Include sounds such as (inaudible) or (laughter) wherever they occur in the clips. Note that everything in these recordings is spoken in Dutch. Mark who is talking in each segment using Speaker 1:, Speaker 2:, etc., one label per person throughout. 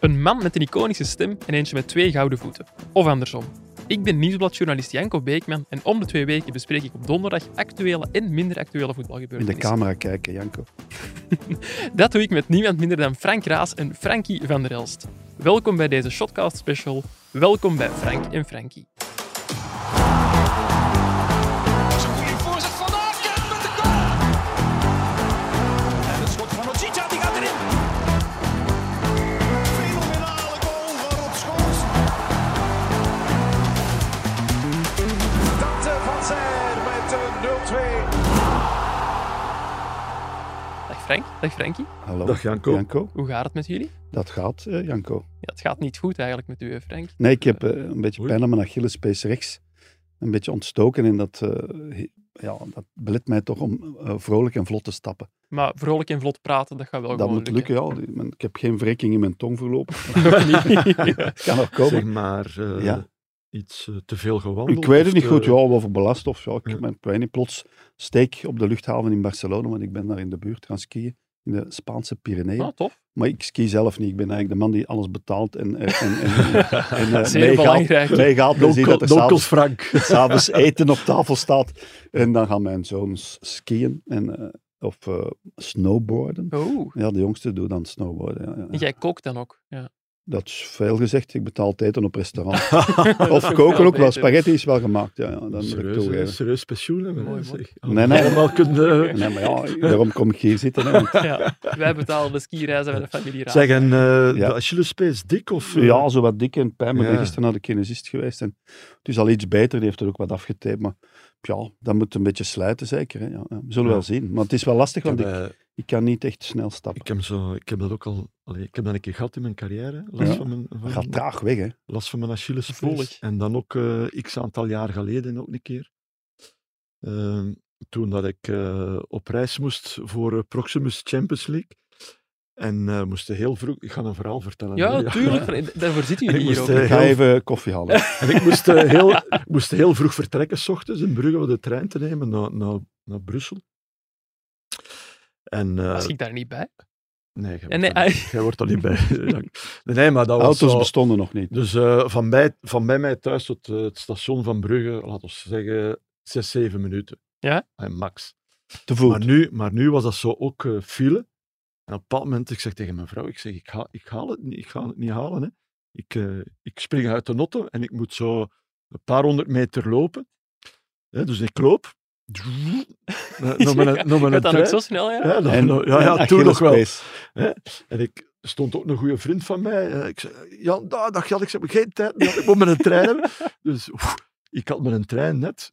Speaker 1: Een man met een iconische stem en eentje met twee gouden voeten. Of andersom. Ik ben nieuwsbladjournalist Janko Beekman en om de twee weken bespreek ik op donderdag actuele en minder actuele
Speaker 2: In de
Speaker 1: voetbalgebeurtenissen.
Speaker 2: camera kijken, Janko.
Speaker 1: Dat doe ik met niemand minder dan Frank Raas en Frankie van der Elst. Welkom bij deze Shotcast special. Welkom bij Frank en Frankie.
Speaker 3: Een goede voorzet van de Aken met de goal. En het schot van Ojita, die gaat erin. Fenomenale goal van Rob Schoors.
Speaker 4: Dante van Zijl met een 0-2.
Speaker 1: Dag Frank, dag Frankie.
Speaker 2: Hallo.
Speaker 5: Dag, Janko.
Speaker 1: Hoe gaat het met jullie?
Speaker 2: Dat gaat, eh, Janko.
Speaker 1: Ja, het gaat niet goed eigenlijk met u, hè, Frank.
Speaker 2: Nee, ik heb eh, een beetje
Speaker 5: Oei.
Speaker 2: pijn aan mijn Achillespees rechts. Een beetje ontstoken en dat, eh, he- ja, dat belet mij toch om eh, vrolijk en vlot te stappen.
Speaker 1: Maar vrolijk en vlot praten, dat gaat wel
Speaker 2: dat
Speaker 1: gewoon
Speaker 2: moet lukken, ja. Die- men- Ik heb geen wrekking in mijn tong verlopen.
Speaker 1: (laughs)
Speaker 2: (laughs) Het kan nog
Speaker 5: Zeg
Speaker 2: komen.
Speaker 5: maar eh,
Speaker 2: Ja.
Speaker 5: iets eh, te veel gewandeld.
Speaker 2: Ik weet
Speaker 5: of
Speaker 2: het niet
Speaker 5: te-
Speaker 2: goed, ja, wel voor belast of ja, ik,
Speaker 5: Ja.
Speaker 2: ben- ik weet niet. Plots steek op de luchthaven in Barcelona, want ik ben daar in de buurt gaan skiën. In de Spaanse Pyreneeën.
Speaker 1: Ah, tof.
Speaker 2: Maar ik ski zelf niet. Ik ben eigenlijk de man die alles betaalt en, eh, en, en,
Speaker 1: (laughs)
Speaker 2: en eh,
Speaker 1: Zeer
Speaker 2: meegaat-
Speaker 1: belangrijk.
Speaker 2: meegaat.
Speaker 5: No
Speaker 2: Dan zie je dat er
Speaker 5: co- no
Speaker 2: s'avonds-
Speaker 5: cost
Speaker 2: (laughs)
Speaker 5: Frank.
Speaker 2: s'avonds eten op tafel staat. En dan gaan mijn zoons skiën en, eh, of eh, snowboarden.
Speaker 1: Oeh.
Speaker 2: Ja, de jongste doet dan snowboarden. ja, ja,
Speaker 1: En
Speaker 2: ja.
Speaker 1: jij kookt dan ook. Ja.
Speaker 2: Dat is veel gezegd. Ik betaal het eten op
Speaker 1: (laughs)
Speaker 2: restaurant. of koken ook wel. Spaghetti is wel gemaakt. Ja, ja, dat moet ik
Speaker 5: Serieus, eh,
Speaker 2: toegeven.
Speaker 5: serieus pensioen hebben.
Speaker 1: Mooi,
Speaker 5: hè,
Speaker 1: mooi.
Speaker 5: zeg. Oh,
Speaker 2: Nee, nee.
Speaker 5: Allemaal kunnen... eh,
Speaker 2: Nee, maar ja, daarom kom ik hier zitten. Hè, want-
Speaker 1: Ja. Wij betalen de skireizen bij de familie Raas.
Speaker 5: Zeg, en eh
Speaker 2: Ja.
Speaker 5: de Achillespees dik of... eh,
Speaker 2: ja, zo wat dik en pijn. Maar ik ben
Speaker 5: Ja.
Speaker 2: gisteren naar de kinesist geweest. En het is al iets beter. Die heeft er ook wat afgetaped. Maar ja, dat moet een beetje slijten zeker. Hè. Ja, ja. we zullen
Speaker 5: Ja.
Speaker 2: wel zien. Maar het is wel lastig,
Speaker 5: Ik heb,
Speaker 2: want ik,
Speaker 5: eh,
Speaker 2: ik kan niet echt snel stappen.
Speaker 5: ik, heb zo, ik heb dat ook al... allee, ik heb dat een keer gehad in mijn carrière. Last
Speaker 2: Ja.
Speaker 5: van mijn,
Speaker 2: Het
Speaker 5: van,
Speaker 2: gaat traag weg, hè.
Speaker 5: last van mijn Achillespees.
Speaker 1: Gevoelig.
Speaker 5: En dan ook eh, x aantal jaar geleden ook een keer. Ehm, toen dat ik eh, op reis moest voor eh, Proximus Champions League. En eh moest heel vroeg... Ik ga een verhaal vertellen. hè, (laughs)
Speaker 1: ja, tuurlijk. Frank. Daarvoor zitten jullie
Speaker 5: Ik
Speaker 1: hier
Speaker 5: moest,
Speaker 1: ook.
Speaker 5: eh,
Speaker 2: Ik ga
Speaker 5: heel-
Speaker 2: even koffie halen.
Speaker 5: En ik moest, eh, heel, (laughs) ik moest heel vroeg vertrekken, s ochtends in Brugge, om de trein te nemen naar, naar, naar Brussel. En, eh,
Speaker 1: Was ik daar niet bij?
Speaker 5: nee, jij
Speaker 1: En
Speaker 5: wordt,
Speaker 1: nee,
Speaker 5: er, niet- jij wordt er niet bij. (laughs) nee, nee, maar dat was
Speaker 2: Auto's
Speaker 5: zo-
Speaker 2: bestonden nog niet.
Speaker 5: Dus eh, van, bij, van bij mij thuis tot eh, het station van Brugge, laten we zeggen, zes, zeven minuten.
Speaker 1: Ja?
Speaker 5: Eh, max.
Speaker 2: Te
Speaker 5: Maar
Speaker 2: voet.
Speaker 5: nu, maar nu was dat zo ook eh, file. En op een bepaald moment, ik zeg tegen mijn vrouw, ik zeg, ik, ga, ik, haal, het niet, ik ga het niet halen. Hè. Ik, eh, ik spring uit de auto en ik moet zo een paar honderd meter lopen. Hè, dus ik
Speaker 1: (laughs)
Speaker 5: loop. Naar naar mijn, naar mijn
Speaker 1: Gaat dat ook
Speaker 5: trein.
Speaker 1: zo snel, ja?
Speaker 5: Ja, naar-
Speaker 2: En,
Speaker 5: naar- ja,
Speaker 2: (laughs)
Speaker 5: ja
Speaker 2: en
Speaker 5: toen nog wel.
Speaker 2: Achillespees.
Speaker 5: En ik er stond ook een goede vriend van mij. eh, Ik zei, Jan, da, dag Jan, ik heb geen tijd meer, ik moet met een trein
Speaker 2: (laughs)
Speaker 5: hebben. Dus oef, ik had met een trein net.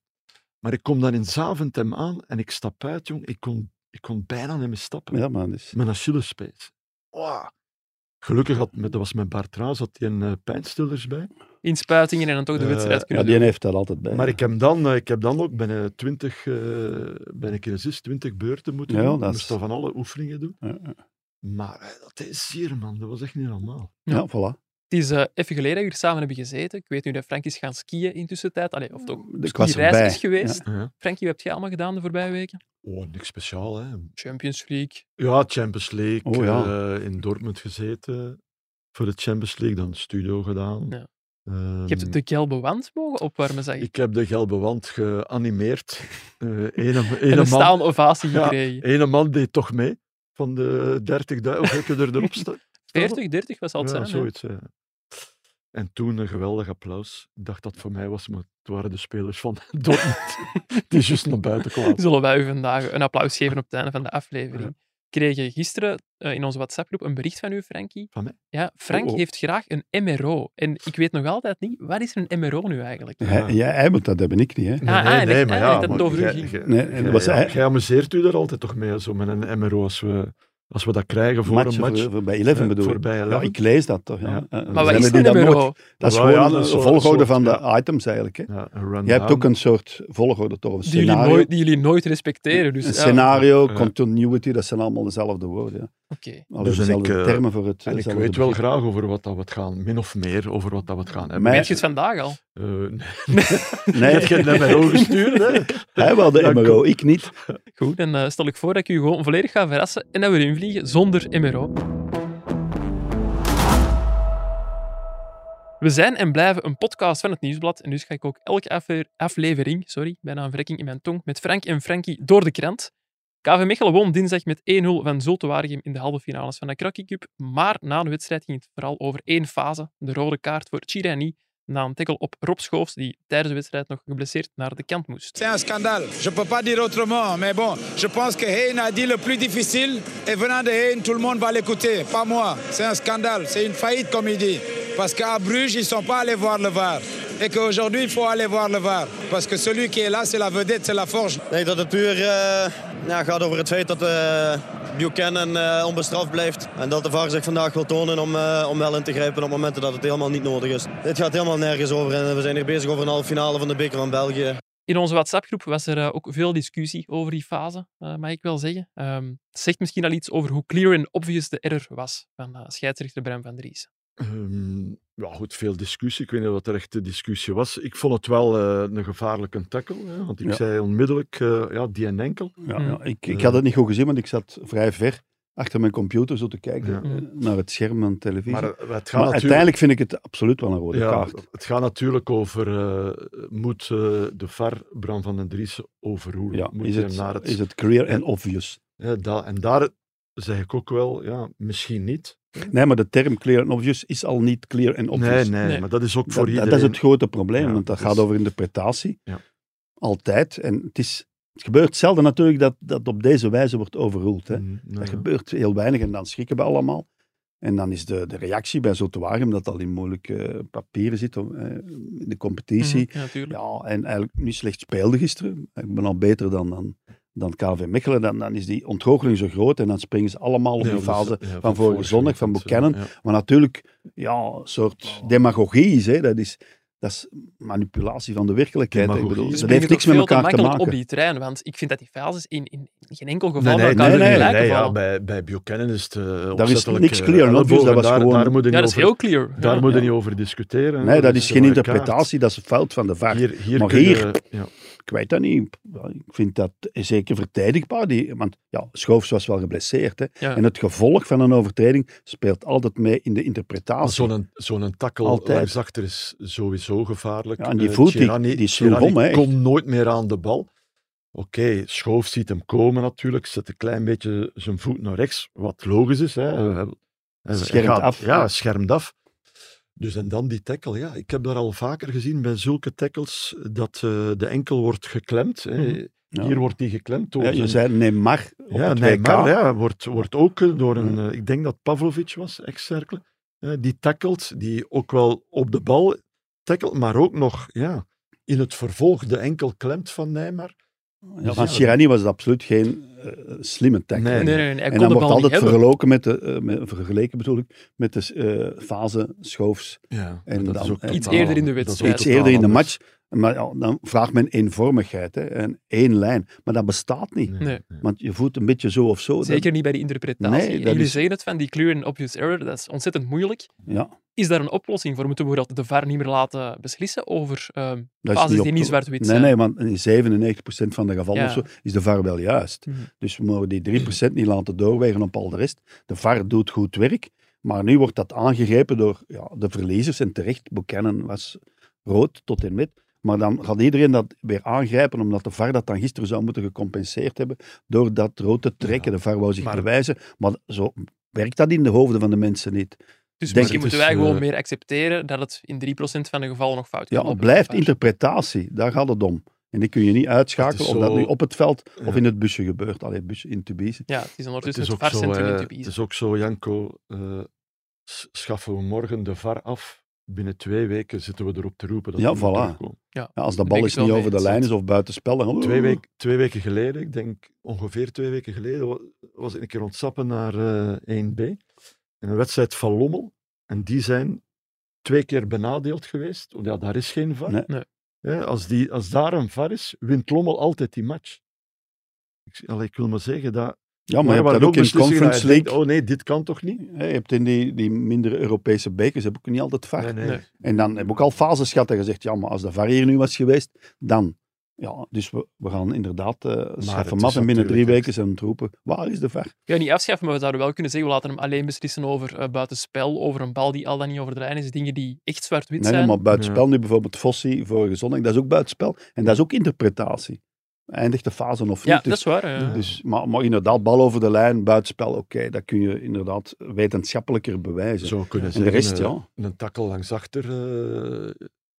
Speaker 5: Maar ik kom dan in Zaventem aan en ik stap uit, jong. Ik kon, ik kon bijna niet meer stappen.
Speaker 2: Ja, man. Dus.
Speaker 5: Mijn Achillespees. Wow. Gelukkig had, met- dat was met Bart Raas, had hij een eh, pijnstillers bij.
Speaker 1: Inspuitingen en dan toch de
Speaker 5: Eh,
Speaker 1: wedstrijd
Speaker 2: Ja,
Speaker 1: kunnen
Speaker 2: die heeft dat altijd bij.
Speaker 5: Maar ik heb dan, eh, ik heb dan ook binnen 20, eh ben ik in 20 beurten moeten
Speaker 2: Ja,
Speaker 5: doen.
Speaker 2: dat
Speaker 5: Ik
Speaker 2: is-
Speaker 5: moest dan van alle oefeningen doen.
Speaker 2: Ja, ja.
Speaker 5: Maar eh, dat is hier, man. Dat was echt niet normaal.
Speaker 2: Ja, voilà.
Speaker 1: Het is eh, even geleden dat we hier samen hebben gezeten. Ik weet nu dat Frank is gaan skiën intussen tijd. Allee, of toch
Speaker 2: De
Speaker 1: die
Speaker 2: klas
Speaker 1: reis is
Speaker 2: erbij.
Speaker 1: geweest.
Speaker 5: Ja.
Speaker 1: Frankie, wat heb jij allemaal gedaan de voorbije weken?
Speaker 5: Oh, niks speciaal, hè.
Speaker 1: Champions League.
Speaker 5: Ja, Champions League.
Speaker 2: Oh, ja.
Speaker 5: eh, in Dortmund gezeten voor de Champions League. Dan studio gedaan.
Speaker 1: Ja.
Speaker 5: Ehm,
Speaker 1: Je hebt de gelbe wand mogen opwarmen, zeg ik.
Speaker 5: Ik heb de Gelbe Wand
Speaker 1: (laughs)
Speaker 5: geanimeerd. Eh ene,
Speaker 1: en
Speaker 5: ene,
Speaker 1: een
Speaker 5: man,
Speaker 1: staande ovatie
Speaker 5: Ja.
Speaker 1: gekregen.
Speaker 5: ene man deed toch mee. Van de 30.000, of heb je er erop
Speaker 1: (laughs)
Speaker 5: staan?
Speaker 1: 40, 30 was al
Speaker 5: ja,
Speaker 1: het zijn. hè?
Speaker 5: zoiets. ja. En toen een geweldig applaus. Ik dacht dat het voor mij was, maar het waren de spelers van (laughs)
Speaker 1: (laughs)
Speaker 5: Dortmund. die juist naar
Speaker 2: (laughs)
Speaker 5: buiten kwamen.
Speaker 1: Zullen wij u vandaag een applaus geven op het einde van de aflevering? We kregen gisteren eh, in onze WhatsApp-groep een bericht van u, Frankie.
Speaker 5: Van mij?
Speaker 1: Ja, Frank
Speaker 5: Oh, oh.
Speaker 1: heeft graag een MRO. En ik weet nog altijd niet, wat is een MRO nu eigenlijk?
Speaker 2: Hij, jij, hij moet dat hebben, ik niet. Hè.
Speaker 1: Ah, ah, dat- ah, dat het over u
Speaker 5: jij-
Speaker 1: ging.
Speaker 5: jij-
Speaker 2: Nee, en
Speaker 5: jij-
Speaker 2: dat was
Speaker 5: eh, ja,
Speaker 2: hij-
Speaker 5: jij amuseert u daar altijd toch mee, zo met een MRO, als we, als we dat krijgen voor
Speaker 2: Match
Speaker 5: een match.
Speaker 2: voor, voor bij 11
Speaker 5: eh,
Speaker 2: bedoel
Speaker 5: voor
Speaker 2: ik.
Speaker 5: bij
Speaker 2: Ja,
Speaker 5: 11.
Speaker 2: ik lees dat toch. Ja.
Speaker 5: Ja.
Speaker 2: Eh, er
Speaker 1: maar wat
Speaker 2: zijn
Speaker 1: is
Speaker 2: er die
Speaker 1: een
Speaker 2: dat nooit-
Speaker 1: MRO?
Speaker 2: Dat is
Speaker 5: Ja,
Speaker 2: gewoon
Speaker 5: ja, dat
Speaker 2: een
Speaker 5: is zo'n
Speaker 2: volgorde
Speaker 5: soort,
Speaker 2: van de
Speaker 5: ja.
Speaker 2: items eigenlijk. Hè.
Speaker 5: Ja, een rundown.
Speaker 2: Je hebt ook een soort volgorde toch, een
Speaker 1: Die jullie,
Speaker 2: scenario.
Speaker 1: nooit, die jullie nooit respecteren. Dus,
Speaker 2: een
Speaker 1: ja,
Speaker 2: scenario,
Speaker 5: Ja.
Speaker 2: continuity, dat zijn allemaal dezelfde woorden. Ja.
Speaker 1: Oké.
Speaker 2: Allee,
Speaker 5: Dus en ik,
Speaker 2: dezelfde
Speaker 5: eh,
Speaker 2: termen voor het
Speaker 5: En ik
Speaker 2: dezelfde
Speaker 5: weet wel
Speaker 2: begrip.
Speaker 5: graag over wat dat we het gaan, min of meer over wat dat we het gaan hebben.
Speaker 2: Mij-
Speaker 1: Weet je het vandaag al?
Speaker 5: Eh, nee,
Speaker 2: Nee,
Speaker 5: (laughs) ik
Speaker 2: (laughs)
Speaker 5: heb geen MRO gestuurd. Hè.
Speaker 2: hij wel de
Speaker 5: Ja,
Speaker 2: MRO, ik niet.
Speaker 1: Goed, dan eh, stel ik voor dat ik u gewoon volledig ga verrassen en dat we erin vliegen zonder MRO. We zijn en blijven een podcast van het Nieuwsblad en dus ga ik ook elke afle- aflevering, sorry, bijna een verrekking in mijn tong, met Frank en Frankie door de krant. KV Mechelen won dinsdag met 1-0 van Zulte Waregem in de halve finales van de Krokkie Cup, maar na de wedstrijd ging het vooral over één fase, de rode kaart voor Chirani, na een tackle op Rob Schoofs, die tijdens de wedstrijd nog geblesseerd naar de kant moest.
Speaker 6: C'est un scandale. Je ne peux pas dire autrement. Mais bon, je pense que Hein a dit le plus difficile. Et venant de Hein, tout le monde va l'écouter. Pas moi. C'est un scandale. C'est une faillite, comme il dit. Parce qu'à Bruges, ils ne sont pas allés voir le VAR. Et qu'aujourd'hui, il faut aller voir le VAR. Parce que celui qui est là, c'est la vedette, c'est la forge.
Speaker 7: Ik denk dat het puur eh, ja, gaat over het feit dat eh Buchanan eh, onbestraft blijft. En dat de VAR zich vandaag wil tonen om, eh, om wel in te grijpen op momenten dat het helemaal niet nodig is. Dit gaat helemaal nergens over en we zijn hier bezig over een halve finale van de beker van België.
Speaker 1: In onze WhatsApp-groep was er eh, ook veel discussie over die fase, eh, mag ik wel zeggen. Ehm, het zegt misschien al iets over hoe clear en obvious de error was van eh, scheidsrechter Bram van Dries.
Speaker 5: Ehm, ja, goed, veel discussie. Ik weet niet wat er echt de discussie was. Ik vond het wel eh, een gevaarlijke tackle. Hè, want ik
Speaker 2: Ja.
Speaker 5: zei onmiddellijk, eh, ja, die en enkel.
Speaker 2: Ja,
Speaker 1: Mm.
Speaker 2: ja, ik, ik
Speaker 5: Eh.
Speaker 2: had het niet goed gezien, want ik zat vrij ver achter mijn computer zo te kijken
Speaker 5: Ja.
Speaker 2: eh, naar het scherm van de televisie.
Speaker 5: Maar
Speaker 2: Maar,
Speaker 5: eh, het gaat natuurlijk...
Speaker 2: uiteindelijk vind ik het absoluut wel een rode
Speaker 5: Ja,
Speaker 2: kaart.
Speaker 5: het gaat natuurlijk over, eh, moet eh, de VAR Bram van den Dries overroelen?
Speaker 2: Ja,
Speaker 5: moet
Speaker 2: is,
Speaker 5: hij
Speaker 2: het,
Speaker 5: naar het-
Speaker 2: is het clear en obvious?
Speaker 5: Ja, da- en daar zeg ik ook wel, ja, misschien niet.
Speaker 2: Nee, maar de term clear and obvious is al niet clear and obvious.
Speaker 5: Nee, nee,
Speaker 1: Nee.
Speaker 5: maar dat is ook
Speaker 2: Dat-
Speaker 5: voor
Speaker 2: dat, dat
Speaker 5: iedereen.
Speaker 2: is het grote probleem,
Speaker 5: Ja,
Speaker 2: want dat
Speaker 5: dus-
Speaker 2: gaat over interpretatie.
Speaker 5: Ja.
Speaker 2: Altijd. En het, is, het gebeurt zelden natuurlijk dat dat op deze wijze wordt overruled. Hè.
Speaker 5: Mm, nou
Speaker 2: Dat
Speaker 5: ja.
Speaker 2: gebeurt heel weinig en dan schrikken we allemaal. En dan is de, de reactie bij Zotewagen, dat al in moeilijke eh, papieren zit, om, eh, in de competitie.
Speaker 1: Mhm, ja, natuurlijk.
Speaker 2: Ja, en eigenlijk niet slecht speelde gisteren. Ik ben al beter dan, dan, dan KV Mechelen. Dan, dan is die ontgoocheling zo groot en dan springen ze allemaal op
Speaker 5: Ja,
Speaker 2: die
Speaker 5: dus,
Speaker 2: fase.
Speaker 5: ja,
Speaker 2: van vorige zondag, van
Speaker 5: weekend, eh,
Speaker 2: Buchanan. Maar natuurlijk, ja, een soort demagogie is, hè. Dat is, dat is manipulatie van de werkelijkheid. hè. Ik
Speaker 5: Demagogie.
Speaker 2: bedoel,
Speaker 5: Dus
Speaker 2: dat
Speaker 1: brengt
Speaker 2: heeft
Speaker 1: ook
Speaker 2: niks met
Speaker 1: veel
Speaker 2: elkaar te
Speaker 1: makkelijk op
Speaker 2: maken.
Speaker 1: die trein, want ik vind dat die fases in, in geen enkel geval bij
Speaker 5: Nee, nee,
Speaker 1: elkaar
Speaker 5: nee,
Speaker 2: nee,
Speaker 1: in
Speaker 5: nee,
Speaker 1: gelijke
Speaker 5: nee, ja,
Speaker 1: vallen.
Speaker 5: bij, bij Buchanan is het eh,
Speaker 2: niks
Speaker 5: opzettelijk, eh,
Speaker 2: clear, want dus
Speaker 5: elleboog,
Speaker 2: dat was
Speaker 5: daar,
Speaker 2: gewoon-
Speaker 5: daar moet je
Speaker 1: Ja,
Speaker 5: niet
Speaker 1: dat is
Speaker 5: over,
Speaker 1: heel clear.
Speaker 5: daar
Speaker 1: Ja.
Speaker 5: moet je
Speaker 2: Ja.
Speaker 5: niet over discuuteren. hè.
Speaker 2: Nee, dat is geen
Speaker 5: een rode kaart.
Speaker 2: interpretatie, dat is een fout van de VAR.
Speaker 5: Hier, hier
Speaker 2: Maar
Speaker 5: kun je-
Speaker 2: hier-
Speaker 5: ja.
Speaker 2: Ik weet dat niet. Ja, Ik vind dat zeker verteidigbaar. Die, want ja, Schoofs was wel geblesseerd. Hè.
Speaker 1: Ja.
Speaker 2: En het gevolg van een overtreding speelt altijd mee in de
Speaker 5: Maar
Speaker 2: interpretatie.
Speaker 5: Zo'n zo'n takkel
Speaker 2: Altijd.
Speaker 5: langsachter is sowieso gevaarlijk.
Speaker 2: Ja, en die
Speaker 5: Eh,
Speaker 2: voet, die-
Speaker 5: Tirani-
Speaker 2: die sloeg
Speaker 5: Tirani
Speaker 2: om, hè, echt.
Speaker 5: komt nooit meer aan de bal. Oké, Schoof ziet hem komen natuurlijk. Zet een klein beetje zijn voet naar rechts, wat logisch is. Hè. Hij- hij- hij
Speaker 2: Schermt
Speaker 5: gaat-
Speaker 2: af.
Speaker 5: Ja, hij schermt af. Dus en dan die tackle. Ja, ik heb daar al vaker gezien bij zulke tackles dat eh, de enkel wordt geklemd. Hè.
Speaker 1: Mhm.
Speaker 2: Ja.
Speaker 5: Hier wordt die geklemd door
Speaker 2: Ja, je
Speaker 5: zijn-
Speaker 2: zei Neymar op
Speaker 5: ja,
Speaker 2: het
Speaker 5: nee,
Speaker 2: WK.
Speaker 5: maar ja, wordt, wordt ook eh, door een,
Speaker 2: Ja.
Speaker 5: eh, ik denk dat Pavlovic was, ex-cerkel, eh, die tackelt, die ook wel op de bal tackelt, maar ook nog ja, in het vervolg de enkel klemt van Neymar.
Speaker 2: Ja, van Sirani was het absoluut geen eh, slimme tackle.
Speaker 5: Nee,
Speaker 1: Nee, nee, nee, hij
Speaker 2: En
Speaker 1: kon
Speaker 2: dan
Speaker 1: de
Speaker 2: wordt
Speaker 1: bal niet
Speaker 2: altijd
Speaker 1: hebben.
Speaker 2: vergeleken met de, eh, met- vergeleken bedoel ik, met de eh, fase Schoofs.
Speaker 5: Ja,
Speaker 2: En
Speaker 5: dat is
Speaker 2: dan-
Speaker 5: ook
Speaker 2: Iets
Speaker 5: totaal
Speaker 1: eerder in de
Speaker 5: anders. eh, Dat is ook
Speaker 1: wedstrijd.
Speaker 2: Iets
Speaker 5: totaal
Speaker 2: eerder in de
Speaker 5: anders.
Speaker 2: match. Maar ja, dan vraagt men eenvormigheid hè, en één lijn. Maar dat bestaat niet.
Speaker 1: Nee.
Speaker 2: Want je voelt een beetje zo of zo. dat-
Speaker 1: Zeker niet bij de interpretatie.
Speaker 2: Nee,
Speaker 1: En
Speaker 2: dat
Speaker 1: Jullie
Speaker 2: is-
Speaker 1: zeggen het van die clear and obvious error, dat is ontzettend moeilijk.
Speaker 2: ja,
Speaker 1: Is daar een oplossing voor? Moeten we bijvoorbeeld de VAR niet meer laten beslissen over ehm,
Speaker 2: dat
Speaker 1: Basis
Speaker 2: op
Speaker 1: die niet
Speaker 2: te-
Speaker 1: zwart-wit
Speaker 2: nee,
Speaker 1: zijn.
Speaker 2: Nee, want in 97% van de gevallen
Speaker 1: Ja.
Speaker 2: of zo is de VAR wel juist.
Speaker 1: Mhm.
Speaker 2: Dus we mogen die 3% niet laten doorwegen op al de rest. De VAR doet goed werk, maar nu wordt dat aangegrepen door ja, de verliezers. En terecht, Buchanan was rood tot en met. Maar dan gaat iedereen dat weer aangrijpen, omdat de VAR dat dan gisteren zou moeten gecompenseerd hebben door dat rood te trekken. De VAR wou zich
Speaker 5: Maar-
Speaker 2: bewijzen, maar zo werkt dat in de hoofden van de mensen niet.
Speaker 1: Dus
Speaker 2: Denk
Speaker 1: misschien
Speaker 5: ik.
Speaker 1: moeten
Speaker 5: Dus,
Speaker 1: wij gewoon
Speaker 5: eh,
Speaker 1: meer accepteren dat het in 3% van de gevallen nog fout kan
Speaker 2: Ja, het
Speaker 1: lopen.
Speaker 2: blijft
Speaker 1: Maar-
Speaker 2: interpretatie. Daar gaat het om. En die kun je niet uitschakelen
Speaker 5: Het is
Speaker 2: of dat
Speaker 5: zo-
Speaker 2: nu op het veld of
Speaker 5: Ja.
Speaker 2: in het busje gebeurt. Allee, busje in Tubize.
Speaker 1: Ja, het is
Speaker 5: Het
Speaker 1: ondertussen
Speaker 5: is,
Speaker 1: het,
Speaker 5: ook zo,
Speaker 1: varcentrum
Speaker 5: eh,
Speaker 1: in
Speaker 5: het
Speaker 1: Tubize.
Speaker 5: is ook zo, Janko, eh, s- schaffen we morgen de VAR af. Binnen twee weken zitten we erop te roepen. Dat
Speaker 2: Ja,
Speaker 5: we moeten
Speaker 2: voilà.
Speaker 5: terugkomen.
Speaker 2: Ja, als
Speaker 1: Daar
Speaker 2: de bal
Speaker 1: ben ik
Speaker 2: eens
Speaker 1: wel
Speaker 2: niet
Speaker 1: mee
Speaker 2: over de
Speaker 1: eens,
Speaker 2: lijn
Speaker 1: want-
Speaker 2: is of buitenspel, dan...
Speaker 5: Twee, week- twee weken geleden, ik denk ongeveer twee weken geleden, wa- was ik een keer ontsappen naar eh, 1B. In een wedstrijd van Lommel. En die zijn twee keer benadeeld geweest. Ja, daar is geen VAR.
Speaker 2: Nee.
Speaker 1: Nee.
Speaker 5: Ja, als, die, als daar een VAR is, wint Lommel altijd die match. Ik, z- allee, ik wil maar zeggen dat...
Speaker 2: Ja, maar
Speaker 5: Maar
Speaker 2: je hebt
Speaker 5: waren
Speaker 2: dat ook in de
Speaker 5: beslissingen dat
Speaker 2: Conference
Speaker 5: je
Speaker 2: League.
Speaker 5: denkt, oh nee, dit kan toch niet?
Speaker 2: Hè, Je hebt in die, die mindere Europese bekers heb ik niet altijd VAR.
Speaker 5: Nee, nee.
Speaker 1: Nee.
Speaker 2: En dan heb ik ook al fases gehad en gezegd, ja, maar als de VAR hier nu was geweest, dan. Ja, dus we, we gaan inderdaad eh
Speaker 5: het
Speaker 2: schaffen
Speaker 5: is
Speaker 2: af en binnen drie
Speaker 5: natuurlijk
Speaker 2: weken zijn het roepen. Waar is de VAR?
Speaker 1: Ja, niet afschaffen, maar we zouden wel kunnen zeggen, we laten hem alleen beslissen over eh, buitenspel, over een bal die al dan niet over de lijn is, dingen die echt zwart-wit
Speaker 2: Nee,
Speaker 1: zijn.
Speaker 2: nee, maar buitenspel, nu bijvoorbeeld Fossi vorige zondag, dat is ook buitenspel. En dat is ook interpretatie. Eindigt de fase of
Speaker 1: ja, dat
Speaker 2: niet. Dus,
Speaker 1: is waar. eh.
Speaker 2: dus, maar, maar inderdaad, bal over de lijn, buitenspel, oké. dat kun je inderdaad wetenschappelijker bewijzen.
Speaker 5: Zo kunnen
Speaker 2: en de
Speaker 5: zeggen,
Speaker 2: rest,
Speaker 5: eh,
Speaker 2: ja.
Speaker 5: Een takkel langs achter eh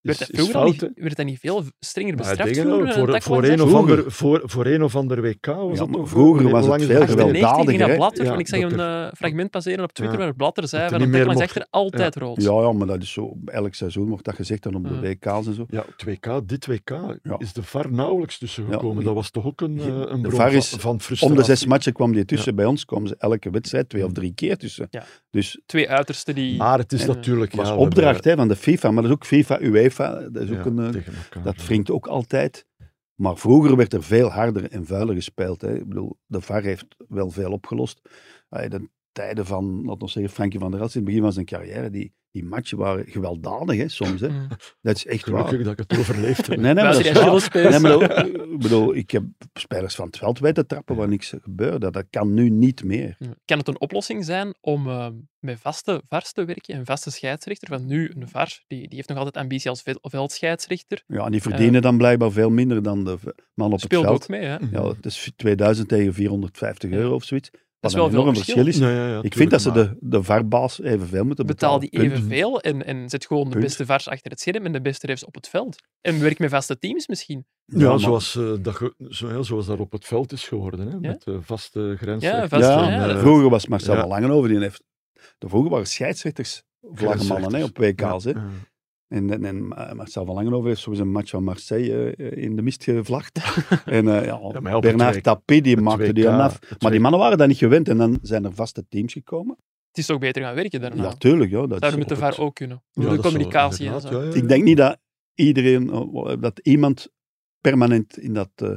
Speaker 1: werd, dat
Speaker 5: is, is
Speaker 1: vroeger al
Speaker 5: fout,
Speaker 1: niet,
Speaker 5: hè.
Speaker 1: werd dat niet veel strenger
Speaker 5: Maar
Speaker 1: bestraft?
Speaker 5: tegen,
Speaker 1: vroeger,
Speaker 5: voor,
Speaker 1: een tak
Speaker 5: voor,
Speaker 1: langs
Speaker 5: een
Speaker 1: achter?
Speaker 5: of
Speaker 2: Vroeger. eh,
Speaker 5: ander, voor, voor een of ander WK was
Speaker 2: Ja,
Speaker 5: dat
Speaker 2: maar
Speaker 5: toch?
Speaker 2: vroeger
Speaker 5: Een
Speaker 2: was het
Speaker 5: lange
Speaker 2: veel
Speaker 5: achter-
Speaker 1: 98
Speaker 2: gewelddadiger,
Speaker 1: ging dat
Speaker 2: hè.
Speaker 1: Blatter,
Speaker 5: Ja,
Speaker 1: want ik zag een
Speaker 5: dat
Speaker 1: eh, fragment passeren op Twitter
Speaker 5: Ja.
Speaker 1: waar Blatter zei
Speaker 5: Dat
Speaker 1: van
Speaker 5: er
Speaker 1: een
Speaker 5: niet
Speaker 1: tak
Speaker 5: meer
Speaker 1: langs
Speaker 5: mocht.
Speaker 1: achter altijd rood.
Speaker 2: Ja, ja, maar dat is zo. Elk seizoen wordt dat gezegd dan op de
Speaker 1: Ja.
Speaker 2: WK's en zo.
Speaker 5: Ja, het WK, dit WK
Speaker 2: Ja.
Speaker 5: is de VAR nauwelijks tussen
Speaker 2: Ja,
Speaker 5: gekomen.
Speaker 2: die-
Speaker 5: dat was toch ook een, eh,
Speaker 2: de
Speaker 5: een bron
Speaker 2: VAR
Speaker 5: van,
Speaker 2: is
Speaker 5: van frustratie.
Speaker 2: Om de zes matchen kwam die tussen. Bij ons kwam ze elke wedstrijd twee of drie keer tussen.
Speaker 1: Ja.
Speaker 2: Dus
Speaker 1: Twee uitersten die...
Speaker 2: Ah,
Speaker 5: Maar het is
Speaker 1: En,
Speaker 5: natuurlijk...
Speaker 2: het was
Speaker 5: ja, we
Speaker 2: opdracht hè, van de FIFA, maar dat is ook FIFA, UEFA. Dat, is
Speaker 5: hebben-
Speaker 2: ook
Speaker 5: ja,
Speaker 2: een, eh,
Speaker 5: tegen elkaar,
Speaker 2: dat
Speaker 5: ja.
Speaker 2: wringt ook altijd. Maar vroeger werd er veel harder en vuiler gespeeld. Hè. Ik bedoel, de VAR heeft wel veel opgelost. Allee, de tijden van, laten we zeggen, Frankie van der Elst in het begin van zijn carrière, die, die matchen waren gewelddadig hè, soms. Hè.
Speaker 1: Mm.
Speaker 2: Dat is echt waar.
Speaker 5: Gelukkig dat ik het overleefd
Speaker 2: (laughs)
Speaker 5: heb.
Speaker 2: Nee, nee, maar
Speaker 1: Als
Speaker 2: dat
Speaker 1: je
Speaker 2: is
Speaker 1: dat
Speaker 2: waar.
Speaker 1: wil
Speaker 2: Nee,
Speaker 1: spelen.
Speaker 2: maar dat- ik bedoel, ik heb spelers van het veld weten trappen waar niks gebeurde. Dat kan nu niet meer.
Speaker 1: Mm. Kan het een oplossing zijn om eh, met vaste VARs te werken, een vaste scheidsrechter? Want nu, een VAR, die, die heeft nog altijd ambitie als vel- veldscheidsrechter.
Speaker 2: Ja, en die verdienen dan blijkbaar veel minder dan de v- man op
Speaker 1: Speelt
Speaker 2: het
Speaker 1: ook
Speaker 2: veld.
Speaker 1: mee, hè?
Speaker 5: Mhm.
Speaker 2: Ja, het is 2000 tegen 450 euro of zoiets.
Speaker 1: Dat is
Speaker 2: Wat
Speaker 1: wel
Speaker 2: een
Speaker 1: veel
Speaker 2: enorm
Speaker 1: verschil.
Speaker 2: verschil is.
Speaker 5: Ja, ja, ja,
Speaker 2: ik
Speaker 5: tuurlijk,
Speaker 2: vind dat ze
Speaker 5: maar-
Speaker 2: de, de VAR-baas evenveel moeten
Speaker 1: Betaal
Speaker 2: betalen.
Speaker 1: die
Speaker 2: Punt.
Speaker 1: evenveel en, en zet gewoon de
Speaker 2: Punt.
Speaker 1: beste VARs achter het scherm en de beste refs op het veld. En werk met vaste teams misschien.
Speaker 5: Ja,
Speaker 2: maar-
Speaker 5: zoals, eh, dat ge- zo, ja, zoals dat op het veld is geworden, hè, met eh, vaste grenzen.
Speaker 1: Ja,
Speaker 2: Ja,
Speaker 1: vast. Ja,
Speaker 5: en,
Speaker 1: dat-
Speaker 5: eh,
Speaker 2: vroeger was Marcel
Speaker 5: ja.
Speaker 2: van Langenhoven. Die heeft, de vroeger waren scheidsrechters vlaggenmannen hè, op WK's. Hè.
Speaker 5: Ja,
Speaker 2: En, en, en eh, Marcel van Langenhoven heeft sowieso een match van Marseille eh, in de mist
Speaker 5: (laughs)
Speaker 2: gevlacht. en eh,
Speaker 5: Ja,
Speaker 2: ja,
Speaker 5: maar op het
Speaker 2: Bernard
Speaker 5: WK
Speaker 2: Tapie die
Speaker 5: het
Speaker 2: maakte die
Speaker 5: WK
Speaker 2: dan af.
Speaker 5: het
Speaker 2: Maar die
Speaker 5: WK
Speaker 2: mannen waren dat niet gewend en dan zijn er vaste teams gekomen.
Speaker 1: Het is toch beter gaan werken daarna.
Speaker 2: Ja, tuurlijk. Ja, dat is
Speaker 1: Zouden we met de
Speaker 2: op
Speaker 1: VAR
Speaker 2: het-
Speaker 1: ook kunnen.
Speaker 5: ja,
Speaker 1: Voor de
Speaker 5: dat zou-
Speaker 1: communicatie en
Speaker 5: inderdaad,
Speaker 1: zo.
Speaker 5: ja, ja,
Speaker 2: Ik denk niet dat iedereen, eh, dat iemand permanent in, dat, eh,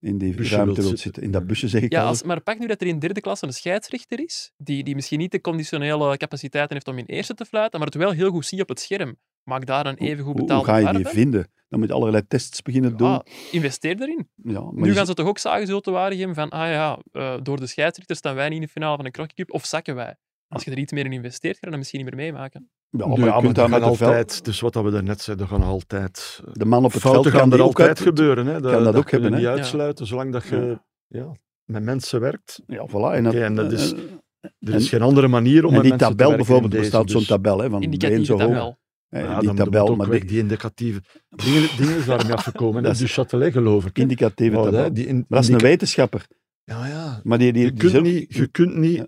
Speaker 2: in die
Speaker 5: Busje
Speaker 2: ruimte
Speaker 5: wilt
Speaker 2: wil zitten.
Speaker 5: zitten.
Speaker 2: In dat busje zeg ik
Speaker 1: Ja,
Speaker 2: al.
Speaker 1: als, maar pak nu dat er in derde klasse een scheidsrechter is, die, die misschien niet de conditionele capaciteiten heeft om in eerste te fluiten, maar het wel heel goed ziet op het scherm. Maak daar een even goed
Speaker 2: Hoe- hoe,
Speaker 1: betaalde
Speaker 2: ga je
Speaker 1: VAR
Speaker 2: die
Speaker 1: van.
Speaker 2: vinden? Dan moet je allerlei tests beginnen doen.
Speaker 1: Ah, investeer daarin.
Speaker 2: Ja, maar
Speaker 1: nu
Speaker 2: die-
Speaker 1: gaan ze toch ook zagen, zo te waar geven van, ah ja, eh, door de scheidsrechter staan wij niet in de finale van de Crocky Cup, of zakken wij. Als je er iets meer in investeert, ga je dat misschien niet meer meemaken.
Speaker 2: ja,
Speaker 5: Ja,
Speaker 2: maar je
Speaker 5: Oh, maar
Speaker 2: kunt
Speaker 5: dat
Speaker 2: daar
Speaker 5: gaan
Speaker 2: met de, vel-
Speaker 5: altijd, dus wat dat we daarnet zeiden, er gaan altijd...
Speaker 2: de man op het veld
Speaker 5: fouten
Speaker 2: kan
Speaker 5: gaan
Speaker 2: die
Speaker 5: er
Speaker 2: ook
Speaker 5: altijd
Speaker 2: uit.
Speaker 5: gebeuren. Hè. Dat,
Speaker 2: kan dat ook
Speaker 5: kun je
Speaker 2: hebben, hè.
Speaker 5: niet
Speaker 1: Ja.
Speaker 5: uitsluiten, zolang dat je ja, met mensen werkt.
Speaker 2: Ja, voilà. En, dat,
Speaker 5: Oké, en dat is-
Speaker 2: eh, eh,
Speaker 5: Er is
Speaker 2: En-
Speaker 5: geen andere manier om
Speaker 2: en
Speaker 5: met
Speaker 2: die
Speaker 5: mensen te
Speaker 2: tabel
Speaker 5: werken in
Speaker 2: bijvoorbeeld,
Speaker 5: deze,
Speaker 2: bestaat zo'n
Speaker 5: dus-
Speaker 2: tabel hè, van been
Speaker 1: Indicatieve
Speaker 2: Ah, zo hoog.
Speaker 1: tabel.
Speaker 2: Eh,
Speaker 5: Ja,
Speaker 2: die
Speaker 5: dan moet het
Speaker 2: tabel,
Speaker 5: ook
Speaker 2: maar
Speaker 5: weg,
Speaker 2: die
Speaker 5: die indicatieve... Dingen, dingen is daarmee
Speaker 2: (laughs)
Speaker 5: afgekomen.
Speaker 2: Dat
Speaker 5: Dat
Speaker 2: is-
Speaker 5: is de Châtelet, geloof ik. hè.
Speaker 2: indicatieve
Speaker 5: Oh,
Speaker 2: tabel.
Speaker 5: hè, die in-
Speaker 2: Maar dat is een
Speaker 5: indica-
Speaker 2: wetenschapper.
Speaker 5: Ja, ja.
Speaker 2: Maar die, die,
Speaker 5: Je
Speaker 2: die
Speaker 5: kunt
Speaker 2: zullen-
Speaker 5: niet, je kunt niet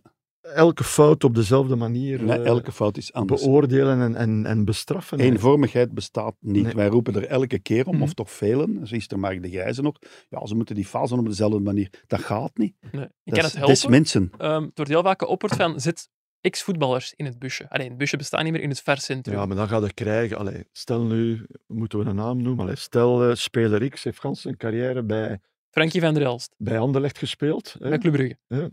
Speaker 5: elke fout op dezelfde manier
Speaker 2: Nee,
Speaker 5: eh,
Speaker 2: elke fout is anders.
Speaker 5: beoordelen en, en, en bestraffen. hè.
Speaker 2: Eenvormigheid bestaat niet.
Speaker 5: Nee. Mhm.
Speaker 2: Wij roepen er elke keer om, of toch velen. Zo is er Mark de Grijze nog. Ja, ze moeten die fase op dezelfde manier. Dat gaat niet.
Speaker 1: Nee. Ik
Speaker 2: Dat
Speaker 1: kan
Speaker 2: is-
Speaker 1: het
Speaker 2: dat is
Speaker 1: helpen.
Speaker 2: mensen.
Speaker 1: Ehm, het wordt heel vaak geopperd van, zet ex-voetballers in het busje. Allee, het busje bestaat niet meer in het vercentrum.
Speaker 5: Ja, maar dan gaat het krijgen. Allee, stel nu, moeten we een naam noemen? Allee, stel, eh, speler X heeft gans zijn carrière bij,
Speaker 1: Frankie van der Elst,
Speaker 5: bij Anderlecht gespeeld. Hè?
Speaker 1: bij Club Brugge.
Speaker 5: Hè?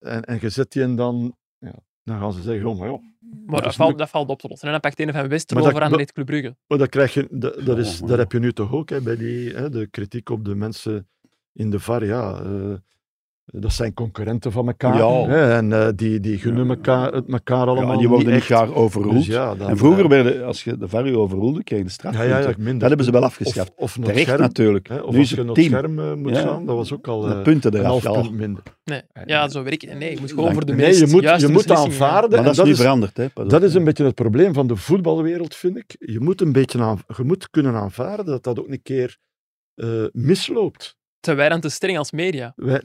Speaker 5: En, en je zet die en dan... Ja, dan gaan ze zeggen, oh, maar ja,
Speaker 1: Maar
Speaker 5: dat
Speaker 1: dat
Speaker 5: is
Speaker 1: valt,
Speaker 5: moeilijk.
Speaker 1: dat valt op te lossen. En dan pakt een van
Speaker 5: Maar
Speaker 1: Westerlo
Speaker 5: dat-
Speaker 1: voor aan
Speaker 5: dat-
Speaker 1: dit Club Brugge.
Speaker 5: Maar dat, krijg je, dat, dat, is,
Speaker 2: Goh,
Speaker 5: dat heb je nu toch ook, hè, bij die, hè, de kritiek op de mensen in de VAR. Ja, eh, dat zijn concurrenten van elkaar.
Speaker 2: Ja.
Speaker 5: Hè, en eh, die, die gunnen elkaar, het elkaar
Speaker 2: Ja,
Speaker 5: allemaal
Speaker 2: en die worden niet
Speaker 5: echt.
Speaker 2: graag overroeld.
Speaker 5: Dus ja, dan,
Speaker 2: en vroeger,
Speaker 5: eh,
Speaker 2: werden, als je de VAR overroelde, kreeg je de straf.
Speaker 5: ja, ja, ja, minder.
Speaker 2: Dat hebben ze wel
Speaker 5: of,
Speaker 2: afgeschaft.
Speaker 5: of naar het
Speaker 2: Terecht
Speaker 5: scherm.
Speaker 2: natuurlijk.
Speaker 5: Hè, of
Speaker 2: nu
Speaker 5: als
Speaker 2: is
Speaker 5: je
Speaker 2: het
Speaker 5: naar het
Speaker 2: team.
Speaker 5: scherm eh, moet
Speaker 2: Ja.
Speaker 5: gaan, dat was ook al
Speaker 2: Met
Speaker 5: eh,
Speaker 2: punten
Speaker 5: een half
Speaker 2: eraf. Ja.
Speaker 5: punt minder.
Speaker 1: Nee, ja, zo werkt het. Nee, je moet gewoon
Speaker 2: Nee,
Speaker 1: voor de
Speaker 5: nee,
Speaker 1: meest
Speaker 5: je moet,
Speaker 1: juiste
Speaker 5: je moet
Speaker 1: beslissingen gaan.
Speaker 5: aanvaarden.
Speaker 2: Maar
Speaker 5: en
Speaker 2: dat is
Speaker 5: dat
Speaker 2: nu
Speaker 5: is-
Speaker 2: veranderd. Hè? Pas op.
Speaker 5: Dat is een beetje het probleem van de voetbalwereld, vind ik. Je moet, een beetje aan, je moet kunnen aanvaarden dat dat ook een keer eh, misloopt.
Speaker 1: Te wij dan te streng als media.
Speaker 5: Wij,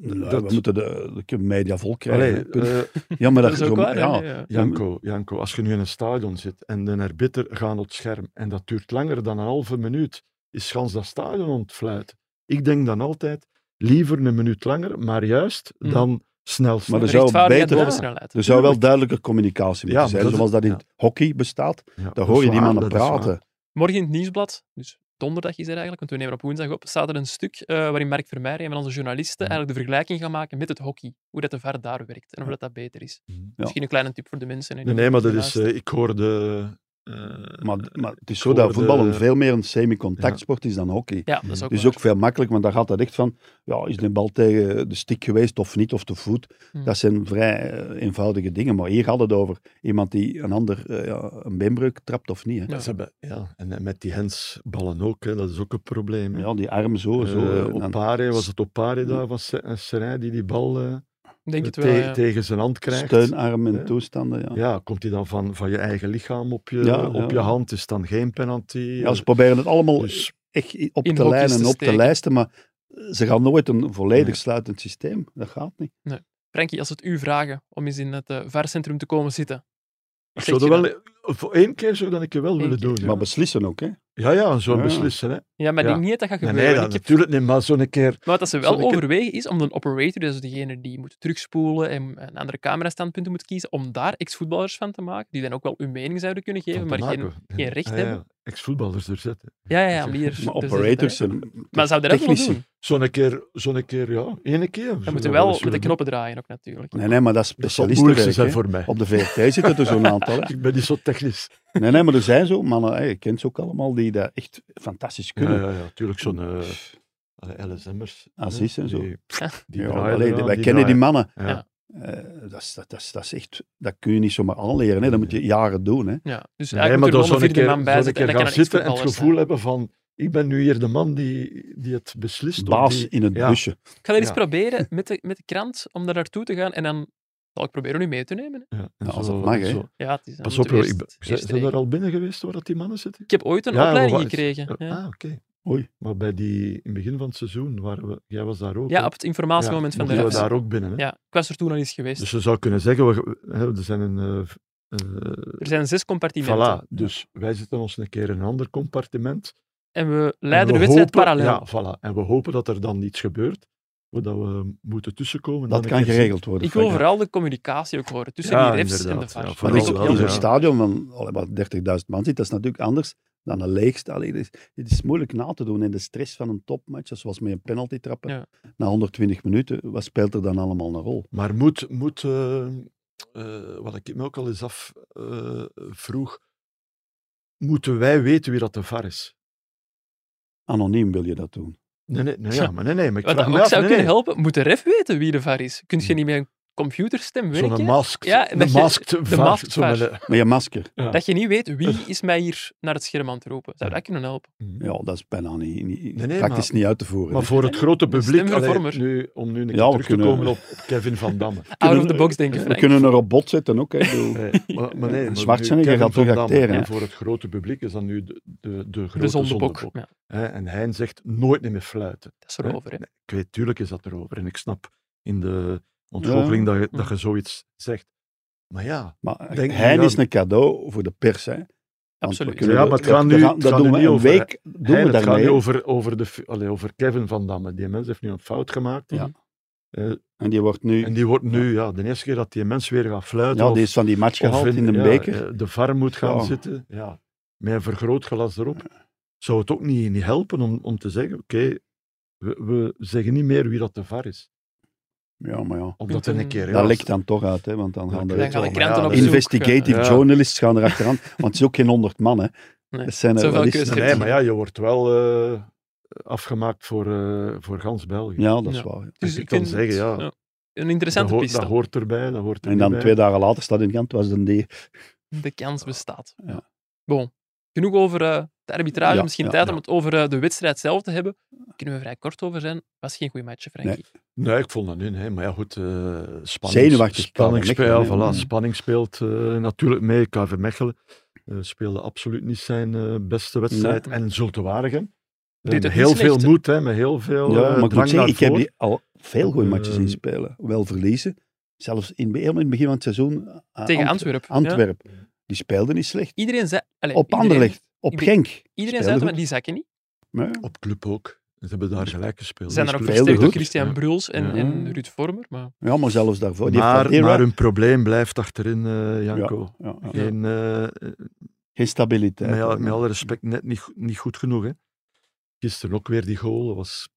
Speaker 2: Ja,
Speaker 5: dat-
Speaker 2: Nou, We moeten de, de media vol
Speaker 5: Allee,
Speaker 2: krijgen. Punt. (laughs)
Speaker 5: eh,
Speaker 2: ja, maar dat,
Speaker 1: Dat is
Speaker 2: is
Speaker 1: ook
Speaker 2: zo-
Speaker 1: waar. hè?
Speaker 2: ja.
Speaker 1: Nee, ja.
Speaker 5: Janko, Janko, als je nu in een stadion zit en de arbiter gaat op het scherm en dat duurt langer dan een halve minuut, is gans dat stadion ontfluiten. Ik denk dan altijd, liever een minuut langer, maar juist
Speaker 1: Mm.
Speaker 5: dan snel snel.
Speaker 2: Maar er zou
Speaker 1: Rechtvaardigheid
Speaker 2: beter-
Speaker 1: boven snelheid.
Speaker 2: Er zou wel
Speaker 5: tuurlijk.
Speaker 2: duidelijker communicatie moeten
Speaker 5: Ja, maar
Speaker 2: zijn,
Speaker 5: dat is-
Speaker 2: zoals dat in
Speaker 5: ja.
Speaker 2: het hockey bestaat.
Speaker 5: Ja, dat
Speaker 2: Daar hoor
Speaker 5: is
Speaker 2: je die
Speaker 5: waar,
Speaker 2: mannen
Speaker 5: dat is waar.
Speaker 2: praten.
Speaker 1: Morgen in het nieuwsblad, dus donderdag is er eigenlijk, want we nemen op woensdag op, staat er een stuk eh, waarin Mark Vermeijer, een van onze journalisten, eigenlijk de vergelijking gaat maken met het hockey. Hoe dat de VAR daar werkt en of dat, dat beter is. Misschien een kleine tip voor de mensen. hè, die
Speaker 5: Nee, nee, maar dat is,
Speaker 1: luisteren.
Speaker 5: eh, ik hoorde eh,
Speaker 2: Maar, maar het is
Speaker 5: ik
Speaker 2: zo dat
Speaker 5: hoorde-
Speaker 2: voetballen veel meer een semi-contactsport is dan hockey.
Speaker 1: Ja, dat is ook
Speaker 2: Dus
Speaker 1: waar.
Speaker 2: ook veel makkelijker, want daar gaat het echt van, ja, is de bal tegen de stick geweest of niet, of de voet.
Speaker 1: Hmm.
Speaker 2: Dat zijn vrij eh, eenvoudige dingen, maar hier gaat het over iemand die een ander eh, ja, een beenbreuk trapt of niet. Hè.
Speaker 1: Ja.
Speaker 5: Ze hebben, ja, en en met die hensballen ook, hè, dat is ook een probleem. hè.
Speaker 2: Ja, die arm zo, zo.
Speaker 5: Eh,
Speaker 2: eh, dan-
Speaker 5: Opare, was het Opare daar van Se- eh, Serijn die die bal eh,
Speaker 1: Ik Denk het
Speaker 5: te-
Speaker 1: wel, ja.
Speaker 5: tegen zijn hand krijgt?
Speaker 2: steunarm en
Speaker 5: Ja.
Speaker 2: toestanden, ja.
Speaker 5: Ja, komt die dan van, van je eigen lichaam op je,
Speaker 2: Ja, ja.
Speaker 5: op je hand? Is dan geen penalty?
Speaker 2: Ja, ze proberen het allemaal
Speaker 5: dus,
Speaker 2: echt op
Speaker 1: In
Speaker 2: te
Speaker 1: hokjes
Speaker 2: lijnen
Speaker 1: te
Speaker 2: en op te
Speaker 1: steken.
Speaker 2: lijsten, maar eh, ze gaan nooit een volledig
Speaker 5: Nee.
Speaker 2: sluitend systeem. Dat gaat niet.
Speaker 1: Frankie, als ze het u vragen om eens in het eh, VAR-centrum te komen zitten.
Speaker 5: ik
Speaker 1: zeg
Speaker 5: zou dat
Speaker 1: je
Speaker 5: wel, eh, voor één keer zou dat ik je wel
Speaker 1: Eén
Speaker 5: willen
Speaker 1: keer.
Speaker 5: doen. Ja,
Speaker 2: Maar beslissen ook, hè.
Speaker 1: Dus
Speaker 5: ja, ja zo
Speaker 2: Ja.
Speaker 5: beslissen. Hè.
Speaker 1: Ja, maar ik
Speaker 5: Ja.
Speaker 1: denk niet dat dat gaat
Speaker 5: Nee,
Speaker 1: gebeuren.
Speaker 5: nee,
Speaker 1: want
Speaker 5: dat
Speaker 1: ik heb-
Speaker 5: natuurlijk niet, maar zo'n keer...
Speaker 1: Maar wat dat ze
Speaker 5: Zal
Speaker 1: wel
Speaker 5: ik het-
Speaker 1: overwegen is om de operator, dus degene die moet terugspoelen en en andere camerastandpunten moet kiezen, om daar ex-voetballers van te maken, die dan ook wel hun mening zouden kunnen geven, maar geen... geen recht
Speaker 5: Ah, ja, ja.
Speaker 1: hebben.
Speaker 5: Ex-voetballers er zetten.
Speaker 1: Ja, ja, ja, maar hier...
Speaker 2: Maar
Speaker 1: dus dat-
Speaker 2: operators zijn
Speaker 1: Maar zou dat ook wel
Speaker 2: technici.
Speaker 1: doen?
Speaker 5: Zo'n keer, zo'n keer, ja, ene keer.
Speaker 1: Dan moeten we wel met de knoppen draaien ook natuurlijk.
Speaker 2: Nee, nee, maar dat is
Speaker 5: Dat zal het moeilijkste
Speaker 2: specialistenwerk.
Speaker 5: zijn
Speaker 2: hè.
Speaker 5: voor mij.
Speaker 2: Op de VRT zitten er zo'n aantal. hè.
Speaker 5: Ik ben niet zo technisch.
Speaker 2: Nee, nee, maar er zijn zo mannen, hè, je kent ze ook allemaal, die dat echt fantastisch
Speaker 5: Ja,
Speaker 2: kunnen.
Speaker 5: ja, ja, tuurlijk zo'n eh, alle LSM'ers. hè,
Speaker 2: Aziz en zo.
Speaker 5: Die, die
Speaker 2: Ja,
Speaker 5: draaien
Speaker 2: allee,
Speaker 5: eraan,
Speaker 2: wij kennen die
Speaker 5: draaien.
Speaker 2: mannen.
Speaker 5: Ja.
Speaker 1: Ja.
Speaker 2: Eh, dat, is, dat, dat, is, dat is echt, dat kun je niet zomaar aanleren. Hè. Dat moet je jaren doen. Hè.
Speaker 1: Ja, dus eigenlijk
Speaker 5: nee,
Speaker 1: moet
Speaker 5: maar
Speaker 1: er
Speaker 5: door
Speaker 1: wel een
Speaker 5: zo'n
Speaker 1: vierde
Speaker 5: keer,
Speaker 1: man bij
Speaker 5: zo'n
Speaker 1: zitten
Speaker 5: keer
Speaker 1: en dat
Speaker 5: gaan
Speaker 1: kan een
Speaker 5: zitten en het
Speaker 1: ex-voetballer
Speaker 5: gevoel
Speaker 1: zijn.
Speaker 5: hebben van, ik ben nu hier de man die, die het beslist. of
Speaker 2: Baas
Speaker 5: die-
Speaker 2: in het
Speaker 5: ja.
Speaker 2: busje.
Speaker 1: Ik ga er eens
Speaker 5: Ja.
Speaker 1: proberen met de, met de krant om daar naartoe te gaan en dan zal ik proberen u mee te nemen. hè.
Speaker 5: Ja, en
Speaker 2: Ja, als
Speaker 5: zo-
Speaker 2: dat mag,
Speaker 5: en
Speaker 2: hè.
Speaker 5: zo.
Speaker 1: Ja, het is dan
Speaker 5: Pas op,
Speaker 1: moeten we
Speaker 5: ik ben,
Speaker 1: eerst-
Speaker 5: zijn,
Speaker 1: eerst
Speaker 5: zijn er
Speaker 1: regelen.
Speaker 5: al binnen geweest waar dat die mannen zitten?
Speaker 1: Ik heb ooit een
Speaker 5: Ja,
Speaker 1: opleiding
Speaker 5: maar wat-
Speaker 1: gekregen. Ja.
Speaker 5: Ah, oké.
Speaker 2: Oei.
Speaker 5: Maar bij die, in het begin van het seizoen, waren we, jij was daar ook.
Speaker 1: Ja,
Speaker 5: hè?
Speaker 1: op het informatiemoment van de
Speaker 5: mochten we
Speaker 1: rest.
Speaker 5: daar ook binnen. Hè?
Speaker 1: Ja, ik was er toen al eens geweest.
Speaker 5: Dus je zou kunnen zeggen, we, hè, er zijn een... eh, v- eh,
Speaker 1: er zijn zes compartimenten.
Speaker 5: Voilà, dus wij zitten ons een keer in een ander compartiment.
Speaker 1: En we leiden
Speaker 5: En
Speaker 1: de
Speaker 5: we
Speaker 1: wedstrijd
Speaker 5: hopen-
Speaker 1: parallel.
Speaker 5: Ja, voilà. En we hopen dat er dan iets gebeurt, dat we moeten tussenkomen.
Speaker 2: Dat
Speaker 5: Dan
Speaker 2: kan
Speaker 5: een keer
Speaker 2: geregeld worden.
Speaker 1: Ik wil
Speaker 2: Frank.
Speaker 1: vooral de communicatie ook horen tussen
Speaker 5: Ja,
Speaker 1: die refs en de
Speaker 5: inderdaad,
Speaker 1: VAR.
Speaker 5: ja,
Speaker 2: Maar
Speaker 5: vooral
Speaker 1: dat is
Speaker 2: in
Speaker 1: ook
Speaker 5: wel,
Speaker 1: heel
Speaker 2: in zo'n
Speaker 5: ja.
Speaker 1: belangrijk.
Speaker 2: stadion van allee, waar 30.000 man zit, dat is natuurlijk anders dan een leeg stadion. Het is, het is moeilijk na te doen in de stress van een topmatch, zoals met een penalty trappen.
Speaker 1: Ja.
Speaker 2: Na 120 minuten, wat speelt er dan allemaal een rol?
Speaker 5: Maar moet, moet eh, eh, wat ik me ook al eens af eh, vroeg, moeten wij weten wie dat de VAR is?
Speaker 2: Anoniem wil je dat doen.
Speaker 5: Nee, nee, nee,
Speaker 1: (laughs)
Speaker 5: ja, maar nee, nee. Maar ik
Speaker 1: Wat
Speaker 5: vraag
Speaker 1: dat
Speaker 5: me
Speaker 1: ook
Speaker 5: af,
Speaker 1: zou
Speaker 5: nee,
Speaker 1: kunnen
Speaker 5: nee. Hm.
Speaker 1: helpen, moet de ref weten wie de VAR is. Kun je niet met een computerstem werken?
Speaker 5: Zo'n masked,
Speaker 1: Ja, en
Speaker 5: ja,
Speaker 1: dat
Speaker 5: een
Speaker 1: je-
Speaker 5: masked
Speaker 1: de
Speaker 5: VAR,
Speaker 1: masked
Speaker 5: zo met
Speaker 1: VAR.
Speaker 5: een-
Speaker 2: Met je masker.
Speaker 5: ja.
Speaker 1: Dat je niet weet
Speaker 5: (laughs)
Speaker 1: wie is mij hier naar het scherm aan het roepen. Zou dat kunnen helpen?
Speaker 5: Mm.
Speaker 2: Ja, dat is bijna niet, niet-
Speaker 5: Nee, nee,
Speaker 2: praktisch
Speaker 5: maar-
Speaker 2: niet uit te voeren.
Speaker 5: Maar
Speaker 2: hè.
Speaker 5: voor het grote publiek, allee,
Speaker 1: stemvervormer.
Speaker 5: nu, om nu een keer
Speaker 2: Ja, we
Speaker 5: terug
Speaker 2: kunnen-
Speaker 5: te komen op Kevin
Speaker 2: (laughs)
Speaker 5: Van Damme.
Speaker 1: Out of
Speaker 2: kunnen-
Speaker 1: the box denken.
Speaker 2: we
Speaker 1: Frank.
Speaker 2: kunnen een robot zetten ook. Hè. Ik
Speaker 5: (laughs)
Speaker 2: bedoel,
Speaker 5: Nee, maar, maar nee, maar
Speaker 2: Schwarzenegger
Speaker 5: nu Kevin
Speaker 2: gaat terug
Speaker 5: Van Damme,
Speaker 2: acteren,
Speaker 5: en
Speaker 2: hè.
Speaker 5: Voor het grote publiek is dat nu de, de, de grote
Speaker 1: De zondebok.
Speaker 5: zondebok,
Speaker 1: Ja,
Speaker 5: hè. En hij zegt nooit meer fluiten.
Speaker 1: dat is erover. Hè.
Speaker 5: Ik weet, tuurlijk is dat erover. En ik snap in de ontgoocheling dat, je, dat je zoiets zegt. Maar ja,
Speaker 2: Maar
Speaker 5: Denk
Speaker 2: Hein
Speaker 5: niet
Speaker 2: is
Speaker 5: aan-
Speaker 2: een cadeau voor de pers. Hè. Want we
Speaker 1: Absoluut.
Speaker 2: kunnen-
Speaker 5: Ja, maar het
Speaker 2: dat-
Speaker 5: gaat nu-
Speaker 2: dat-
Speaker 5: het
Speaker 2: dat
Speaker 5: gaat
Speaker 2: doen
Speaker 5: nu
Speaker 2: we
Speaker 5: niet
Speaker 2: een
Speaker 5: over-
Speaker 2: week. Doen
Speaker 5: Hey,
Speaker 2: we
Speaker 5: het gaat nu
Speaker 2: daarmee.
Speaker 5: over, over, de, fi- allee, over Kevin Van Damme. Die mens heeft nu een fout gemaakt.
Speaker 2: Ja.
Speaker 5: Eh,
Speaker 2: En die wordt nu.
Speaker 5: en die wordt nu, ja, de eerste keer dat die mens weer gaat fluiten.
Speaker 2: ja,
Speaker 5: of-
Speaker 2: die is van die match
Speaker 5: of
Speaker 2: gehaald in de
Speaker 5: ja,
Speaker 2: beker.
Speaker 5: eh, De VAR moet gaan
Speaker 2: Ja.
Speaker 5: zitten. Ja, met een vergrootglas erop. Zou het ook niet, niet helpen om, om te zeggen: oké, we, we zeggen niet meer wie dat de VAR is.
Speaker 2: Ja, maar ja.
Speaker 5: Omdat er een keer. Ja,
Speaker 2: dat lekt dan toch uit, hè, want dan
Speaker 5: Dan
Speaker 2: gaan
Speaker 5: krijg
Speaker 1: Dan
Speaker 2: de
Speaker 1: gaan de
Speaker 5: maar
Speaker 1: kranten
Speaker 5: ja,
Speaker 1: op
Speaker 5: dat is-
Speaker 1: zoek. eh,
Speaker 2: investigative
Speaker 5: ja.
Speaker 2: journalists gaan erachteraan. Want het is ook geen honderd man, hè.
Speaker 1: Nee,
Speaker 2: Het zijn er
Speaker 1: zoveel
Speaker 2: wel eens-
Speaker 1: keuzes.
Speaker 5: Nee, maar ja, je wordt wel eh, afgemaakt voor, eh, voor gans België.
Speaker 2: Ja, dat is
Speaker 1: Ja.
Speaker 2: waar. ja.
Speaker 1: Dus
Speaker 5: je
Speaker 1: ik
Speaker 5: kan
Speaker 1: vind
Speaker 5: zeggen, ja.
Speaker 1: Een
Speaker 5: dat,
Speaker 1: interessante
Speaker 5: hoort-
Speaker 1: piste.
Speaker 5: dat hoort erbij. Dat hoort
Speaker 2: En dan
Speaker 5: erbij.
Speaker 2: twee dagen later staat in de kant, was dan die.
Speaker 1: (laughs) De kans bestaat.
Speaker 2: Ja.
Speaker 1: Bon. Genoeg over eh, de arbitrage.
Speaker 2: Ja,
Speaker 1: Misschien
Speaker 2: ja,
Speaker 1: tijd
Speaker 2: ja.
Speaker 1: om het over eh, de wedstrijd zelf te hebben. Daar kunnen we vrij kort over zijn. Was geen goede match, Frankie.
Speaker 5: Nee, ik vond dat niet. Hè. Maar ja, goed, eh spanning,
Speaker 2: Zenuwachtig,
Speaker 5: spanning,
Speaker 2: KV
Speaker 5: speel,
Speaker 2: Mechelen,
Speaker 5: ja,
Speaker 2: hè.
Speaker 5: voilà, spanning speelt eh, natuurlijk mee. KV Mechelen eh, speelde absoluut niet zijn eh, beste wedstrijd.
Speaker 1: Nee.
Speaker 5: En zult te wagen.
Speaker 1: Deed het
Speaker 5: heel
Speaker 1: niet
Speaker 5: veel
Speaker 1: slecht, hè.
Speaker 5: moed, hè, met heel veel
Speaker 2: Ja,
Speaker 5: ja,
Speaker 2: maar ik moet
Speaker 5: drang
Speaker 2: zeggen,
Speaker 5: naar
Speaker 2: ik heb
Speaker 5: voren.
Speaker 2: die al veel goede matches
Speaker 5: Ehm,
Speaker 2: zien spelen. Wel verliezen. Zelfs in, helemaal in het begin van het seizoen. eh,
Speaker 1: Tegen
Speaker 2: Ant-
Speaker 1: Antwerpen. ja.
Speaker 2: Antwerpen. Die speelden niet slecht.
Speaker 1: Iedereen zei... Allee,
Speaker 2: Op
Speaker 1: iedereen-
Speaker 2: Anderlecht. Op
Speaker 1: iedereen-
Speaker 2: Genk.
Speaker 1: Iedereen zei
Speaker 2: Speelden
Speaker 1: het, maar
Speaker 2: goed.
Speaker 1: die zakken niet.
Speaker 2: Maar
Speaker 5: Op club ook. Ze hebben daar gelijk gespeeld.
Speaker 1: Ze zijn
Speaker 5: Dus
Speaker 1: er ook
Speaker 5: club
Speaker 2: versterkt
Speaker 1: versterkt
Speaker 2: speelde
Speaker 1: door
Speaker 5: speelt
Speaker 2: goed.
Speaker 1: Christian Bruls en,
Speaker 5: Ja.
Speaker 1: en Ruud Vormer. Maar
Speaker 2: Ja, maar zelfs daarvoor. Die heeft
Speaker 5: Maar,
Speaker 2: Fadera-
Speaker 5: maar hun probleem blijft achterin, eh, Janko.
Speaker 2: ja, ja.
Speaker 5: Geen, eh,
Speaker 2: Geen stabiliteit.
Speaker 5: Met, al-
Speaker 2: hè.
Speaker 5: met alle respect, net niet, go- niet goed genoeg. Hè. Gisteren ook weer die goal. dat Was...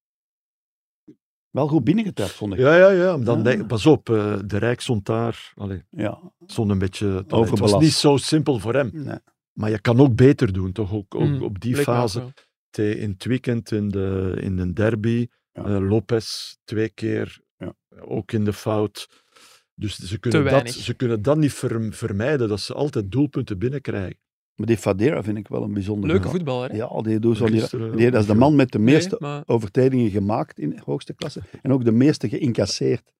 Speaker 2: Wel goed binnengetrapt, vond ik. Ja.
Speaker 5: Ja, ja, ja. maar Dan
Speaker 2: Ah.
Speaker 5: denk- pas op, eh, de Rijk stond daar. Allee, stond een beetje... Het was
Speaker 2: Overbelast.
Speaker 5: niet zo simpel voor hem.
Speaker 2: Nee.
Speaker 5: Maar je kan ook beter doen, toch? Ook, ook
Speaker 1: Mm,
Speaker 5: op die
Speaker 1: Leek me ook
Speaker 5: fase.
Speaker 1: wel.
Speaker 5: Te- in het weekend in de, in de derby.
Speaker 2: Ja.
Speaker 5: eh, Lopez twee keer
Speaker 2: Ja.
Speaker 5: ook in de fout. Dus ze kunnen, dat,
Speaker 1: weinig.
Speaker 5: ze kunnen dat niet ver- vermijden, dat ze altijd doelpunten binnenkrijgen.
Speaker 2: Maar die Fadera vind ik wel een bijzonder.
Speaker 1: Leuke voetballer, hè?
Speaker 2: Ja, die doet zo die,
Speaker 5: Gisteren
Speaker 2: die- dat is de
Speaker 5: ook,
Speaker 2: man met de
Speaker 1: Nee,
Speaker 2: meeste
Speaker 1: maar
Speaker 2: overtredingen gemaakt in de hoogste klasse. En ook de meeste geïncasseerd.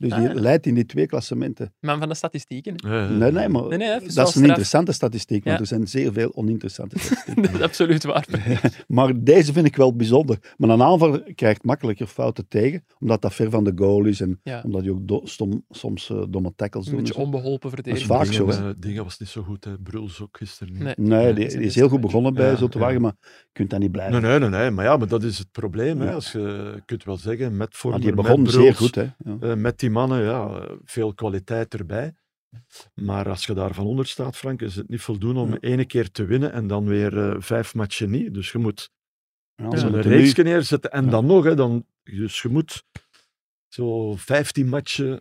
Speaker 2: Dus die
Speaker 1: Ah.
Speaker 2: leidt in die twee klassementen.
Speaker 1: man van de statistieken. hè. (laughs)
Speaker 5: Ja, ja.
Speaker 2: Nee, nee, maar
Speaker 1: Nee, nee, even
Speaker 2: dat
Speaker 1: wel
Speaker 2: is een
Speaker 1: straf.
Speaker 2: interessante statistiek, want
Speaker 1: Ja.
Speaker 2: er zijn zeer veel
Speaker 1: (laughs)
Speaker 2: oninteressante statistieken.
Speaker 1: Dat is absoluut waar.
Speaker 2: maar deze vind ik wel bijzonder. Maar een aanvaller krijgt makkelijker fouten tegen, omdat dat ver van de goal is en
Speaker 1: Ja.
Speaker 2: omdat hij ook do- stom- soms eh, domme tackles
Speaker 1: Een
Speaker 2: doet. en
Speaker 1: beetje
Speaker 2: zo.
Speaker 1: onbeholpen
Speaker 2: Dat is
Speaker 1: verdediging.
Speaker 2: vaak
Speaker 5: Dingen,
Speaker 2: zo, hè.
Speaker 5: eh, Dingen was niet zo goed, hè. Bruls ook gisteren niet.
Speaker 1: Nee.
Speaker 2: Nee,
Speaker 1: Ja,
Speaker 2: die,
Speaker 1: dat
Speaker 2: die is
Speaker 1: een
Speaker 2: heel goed
Speaker 1: beetje-
Speaker 2: begonnen bij
Speaker 5: Ja,
Speaker 2: zo te
Speaker 5: ja.
Speaker 2: wagen, maar je kunt dat niet blijven.
Speaker 5: Nee, nee, nee, nee, maar ja, maar dat is het probleem. Hè.
Speaker 2: Ja.
Speaker 5: Als je, je kunt wel zeggen, met
Speaker 2: maar
Speaker 5: Vormer,
Speaker 2: die begon
Speaker 5: met
Speaker 2: zeer
Speaker 5: Bruls,
Speaker 2: goed, hè. Ja.
Speaker 5: eh, met die mannen, ja, eh, veel kwaliteit erbij. Maar als je daar van onder staat, Frank, is het niet voldoende om
Speaker 2: Ja.
Speaker 5: ene keer te winnen en dan weer eh, vijf matchen niet. Dus je moet
Speaker 2: Ja,
Speaker 5: Dus
Speaker 2: ze
Speaker 5: een
Speaker 2: moeten nu-
Speaker 5: reeksje neerzetten. En
Speaker 2: Ja.
Speaker 5: dan nog, hè, dan, dus je moet zo 15 matchen.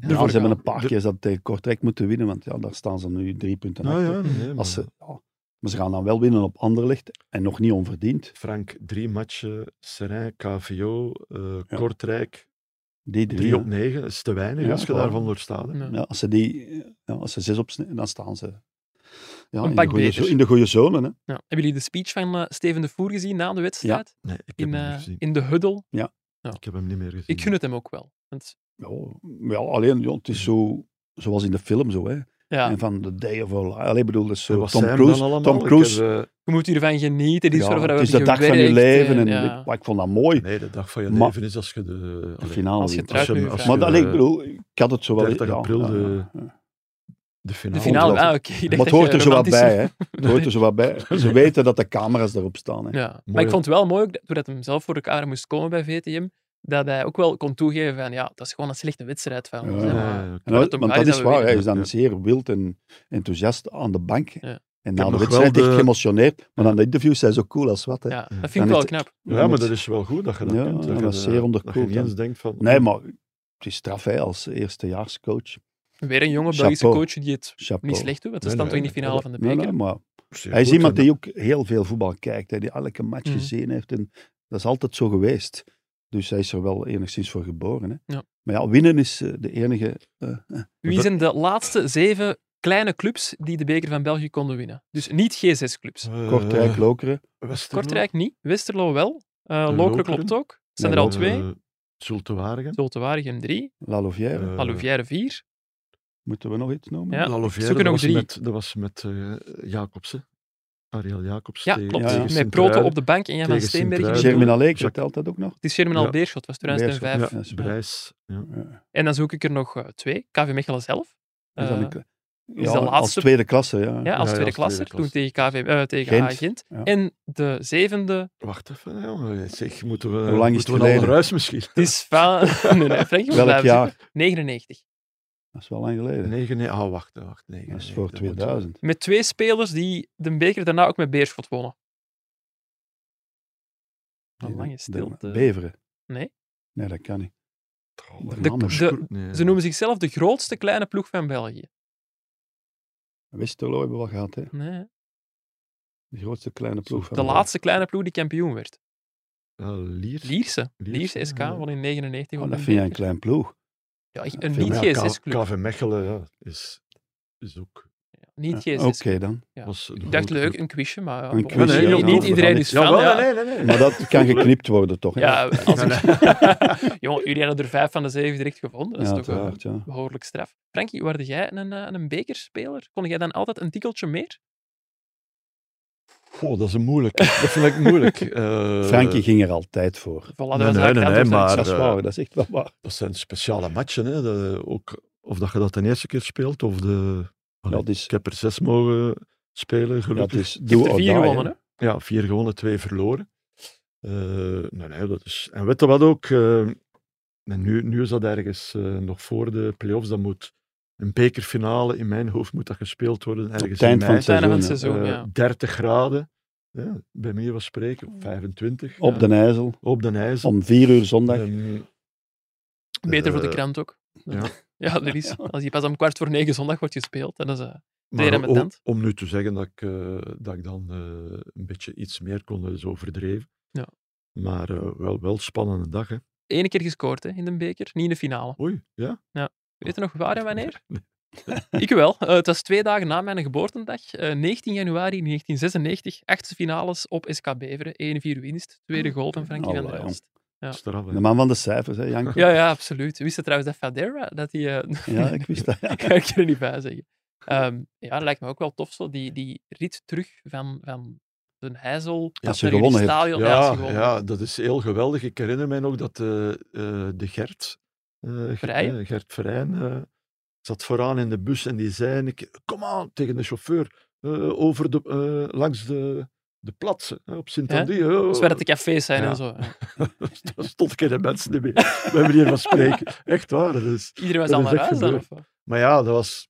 Speaker 2: Ja,
Speaker 1: ervoor
Speaker 2: ze hebben
Speaker 1: gaan.
Speaker 2: een paar
Speaker 5: De-
Speaker 2: keer dat tegen Kortrijk moeten winnen, want ja, daar staan ze nu drie punten
Speaker 5: Nou
Speaker 2: achter.
Speaker 5: ja, nee, maar-
Speaker 2: Als ze, ja, maar ze gaan dan wel winnen op Anderlecht en nog niet onverdiend.
Speaker 5: Frank, drie matchen. Serijn, KVO, eh,
Speaker 2: Ja.
Speaker 5: Kortrijk.
Speaker 2: Die drie.
Speaker 5: Drie
Speaker 2: ja.
Speaker 5: op negen dat is te weinig
Speaker 2: Ja,
Speaker 5: als je
Speaker 2: voilà.
Speaker 5: daarvan door staat. hè.
Speaker 1: Ja.
Speaker 2: Ja, als, ze die, ja, als ze zes opsnijden, dan staan ze ja,
Speaker 1: Een
Speaker 2: in, de
Speaker 1: pak
Speaker 2: goede,
Speaker 1: beter.
Speaker 2: zo- in de goede zone. Hè.
Speaker 1: Ja. Hebben jullie de speech van eh, Steven de Voer gezien na de wedstrijd?
Speaker 5: Nee, ik heb
Speaker 1: In,
Speaker 5: hem niet
Speaker 1: eh,
Speaker 5: gezien.
Speaker 1: in de huddle.
Speaker 5: Ik heb hem niet meer gezien.
Speaker 1: Ik gun het hem ook wel. Want,
Speaker 2: Ja, ja, alleen ja, het is zo, zoals in de film zo. Hè.
Speaker 1: ja,
Speaker 2: En van The Day of Our Lives. Alleen bedoel, dat is
Speaker 5: En
Speaker 2: zo
Speaker 5: wat
Speaker 2: Tom
Speaker 5: zei hem dan
Speaker 2: Cruise.
Speaker 5: allemaal?
Speaker 2: Tom
Speaker 5: Ik
Speaker 2: Cruise.
Speaker 5: heb, eh,
Speaker 1: je moet hiervan genieten. Dit is
Speaker 2: ja,
Speaker 1: waarvoor we
Speaker 2: het is de
Speaker 1: hebben
Speaker 2: dag van je
Speaker 1: gewerkt
Speaker 2: leven. En,
Speaker 1: en, ja.
Speaker 2: ik, maar ik vond dat mooi,
Speaker 5: (laughs) nee, de dag van je
Speaker 2: Maar-
Speaker 5: leven is als je eh, de...
Speaker 2: de
Speaker 5: allee,
Speaker 2: finale.
Speaker 1: als je
Speaker 2: wint.
Speaker 1: eruit
Speaker 5: hem-
Speaker 1: nu
Speaker 5: als
Speaker 1: vraagt.
Speaker 2: Maar
Speaker 5: je-
Speaker 2: dat, ik bedoel, ik had het zo wel...
Speaker 5: 30
Speaker 2: ja,
Speaker 5: april eh,
Speaker 2: ja,
Speaker 5: de-
Speaker 2: ja.
Speaker 5: de finale.
Speaker 1: De finale,
Speaker 2: Ongelooflijk.
Speaker 1: ah, oké. Ik dacht
Speaker 2: Maar het
Speaker 1: dat
Speaker 2: hoort
Speaker 1: je
Speaker 2: er zo wat
Speaker 1: romantische-
Speaker 2: bij, hè. Het hoort er zo wat
Speaker 1: (laughs)
Speaker 2: bij. Ze weten dat de camera's erop staan, hè.
Speaker 1: Ja. Maar
Speaker 5: Mooi,
Speaker 1: ik
Speaker 5: hè?
Speaker 1: vond het wel mooi, ook dat- doordat hem zelf voor elkaar moest komen bij VTM, dat hij ook wel kon toegeven van, ja, dat is gewoon een slechte wedstrijd van ons.
Speaker 2: Ja.
Speaker 1: hè,
Speaker 5: Eh,
Speaker 1: maar-
Speaker 2: En dat-
Speaker 1: Tom
Speaker 2: want
Speaker 1: Guy
Speaker 2: dat
Speaker 1: is
Speaker 2: is
Speaker 1: dat we
Speaker 2: waar, hij
Speaker 5: winnen.
Speaker 2: is dan
Speaker 5: Ja.
Speaker 2: zeer wild en enthousiast aan de bank. En na
Speaker 5: heb
Speaker 2: de
Speaker 5: nog
Speaker 2: wedstrijd
Speaker 5: wel de-
Speaker 2: echt geëmotioneerd. Maar aan de interview zijn zo cool als wat, hè.
Speaker 1: ja, dat vind
Speaker 2: Dan
Speaker 1: ik wel
Speaker 2: is-
Speaker 1: knap.
Speaker 5: ja, maar dat is wel goed dat je dat
Speaker 2: Ja,
Speaker 5: kunt.
Speaker 2: dat
Speaker 5: je
Speaker 2: is zeer
Speaker 5: Dat je
Speaker 2: onderkoeld,
Speaker 5: niet eens denkt van... "Oh,
Speaker 2: Nee, maar het is straf, hè, als eerstejaarscoach.
Speaker 1: Weer een jonge Belgische
Speaker 2: Chapeau.
Speaker 1: coach die het
Speaker 2: Chapeau.
Speaker 1: niet slecht doet, want ze
Speaker 5: Nee,
Speaker 1: staan toch
Speaker 5: nee,
Speaker 1: in de
Speaker 5: nee,
Speaker 1: finale van de
Speaker 2: Nee,
Speaker 1: beker.
Speaker 2: nee, maar
Speaker 5: Zeer
Speaker 2: hij is
Speaker 5: goed,
Speaker 2: iemand
Speaker 5: en-
Speaker 2: die ook heel veel voetbal kijkt, hè, die elke match
Speaker 1: Mhm.
Speaker 2: gezien heeft. En dat is altijd zo geweest. Dus hij is er wel enigszins voor geboren. Hè.
Speaker 1: Ja.
Speaker 2: Maar ja, winnen is eh, de enige... eh,
Speaker 1: Wie zijn de laatste zeven kleine clubs die de beker van België konden winnen? Dus niet G6-clubs.
Speaker 5: Eh,
Speaker 2: Kortrijk, Lokeren.
Speaker 5: Westerlo.
Speaker 1: Kortrijk niet, Westerlo wel, eh Lokeren
Speaker 5: Lokeren.
Speaker 1: klopt ook. Zijn
Speaker 2: Nee,
Speaker 1: er al
Speaker 5: Eh,
Speaker 1: twee,
Speaker 5: Zultuarigen.
Speaker 1: Zultewaardigem drie,
Speaker 2: La Louvière.
Speaker 5: Eh,
Speaker 1: Alouvière vier.
Speaker 2: Moeten we nog iets noemen?
Speaker 1: Ja,
Speaker 5: La Louvière,
Speaker 1: zoek er nog
Speaker 5: dat was
Speaker 1: drie.
Speaker 5: Met, dat was met eh Jacobsen. Ariel Jacobsen.
Speaker 1: Ja, klopt.
Speaker 2: tegen
Speaker 1: Met Proto op de bank en Jan van
Speaker 5: Tegen
Speaker 1: Steenbergen. in het
Speaker 5: Sint-Truiden.
Speaker 1: doel.
Speaker 2: Germin Alek
Speaker 5: Jacques-
Speaker 2: vertelt dat ook nog.
Speaker 1: Het is Germinal
Speaker 5: Ja.
Speaker 1: Beerschot, was 2005.
Speaker 2: Beerschot,
Speaker 5: Ja,
Speaker 2: super.
Speaker 5: Brijs. Ja.
Speaker 2: Ja.
Speaker 1: En dan zoek ik er nog eh, twee. KV Mechelen zelf.
Speaker 2: Is dat
Speaker 1: Eh,
Speaker 2: een kle-
Speaker 1: is
Speaker 2: ja,
Speaker 1: de
Speaker 2: als
Speaker 1: laatste-
Speaker 2: tweede klasse, eh, ja.
Speaker 1: ja, als
Speaker 5: ja,
Speaker 1: tweede
Speaker 5: als
Speaker 1: klasser.
Speaker 5: tweede
Speaker 1: Toen tegen, KV, eh, tegen
Speaker 2: Gent.
Speaker 1: AAK Gent.
Speaker 2: Ja.
Speaker 1: En de zevende
Speaker 5: Wacht even, jongen. Zeg, moeten we,
Speaker 2: Hoe lang is
Speaker 5: moeten
Speaker 2: het
Speaker 5: we al
Speaker 2: geleden?
Speaker 5: ruis misschien?
Speaker 1: Het is van... (laughs) nee, nee, Frank, je
Speaker 2: (laughs)
Speaker 1: moet
Speaker 2: Welk
Speaker 1: blijven
Speaker 2: jaar?
Speaker 1: zitten. 99.
Speaker 2: Dat is wel lang geleden.
Speaker 5: Negen, nee. Ah, wacht, wacht. Negen,
Speaker 2: dat is
Speaker 5: nee,
Speaker 2: voor
Speaker 5: dat moeten we-
Speaker 2: 2000.
Speaker 1: Met twee spelers die de beker daarna ook met Beerschot wonnen. Een lange stilte.
Speaker 2: Beveren.
Speaker 1: eh. Nee.
Speaker 2: Nee, dat kan niet.
Speaker 5: De-
Speaker 2: De namen.
Speaker 1: de-
Speaker 5: Nee.
Speaker 1: Ze noemen zichzelf de grootste kleine ploeg van België.
Speaker 2: Westerlo hebben we al gehad, hè.
Speaker 1: Nee.
Speaker 2: De grootste kleine ploeg. van
Speaker 1: De
Speaker 2: België.
Speaker 1: laatste kleine ploeg die kampioen werd.
Speaker 5: Ah, Lier.
Speaker 1: Lierse.
Speaker 5: Lierse,
Speaker 1: Lierse SK
Speaker 5: ja.
Speaker 1: won in 99.
Speaker 2: Oh,
Speaker 1: won
Speaker 2: dat
Speaker 1: de
Speaker 2: vind jij een
Speaker 1: beker.
Speaker 2: klein
Speaker 1: (laughs)
Speaker 2: ploeg.
Speaker 1: Ja,
Speaker 2: dat
Speaker 1: een
Speaker 2: vind ik-
Speaker 5: Ja, K-
Speaker 1: niet-G6-club.
Speaker 5: KV Mechelen ja, is, is ook...
Speaker 2: Ja,
Speaker 1: Niet
Speaker 2: Oké
Speaker 1: G6-club.
Speaker 2: dan.
Speaker 1: Ja.
Speaker 5: was een
Speaker 1: Ik dacht
Speaker 5: grote
Speaker 1: leuk,
Speaker 5: club.
Speaker 1: een quizje, maar ja,
Speaker 2: Een
Speaker 1: bon.
Speaker 2: quiz,
Speaker 1: Nee,
Speaker 2: ja,
Speaker 1: niet-
Speaker 2: ja,
Speaker 1: niet
Speaker 2: ja.
Speaker 1: iedereen is fan.
Speaker 5: Jawel,
Speaker 1: ja.
Speaker 5: nee, nee, nee.
Speaker 2: Maar dat
Speaker 5: (laughs)
Speaker 2: kan geknipt worden, toch? hè?
Speaker 1: Ja, als ik... (laughs) Jongen, jullie hadden er vijf van de zeven direct gevonden. Dat is
Speaker 2: ja,
Speaker 1: toch wel
Speaker 2: uiteraard, ja.
Speaker 1: behoorlijk straf. Frankie, waarde jij een, eh, een bekerspeler? Kon jij dan altijd een tikkeltje meer?
Speaker 5: Goh, oh, dat is een
Speaker 2: (laughs)
Speaker 5: moeilijk. dat vind ik moeilijk. Eh,
Speaker 2: Frankie ging er altijd voor.
Speaker 1: Voilà, dat
Speaker 5: Nee,
Speaker 1: was
Speaker 5: nee,
Speaker 1: eigenlijk
Speaker 5: nee,
Speaker 1: het
Speaker 5: nee,
Speaker 1: antwoord.
Speaker 5: maar-
Speaker 2: dat is
Speaker 5: eh,
Speaker 2: waar, dat is echt wel waar.
Speaker 5: Dat zijn speciale matchen. Hè. Dat, eh, ook, of dat je dat de eerste keer speelt, of de... Allee,
Speaker 2: dat is,
Speaker 5: Ik heb er zes mogen spelen,
Speaker 2: dat
Speaker 5: gelukkig.
Speaker 2: is
Speaker 1: Je hebt
Speaker 2: do
Speaker 5: Oh,
Speaker 1: er
Speaker 2: or die.
Speaker 1: vier gewonnen,
Speaker 2: hè.
Speaker 1: hè?
Speaker 5: Ja, vier gewonnen, twee verloren. Eh, nee, nee, dat is... En weet je wat ook? eh, en nu, nu is dat ergens eh, nog voor de play-offs. Dat moet een bekerfinale, in mijn hoofd moet dat gespeeld worden. Ergens
Speaker 2: Op het eind
Speaker 5: in
Speaker 2: van
Speaker 5: mei.
Speaker 2: het
Speaker 1: Bijna van het
Speaker 2: seizoen.
Speaker 1: seizoen,
Speaker 5: Eh,
Speaker 1: ja.
Speaker 5: 30 graden, ja, bij mij was
Speaker 1: Mm.
Speaker 5: spreken, 25.
Speaker 2: Op
Speaker 5: ja,
Speaker 2: den IJssel,
Speaker 5: op den ijs.
Speaker 2: om vier uur zondag.
Speaker 5: Ehm,
Speaker 1: Beter voor de
Speaker 5: eh,
Speaker 1: krant ook.
Speaker 5: ja.
Speaker 1: (laughs) Ja, dat is. Als je pas om kwart voor negen zondag wordt gespeeld, dan is eh,
Speaker 5: Maar
Speaker 1: Remitent.
Speaker 5: om, om nu te zeggen dat ik, eh, dat ik dan eh, een beetje iets meer kon, is overdreven.
Speaker 1: Ja.
Speaker 5: Maar eh, wel, wel spannende dag, hè.
Speaker 1: Eén keer gescoord hè, in de beker, niet in de finale.
Speaker 5: Oei, ja.
Speaker 1: Weet je nog waar en
Speaker 2: (laughs)
Speaker 1: wanneer?
Speaker 5: Nee.
Speaker 1: Ik wel. Eh, het was twee dagen na mijn geboortendag. Eh, 19 januari 1996, achtste finales op SK Beveren. 1-4 winst, tweede goal van Frankie van der
Speaker 2: Allee,
Speaker 1: Elst. Ja.
Speaker 5: Straf, hè.
Speaker 2: De man van de cijfers, hè, Janko.
Speaker 1: Ja, ja, absoluut. Wist je trouwens dat Fadera, dat hij... eh, (laughs)
Speaker 2: Ja, ik wist dat. ja.
Speaker 1: ik (laughs) ga ik er niet bij zeggen. Ehm, ja, dat lijkt me ook wel tof zo, die, die rit terug van, van de Heizel
Speaker 2: Als je
Speaker 1: naar jullie
Speaker 2: gewonnen hebt.
Speaker 1: stadion. Ja, als je
Speaker 5: Ja,
Speaker 1: gewonnen hebt.
Speaker 5: ja, dat is heel geweldig. Ik herinner mij nog dat eh, eh, de Gert, eh, Gert-
Speaker 1: Vrijen?
Speaker 5: eh, Gert Vrijen, eh, zat vooraan in de bus en die zei een keer, kom aan, tegen de chauffeur, eh, over de, eh, langs de, de plaatsen hè, op sint
Speaker 1: Ja?
Speaker 5: andy
Speaker 1: Dus waar dat de cafés zijn
Speaker 5: Ja.
Speaker 1: en zo. Eh, Ja.
Speaker 5: Daar stond geen mensen niet meer. We hebben hier van
Speaker 1: (laughs)
Speaker 5: spreken. Echt waar. Dus.
Speaker 1: Iedereen was
Speaker 5: Dat
Speaker 1: al
Speaker 5: is
Speaker 1: naar
Speaker 5: echt
Speaker 1: huis dan,
Speaker 5: gebeurd.
Speaker 1: of wat?
Speaker 5: Maar ja, dat, was,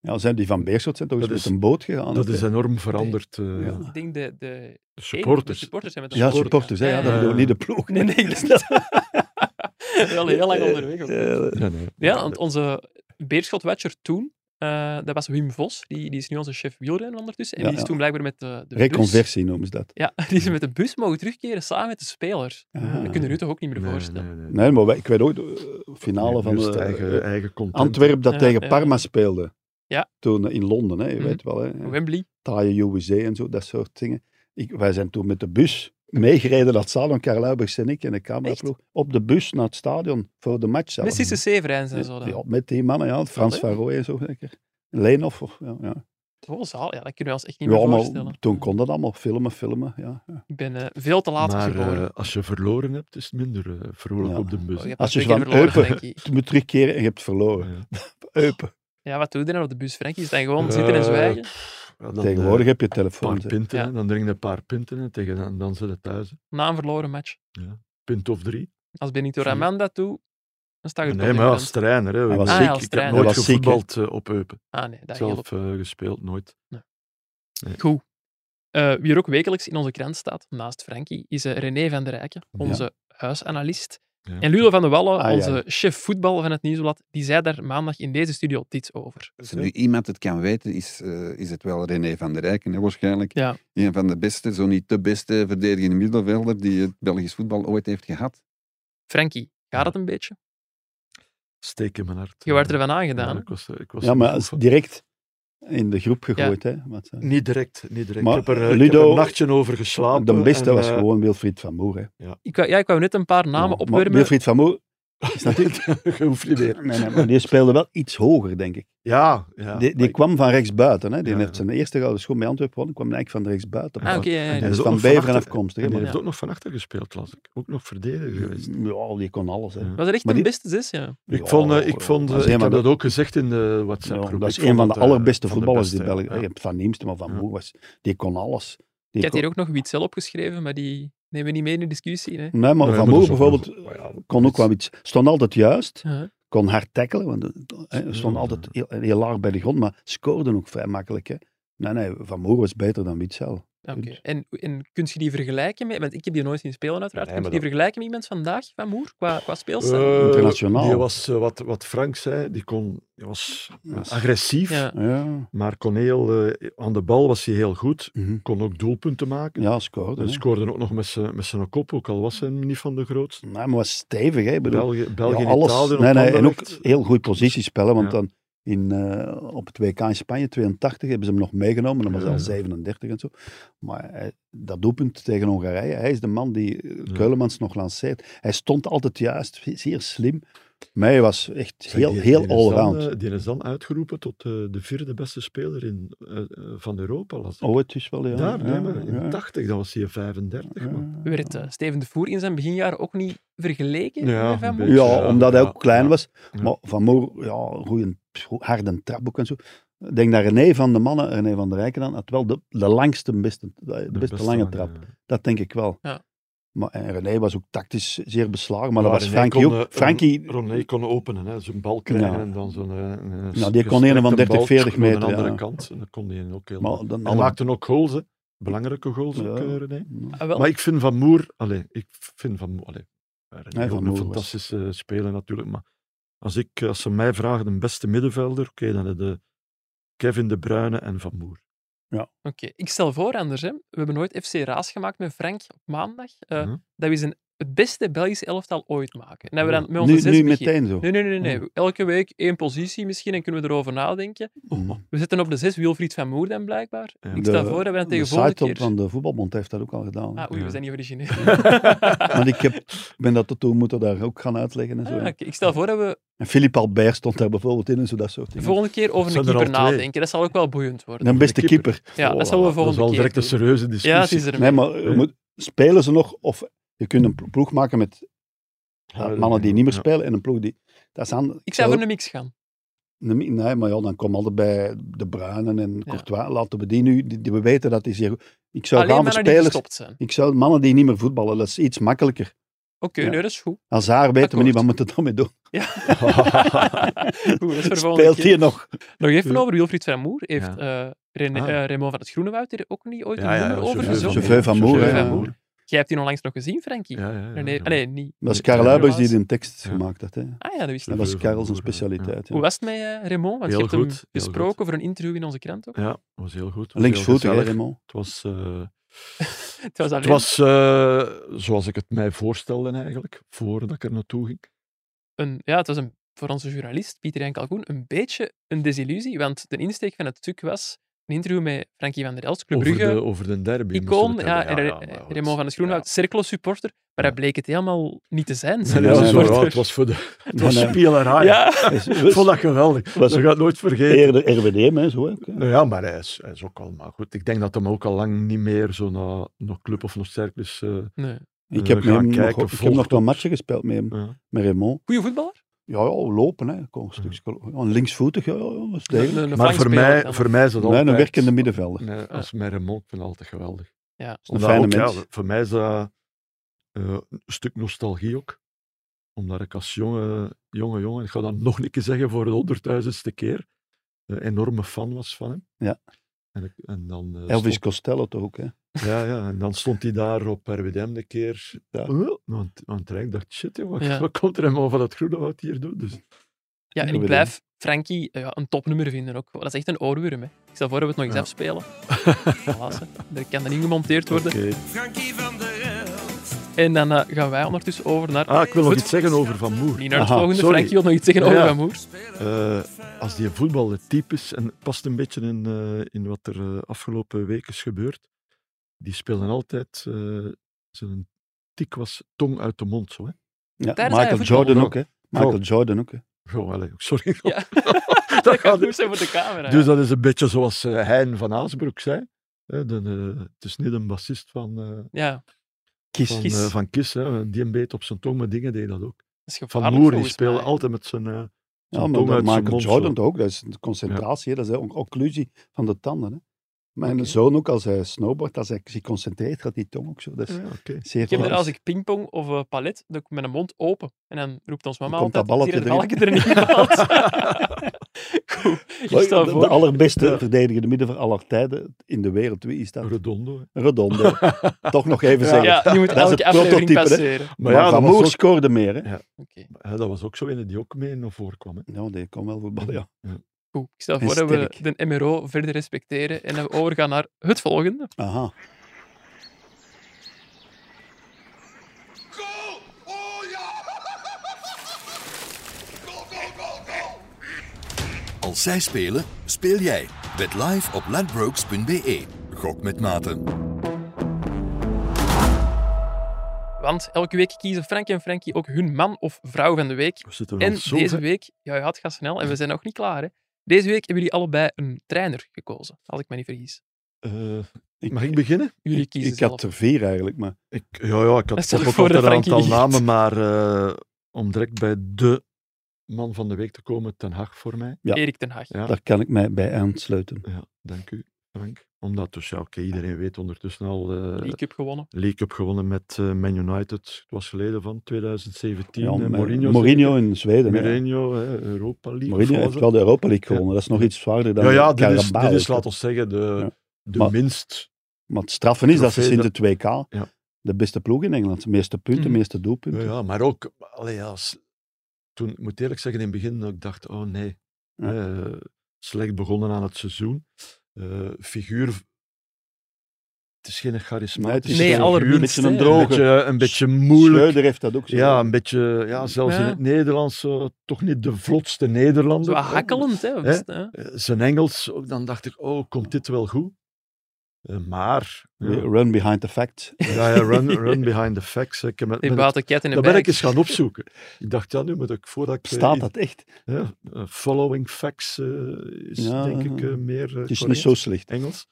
Speaker 2: Ja, zijn die van Beerschot zijn toch eens
Speaker 5: Dat
Speaker 2: met
Speaker 5: is-
Speaker 2: een boot gegaan.
Speaker 5: dat
Speaker 2: hè?
Speaker 5: is enorm veranderd. eh,
Speaker 2: Ja.
Speaker 1: Ik denk de, de,
Speaker 5: de
Speaker 1: de
Speaker 5: supporters.
Speaker 1: supporters zijn met een
Speaker 2: ja,
Speaker 1: boot
Speaker 2: supporters, hè, ja,
Speaker 1: gegaan.
Speaker 2: dat bedoel ik, niet de ploeg.
Speaker 1: Nee, nee, ik dacht dat.
Speaker 2: (laughs)
Speaker 1: Wel heel lang onderweg. ook.
Speaker 2: Eh,
Speaker 5: Ja, nee.
Speaker 1: Ja, want onze beerschotwatcher toen, eh, dat was Wim Vos, die, die is nu onze chef wielrennen ondertussen. En
Speaker 2: Ja,
Speaker 1: die is
Speaker 2: ja.
Speaker 1: toen blijkbaar met de, de bus...
Speaker 2: Reconversie noemen ze dat.
Speaker 1: Ja, (laughs) die is met de bus mogen terugkeren samen met de spelers.
Speaker 2: Ah.
Speaker 1: Dat kunnen we nu toch ook niet meer
Speaker 5: Nee,
Speaker 1: voorstellen.
Speaker 5: nee, nee.
Speaker 2: Nee, maar wij- ik weet ooit, de finale
Speaker 5: Nu
Speaker 2: van
Speaker 5: is het
Speaker 2: eh,
Speaker 5: eigen, eigen content.
Speaker 2: Antwerpen dat
Speaker 1: Ja,
Speaker 2: tegen
Speaker 1: ja.
Speaker 2: Parma speelde.
Speaker 1: Ja.
Speaker 2: Toen eh, in Londen, hè, je
Speaker 1: Mhm.
Speaker 2: weet wel. Hè,
Speaker 1: Wembley.
Speaker 2: taaie UWC en zo, dat soort dingen. Ik, wij zijn toen met de bus meegereden dat stadion, Karel Huibers en ik en de cameraploeg, op de bus naar het stadion voor de match zelf.
Speaker 1: Met CCC-vrijns en dus- zo. Dan. Oh,
Speaker 2: Ja, met die mannen, ja, Frans
Speaker 1: Allee.
Speaker 2: van Rooij en zo zeker. Leenhoff, of- ja. ja.
Speaker 1: Volle zaal, ja, dat kunnen we ons echt niet
Speaker 2: ja
Speaker 1: meer
Speaker 2: maar
Speaker 1: voorstellen.
Speaker 2: toen kon dat allemaal, filmen, filmen, ja. ja.
Speaker 1: Ik ben eh, veel te laat
Speaker 5: maar
Speaker 1: geboren.
Speaker 5: eh, als je verloren hebt, is het minder eh, vrolijk
Speaker 2: Ja.
Speaker 5: op de bus. Oh,
Speaker 1: Oh, je hebt
Speaker 2: als
Speaker 1: al
Speaker 2: je
Speaker 1: twee
Speaker 2: van
Speaker 1: keer verloren,
Speaker 2: Eupen-
Speaker 1: Frankie.
Speaker 2: Je moet terugkeren en je hebt verloren.
Speaker 5: Ja.
Speaker 2: Eupen.
Speaker 1: Ja, wat doe je dan op de bus, Frankie? Is dan gewoon
Speaker 5: Eh,
Speaker 1: zitten en zwijgen?
Speaker 5: Ja, dan,
Speaker 2: Tegenwoordig
Speaker 5: eh,
Speaker 2: heb je
Speaker 5: een
Speaker 2: telefoon.
Speaker 5: paar pinten,
Speaker 1: Ja.
Speaker 5: hè. dan drink je een paar pinten en tegen, en dan zit het thuis. hè.
Speaker 1: Na een verloren match.
Speaker 5: Pint of drie.
Speaker 1: Als Benito Raman dat doet, dan sta je er
Speaker 5: nee,
Speaker 1: toch
Speaker 5: maar
Speaker 1: weer
Speaker 5: als
Speaker 1: aan.
Speaker 5: trainer. Hè.
Speaker 2: Hij was
Speaker 5: ik-
Speaker 1: ziek. Ah, als
Speaker 5: ik heb
Speaker 1: trainer.
Speaker 5: nooit
Speaker 2: Hij was ziek, hè.
Speaker 5: gevoetbald eh, op Eupen.
Speaker 1: Ah nee, dat geloof
Speaker 5: Zelf eh, gespeeld, nooit.
Speaker 1: Goed. Eh, wie er ook wekelijks in onze krant staat, naast Frankie, is eh, René van der Rijken, onze huisanalist.
Speaker 5: Ja.
Speaker 1: En Ludo van de Wallen,
Speaker 2: Ah, ja.
Speaker 1: onze chef voetbal van het Nieuwsblad, die zei daar maandag in deze studio dit over.
Speaker 8: Als er nu iemand het kan weten, is, eh, is het wel René van der Rijken. Hè, waarschijnlijk
Speaker 1: Ja.
Speaker 8: een van de beste, zo niet de beste verdedigende middenvelder die het Belgisch voetbal ooit heeft gehad.
Speaker 1: Frankie, gaat het een beetje?
Speaker 5: Steek in mijn hart.
Speaker 1: Je werd ervan aangedaan.
Speaker 5: gedaan.
Speaker 1: hè?
Speaker 5: Ik was, eh, ik was
Speaker 2: Ja, maar als
Speaker 5: betroffen.
Speaker 2: direct in de groep gegooid, hè. Want, eh,
Speaker 5: Niet direct, niet direct.
Speaker 2: Maar
Speaker 5: ik heb er, eh, ik
Speaker 2: Ludo-
Speaker 5: heb er een nachtje over geslapen.
Speaker 2: de beste
Speaker 5: en,
Speaker 2: was
Speaker 5: eh, (laughs)
Speaker 2: gewoon Wilfried van Moer, hè.
Speaker 1: Ik, wou- ja, ik wou net een paar
Speaker 2: Ja,
Speaker 1: namen
Speaker 2: maar
Speaker 1: opwermen.
Speaker 2: Wilfried van Moer
Speaker 5: (laughs)
Speaker 2: is natuurlijk...
Speaker 5: je
Speaker 2: (laughs)
Speaker 5: hoeft niet meer.
Speaker 2: Nee, nee, maar die speelde wel iets hoger, denk ik.
Speaker 5: Ja, ja.
Speaker 2: die
Speaker 5: maar
Speaker 2: die
Speaker 5: ik-
Speaker 2: kwam van rechtsbuiten. hè. Die
Speaker 5: Ja,
Speaker 2: heeft
Speaker 5: ja.
Speaker 2: zijn eerste gouden schoen bij Antwerpen gewonnen. kwam eigenlijk van rechtsbuiten.
Speaker 1: Ah, oké. ja, ja, ja.
Speaker 2: Hij
Speaker 5: is
Speaker 2: is
Speaker 5: ook
Speaker 2: van
Speaker 5: nog
Speaker 2: Beveren
Speaker 5: vanachter-
Speaker 2: afkomstig. Hè,
Speaker 5: en die
Speaker 2: maar,
Speaker 5: heeft ook nog van achter gespeeld, las ik. Ook nog verdediger geweest.
Speaker 2: Mm, ja, die kon alles. Hè.
Speaker 5: Ja.
Speaker 1: Dat was er echt
Speaker 2: Maar
Speaker 1: een
Speaker 2: die-
Speaker 1: beste zes, ja.
Speaker 5: Ik
Speaker 2: Ja,
Speaker 5: vond, eh, ik, vond,
Speaker 2: dat
Speaker 5: eh,
Speaker 2: is
Speaker 5: ik
Speaker 2: een
Speaker 5: heb
Speaker 2: van
Speaker 5: dat
Speaker 2: de-
Speaker 5: ook gezegd in de
Speaker 2: Ja,
Speaker 5: WhatsApp-groep.
Speaker 2: dat is
Speaker 5: Ik
Speaker 2: een
Speaker 5: vond
Speaker 2: van de
Speaker 5: dat, eh,
Speaker 2: allerbeste
Speaker 5: van de
Speaker 2: voetballers, die
Speaker 5: beste,
Speaker 2: Belgen.
Speaker 5: ja.
Speaker 2: Je hebt Van Niemst, maar Van
Speaker 5: Ja.
Speaker 2: Moer was... Die kon alles. Die
Speaker 1: Ik had
Speaker 2: kon-
Speaker 1: hier ook nog Witzel opgeschreven, maar die nemen we niet mee in de discussie. Hè.
Speaker 2: Nee, maar
Speaker 5: Nee,
Speaker 2: Van
Speaker 5: maar
Speaker 2: Moer
Speaker 5: dat is ook
Speaker 2: bijvoorbeeld eh, kon ook wel iets. Stond altijd juist,
Speaker 1: Ja.
Speaker 2: kon hard tackelen, want eh, hij stond
Speaker 5: Ja.
Speaker 2: altijd heel, heel laag bij de grond, maar scoorde ook vrij makkelijk. Hè. Nee, nee, Van Moer was beter dan Witzel.
Speaker 1: Ah, Oké.
Speaker 2: Punt.
Speaker 1: En, en kun je die vergelijken met... Want ik heb die nooit zien spelen, uiteraard.
Speaker 5: Nee,
Speaker 1: kun je
Speaker 5: maar
Speaker 1: die
Speaker 5: dat-
Speaker 1: vergelijken met iemand vandaag, van Moer, qua, qua speelstijl?
Speaker 5: Eh,
Speaker 2: Internationaal.
Speaker 5: Die was, eh, wat, wat Frank zei, die, kon, die was
Speaker 2: Was-
Speaker 5: agressief,
Speaker 1: ja.
Speaker 2: Ja,
Speaker 5: maar kon heel, eh, aan de bal was hij heel goed.
Speaker 2: Mhm.
Speaker 5: Kon ook doelpunten maken.
Speaker 2: ja scoorde.
Speaker 5: Hij
Speaker 2: hè.
Speaker 5: scoorde ook nog met zijn met zijn kop, ook al was hij niet van de grootste.
Speaker 2: Nee, maar was stevig, hè? Ik bedoel,
Speaker 5: België, België
Speaker 2: ja, alles.
Speaker 5: Italië. op
Speaker 2: nee, nee, en ook
Speaker 5: Anderlecht.
Speaker 2: heel goed positiespellen, want
Speaker 5: Ja.
Speaker 2: dan in, eh, op het WK in Spanje, 82, hebben ze hem nog meegenomen. Dan was hij al
Speaker 5: Ja.
Speaker 2: 37 en zo. Maar hij- dat doelpunt tegen Hongarije, hij is de man die eh,
Speaker 5: Ja.
Speaker 2: Keulemans nog lanceert. Hij stond altijd juist, zeer slim. Maar hij was echt
Speaker 5: Zeg,
Speaker 2: heel,
Speaker 5: die-
Speaker 2: heel
Speaker 5: die is dan,
Speaker 2: allround.
Speaker 5: eh, die is dan uitgeroepen tot eh, de vierde beste speler in, eh, eh, van Europa. Las ik.
Speaker 2: oh, het is wel, ja.
Speaker 5: Daar, nee,
Speaker 2: ja,
Speaker 5: maar in
Speaker 2: ja,
Speaker 5: 80, dan was hij 35.
Speaker 2: ja.
Speaker 5: man.
Speaker 1: werd eh, Steven de Voer in zijn beginjaren ook niet vergeleken
Speaker 5: Ja,
Speaker 1: met Van
Speaker 5: een
Speaker 1: Moer?
Speaker 5: beetje.
Speaker 2: Ja, omdat hij
Speaker 5: ja,
Speaker 2: ook klein
Speaker 5: ja,
Speaker 2: was.
Speaker 5: ja.
Speaker 2: Maar Van Moor, ja, goeie, harde trap ook en zo. Ik denk dat René van de mannen, René van der Rijken dan, had wel de, de langste, beste, de, beste, lange
Speaker 5: eh.
Speaker 2: trap. Dat denk ik wel.
Speaker 1: Ja.
Speaker 2: Maar, en René was ook tactisch zeer beslagen, maar
Speaker 5: Ja,
Speaker 2: dat was
Speaker 5: René
Speaker 2: Frankie
Speaker 5: kon,
Speaker 2: ook.
Speaker 5: eh,
Speaker 2: Frankie,
Speaker 5: René kon openen, hè, zijn bal krijgen
Speaker 2: Ja.
Speaker 5: en dan zo'n... eh,
Speaker 2: Ja, die kon een van
Speaker 5: gestrekte
Speaker 2: 30,
Speaker 5: bal
Speaker 2: 40
Speaker 5: naar
Speaker 2: meter,
Speaker 5: de andere
Speaker 2: ja.
Speaker 5: kant. En dan kon hij ook heel...
Speaker 2: maar dan,
Speaker 5: Hij maakte ook goals, hè. belangrijke goals
Speaker 2: Ja.
Speaker 5: ook, eh, René.
Speaker 1: Ah, wel,
Speaker 5: Maar ik vind Van Moer... Allee, ik vind Van Moer... Allee, René
Speaker 2: Nee,
Speaker 5: ook
Speaker 2: Van
Speaker 5: een
Speaker 2: Moer was-
Speaker 5: fantastische speler natuurlijk, maar als, ik, als ze mij vragen de beste middenvelder, oké, dan heb je Kevin De Bruyne en Van Moer.
Speaker 1: Oké, ik stel voor anders. Hè. We hebben nooit FC Raas gemaakt met Frank op maandag. eh,
Speaker 5: Mhm.
Speaker 1: Dat we eens een, het beste Belgische elftal ooit maken. En dat we dan met onze
Speaker 2: Nu,
Speaker 1: zes
Speaker 2: nu
Speaker 1: beginnen.
Speaker 2: meteen zo.
Speaker 1: Nee, nee, nee,
Speaker 5: Oh.
Speaker 1: nee. Elke week één positie misschien en kunnen we erover nadenken.
Speaker 2: Mhm.
Speaker 1: We zitten op de zes, Wilfried van Moer dan blijkbaar.
Speaker 5: Ja.
Speaker 1: ik
Speaker 2: De-
Speaker 1: stel voor dat we dan tegen
Speaker 2: de
Speaker 1: volgende
Speaker 2: site
Speaker 1: keer...
Speaker 2: op van de voetbalbond heeft dat ook al gedaan. hè.
Speaker 1: Ah, oei, we
Speaker 5: Ja.
Speaker 1: zijn niet origineel.
Speaker 2: Want ik heb, ben dat tot toen moeten daar ook gaan uitleggen en zo.
Speaker 1: Ah, oké. Ik stel voor dat we
Speaker 2: En Philippe Albert stond daar bijvoorbeeld in en zo dat soort
Speaker 1: de
Speaker 2: dingen.
Speaker 1: volgende keer over een
Speaker 5: Zijn er al
Speaker 1: keeper
Speaker 5: twee?
Speaker 1: nadenken. Dat zal ook wel boeiend worden.
Speaker 2: Een beste
Speaker 5: de keeper.
Speaker 2: keeper.
Speaker 1: Ja, dat zullen we
Speaker 5: Oh, Dat is
Speaker 1: volgende
Speaker 5: wel
Speaker 1: keer
Speaker 5: direct een
Speaker 1: doen.
Speaker 5: serieuze discussie.
Speaker 1: Ja, het is er.
Speaker 2: Nee, maar je
Speaker 5: Nee.
Speaker 2: moet- spelen ze nog? Of je kunt een plo- ploeg maken met
Speaker 5: Ja,
Speaker 2: eh, mannen die niet meer
Speaker 5: ja.
Speaker 2: spelen en een ploeg die... Dat is aan,
Speaker 1: Ik zou voor een mix gaan.
Speaker 2: Nee, nee, maar ja, dan komen altijd bij De Bruinen en
Speaker 1: Ja.
Speaker 2: Courtois. Laten we die nu... Die, die we weten dat die zeer goed... Ik zou
Speaker 1: Alleen
Speaker 2: gaan
Speaker 1: maar
Speaker 2: voor
Speaker 1: naar die
Speaker 2: spelers...
Speaker 1: gestopt zijn. Oké,
Speaker 2: Ik zou mannen die niet meer voetballen, dat is iets makkelijker. Ja.
Speaker 1: nee, dat is goed. (laughs)
Speaker 2: Als haar weten we
Speaker 1: Akkoord.
Speaker 2: niet, wat moeten we daarmee doen? (laughs)
Speaker 1: Ja. goed, dat is voor de volgende
Speaker 2: Speelt
Speaker 1: keer.
Speaker 2: hier nog?
Speaker 1: Nog even
Speaker 5: Ja.
Speaker 1: over Wilfried van Moer. Heeft
Speaker 5: Ja.
Speaker 1: eh, René,
Speaker 5: Ah.
Speaker 1: eh, Raymond van het Groenewoud er ook niet ooit
Speaker 5: Ja,
Speaker 1: een
Speaker 5: ja,
Speaker 1: nummer over
Speaker 5: Chauffeur
Speaker 2: Chauffeur
Speaker 1: gezongen?
Speaker 2: van Moer. Chauffeur
Speaker 1: van
Speaker 5: ja.
Speaker 1: Moer. Jij hebt die onlangs nog gezien, Frankie?
Speaker 5: Ja, ja, ja,
Speaker 1: René-
Speaker 5: ja.
Speaker 1: ah, nee, niet.
Speaker 2: Dat is
Speaker 5: Ja.
Speaker 2: Karel Huibers die
Speaker 1: Ja.
Speaker 2: de tekst
Speaker 5: Ja.
Speaker 2: gemaakt had. Hè. Dat
Speaker 1: Ah ja, dat wist ik.
Speaker 5: Ja.
Speaker 1: niet.
Speaker 2: was Karel zijn
Speaker 5: Ja.
Speaker 2: specialiteit.
Speaker 1: Hoe
Speaker 2: Ja.
Speaker 1: was het met eh, Raymond? Want
Speaker 5: Heel
Speaker 1: je hebt
Speaker 5: goed,
Speaker 1: hem
Speaker 5: heel
Speaker 1: gesproken
Speaker 5: goed.
Speaker 1: voor een interview in onze
Speaker 5: (laughs)
Speaker 1: krant ook.
Speaker 5: Ja, dat was heel goed. Het was
Speaker 2: Linksvoetig,
Speaker 5: heel
Speaker 2: hè,
Speaker 5: gezellig.
Speaker 2: Raymond?
Speaker 5: Het was,
Speaker 1: (laughs)
Speaker 5: eh,
Speaker 1: Het was alleen...
Speaker 5: het was eh, zoals ik het mij voorstelde eigenlijk, voordat ik er naartoe ging.
Speaker 1: een, ja, het was een, voor onze journalist, Pieter Jan Kalkoen, een beetje een desillusie. Want de insteek van het stuk was een interview met Frankie van der Elst, Club
Speaker 5: Over
Speaker 1: Brugge,
Speaker 5: de, over de derby. moesten we
Speaker 1: icoon,
Speaker 5: het
Speaker 1: ja, en
Speaker 5: hebben.
Speaker 1: Re-
Speaker 5: maar goed.
Speaker 1: Raymond van de Schoenhout, cirkelsupporter. Maar dat bleek het helemaal niet te zijn.
Speaker 5: Ja,
Speaker 2: Nee,
Speaker 5: dat
Speaker 2: nee,
Speaker 5: is waar,
Speaker 1: cirkelsupporter.
Speaker 5: het was voor (laughs) de het
Speaker 2: Nee,
Speaker 5: was
Speaker 2: nee.
Speaker 5: spielerij.
Speaker 1: Ja,
Speaker 5: ah,
Speaker 2: (laughs)
Speaker 5: Ik vond dat geweldig.
Speaker 2: dus- Was-
Speaker 5: Dat gaat het nooit vergeten.
Speaker 2: Eerder RWDM, hè, zo. Ook, hè.
Speaker 5: Nou ja, maar hij is, hij is ook al maar goed. Ik denk dat hem ook al lang niet meer zo naar, naar club of naar circus. eh,
Speaker 1: nee.
Speaker 2: Ik
Speaker 5: We
Speaker 2: heb, met
Speaker 5: gaan
Speaker 2: hem
Speaker 5: kijken,
Speaker 2: nog, ik heb
Speaker 5: volgt
Speaker 2: nog wel
Speaker 5: ons.
Speaker 2: matchen gespeeld met hem,
Speaker 5: ja.
Speaker 2: met Raymond.
Speaker 1: Goeie voetballer.
Speaker 2: Ja, ja, lopen, hè. Kon een stukje- ja, linksvoetig, ja, ja, ja, dat is degelijk.
Speaker 1: Een- een
Speaker 5: Maar voor
Speaker 1: flankspeler
Speaker 5: mij,
Speaker 1: dan.
Speaker 5: voor mij is dat
Speaker 2: Nee,
Speaker 5: altijd...
Speaker 2: een werkende middenvelder.
Speaker 5: Nee, als met Raymond, ik vind het altijd geweldig.
Speaker 1: Ja.
Speaker 2: Een
Speaker 5: Omdat
Speaker 2: fijne
Speaker 5: ook,
Speaker 2: mens.
Speaker 5: ja, voor mij is dat eh, een stuk nostalgie ook. Omdat ik als jonge, jonge jongen, ik ga dat nog een keer zeggen voor de honderdduizendste keer, een enorme fan was van hem.
Speaker 2: Ja.
Speaker 5: En, ik- en dan, eh,
Speaker 2: Elvis
Speaker 5: stond-
Speaker 2: Costello toch ook, hè.
Speaker 5: ja, ja, en dan stond hij daar op RWDM de keer.
Speaker 2: Ja.
Speaker 5: Uh, aan het- aan het rijden. Ik dacht, shit, joh, wat,
Speaker 1: Ja.
Speaker 5: wat komt er helemaal van dat groene wat hier doen? Dus,
Speaker 1: Ja, en ik
Speaker 2: Inderdaad.
Speaker 1: blijf Frankie eh, ja, een topnummer vinden ook. Dat is echt een oorworm. Hè. Ik stel voor dat we het nog eens
Speaker 5: Ja. (laughs)
Speaker 1: afspelen. Helaas, hè. er kan dan ingemonteerd worden.
Speaker 5: Oké.
Speaker 3: Frankie van der Elst.
Speaker 1: En dan eh, gaan wij ondertussen over naar...
Speaker 5: Ah, ik wil nog
Speaker 1: Goed.
Speaker 5: iets zeggen over Van Moer.
Speaker 1: Niet naar het
Speaker 2: Aha,
Speaker 1: volgende.
Speaker 5: sorry.
Speaker 1: Frankie wil nog iets zeggen over
Speaker 5: Ja.
Speaker 1: Van Moer.
Speaker 5: Eh, als die voetbal het type is, en het past een beetje in, eh, in wat er eh, afgelopen week is gebeurd, die spelen altijd, eh, zijn tik was tong uit de mond. Zo, hè.
Speaker 2: Ja,
Speaker 1: Daar is hij
Speaker 2: Michael
Speaker 1: voetbal.
Speaker 2: Jordan
Speaker 5: Ja.
Speaker 2: ook, hè. Michael Jordan ook, hè.
Speaker 5: Zo, allee, (laughs) sorry.
Speaker 1: Ja.
Speaker 5: dat
Speaker 1: (laughs) Dat Nou gaat
Speaker 5: gaat
Speaker 1: goed
Speaker 5: niet.
Speaker 1: zijn voor de camera.
Speaker 5: Dus dat is een beetje zoals eh, Hein van Aasbroek zei. hè, de, eh, het is niet een bassist van, eh,
Speaker 1: ja,
Speaker 2: Kies.
Speaker 5: van,
Speaker 1: Kies.
Speaker 5: eh, van Kiss. Hè. Die een beet op zijn tong, maar dingen deed dat ook.
Speaker 1: dat is gevaarlijk
Speaker 5: Van Moer die
Speaker 1: volgens
Speaker 5: speelde
Speaker 1: mij.
Speaker 5: altijd met zijn, eh, zijn
Speaker 2: Ja, maar
Speaker 5: tong
Speaker 2: dat
Speaker 5: uit zijn
Speaker 2: Michael
Speaker 5: mond. zo.
Speaker 2: Jordan toch ook. Dat is de concentratie, hè. dat is de on- occlusie van de tanden. Hè. Mijn
Speaker 1: Oké.
Speaker 2: zoon ook, als hij snowboardt, als hij zich concentreert, gaat die tong ook zo. Dat is
Speaker 5: Ja, oké.
Speaker 2: zeer
Speaker 1: Ik heb er
Speaker 2: fijn.
Speaker 1: als ik pingpong of eh, palet, doe ik met een mond open. En dan roept ons mama
Speaker 2: Dan komt
Speaker 1: altijd,
Speaker 2: dat
Speaker 1: "Zie je
Speaker 2: balletje
Speaker 1: dat balletje er niet
Speaker 2: (laughs)
Speaker 1: valt." Goed, ik stel
Speaker 2: de,
Speaker 1: voor.
Speaker 2: de allerbeste
Speaker 5: Ja.
Speaker 2: verdedigende midden van aller tijden in de wereld. Wie is dat?
Speaker 5: Redondo. hè. (laughs)
Speaker 2: Redondo. Toch nog even zeggen.
Speaker 1: Ja, die moet
Speaker 2: Dat is
Speaker 1: elke
Speaker 2: het
Speaker 1: aflevering
Speaker 2: prototype, hè.
Speaker 1: passeren.
Speaker 2: Maar,
Speaker 5: Maar ja,
Speaker 2: Van
Speaker 5: dat was
Speaker 2: Moer
Speaker 5: ook-
Speaker 2: scoorde meer. Hè?
Speaker 5: Ja.
Speaker 1: Oké.
Speaker 5: Ja, dat was ook zo een die ook mee naar voren kwam. Hè.
Speaker 2: Ja, die kon wel voetballen, ja.
Speaker 1: Goed, ik stel
Speaker 2: En
Speaker 1: voor dat we
Speaker 2: sterk.
Speaker 1: de MRO verder respecteren en dat we overgaan naar het volgende.
Speaker 2: Aha.
Speaker 3: Goal! Oh ja! Goal, goal, goal, goal!
Speaker 9: Als zij spelen, speel jij. Bet live op ladbrokes.be. E. Gok met maten.
Speaker 1: Want elke week kiezen Frank en Frankie ook hun man of vrouw van de week.
Speaker 5: We zitten wel
Speaker 1: En
Speaker 5: zo
Speaker 1: deze
Speaker 5: ver.
Speaker 1: week, ja, ja, het gaat snel en we zijn nog niet klaar. Hè. Deze week hebben jullie allebei een trainer gekozen, als ik me niet vergis.
Speaker 5: Eh,
Speaker 2: Ik-
Speaker 5: mag ik beginnen?
Speaker 1: Jullie
Speaker 2: Ik,
Speaker 1: kiezen
Speaker 2: ik
Speaker 1: zelf.
Speaker 2: had er vier eigenlijk, maar
Speaker 5: Ik, ja, ja, ik
Speaker 1: Dat
Speaker 5: had
Speaker 1: stel ik
Speaker 5: toch ook
Speaker 1: voor
Speaker 5: altijd
Speaker 1: dat
Speaker 5: een
Speaker 1: Frankie
Speaker 5: aantal
Speaker 1: niet
Speaker 5: namen, maar eh, om direct bij de man van de week te komen, Ten Hag voor mij.
Speaker 2: Ja.
Speaker 1: Erik ten Hag.
Speaker 5: Ja, eh,
Speaker 2: daar kan ik mij bij aansluiten.
Speaker 5: ja dank u, Frank. Omdat dus, ja, oké, iedereen weet ondertussen al, eh
Speaker 1: League Cup gewonnen.
Speaker 5: League Cup gewonnen met eh, Man United. Het was geleden van 2017.
Speaker 2: Ja,
Speaker 5: eh,
Speaker 2: maar-
Speaker 5: Mourinho,
Speaker 2: Mourinho in Zweden. hè.
Speaker 5: Mourinho, hè, Europa League. of
Speaker 2: Mourinho
Speaker 5: wat
Speaker 2: heeft
Speaker 5: was
Speaker 2: wel
Speaker 5: het?
Speaker 2: de Europa League gewonnen. Dat is nog iets zwaarder dan
Speaker 5: ja, ja, dit is,
Speaker 2: Carabao.
Speaker 5: dit is, laat ons zeggen, de,
Speaker 2: Ja.
Speaker 5: de
Speaker 2: Maar-
Speaker 5: minst...
Speaker 2: Maar het straffen is dat ze
Speaker 5: Trofee,
Speaker 2: sinds de 2K
Speaker 5: Ja.
Speaker 2: de beste ploeg in Engeland. De meeste punten,
Speaker 1: Mhm.
Speaker 2: meeste
Speaker 5: Ja,
Speaker 2: doelpunten.
Speaker 5: ja, maar ook, allee, ja, als, toen ik moet eerlijk zeggen, in het begin dat ik dacht, oh nee,
Speaker 2: Ja.
Speaker 5: eh, slecht begonnen aan het seizoen. Eh, figuur. Het is geen charismatische
Speaker 1: Nee,
Speaker 5: figuur.
Speaker 2: een
Speaker 1: allerminst,
Speaker 2: beetje een
Speaker 1: hè.
Speaker 5: Een
Speaker 2: droge.
Speaker 5: beetje, een beetje moeilijk.
Speaker 2: Schreuder heeft dat ook zo.
Speaker 5: Ja, een beetje, ja, zelfs in
Speaker 1: Ja.
Speaker 5: het Nederlands, eh, toch niet de vlotste Nederlander.
Speaker 1: Zo wat hakkelend, hè?
Speaker 5: Hè?
Speaker 1: hè?
Speaker 5: Eh, Zijn Engels, ook dan dacht ik, oh, komt dit wel goed? Eh, maar, ja,
Speaker 2: Run behind the facts.
Speaker 5: ja, run, run behind the facts. hè. Ik heb met-
Speaker 1: Die
Speaker 5: met het-
Speaker 1: baten cat in de
Speaker 5: dat ben
Speaker 1: bag.
Speaker 5: ik eens gaan opzoeken. Ik dacht, ja, nu moet ik voordat ik... eh,
Speaker 2: Staat
Speaker 5: in-
Speaker 2: dat echt?
Speaker 5: ja, eh, following facts eh, is
Speaker 2: Ja,
Speaker 5: denk ik
Speaker 2: ja.
Speaker 5: eh, meer eh,
Speaker 2: Het is niet
Speaker 5: correct,
Speaker 2: zo slecht.
Speaker 5: Engels.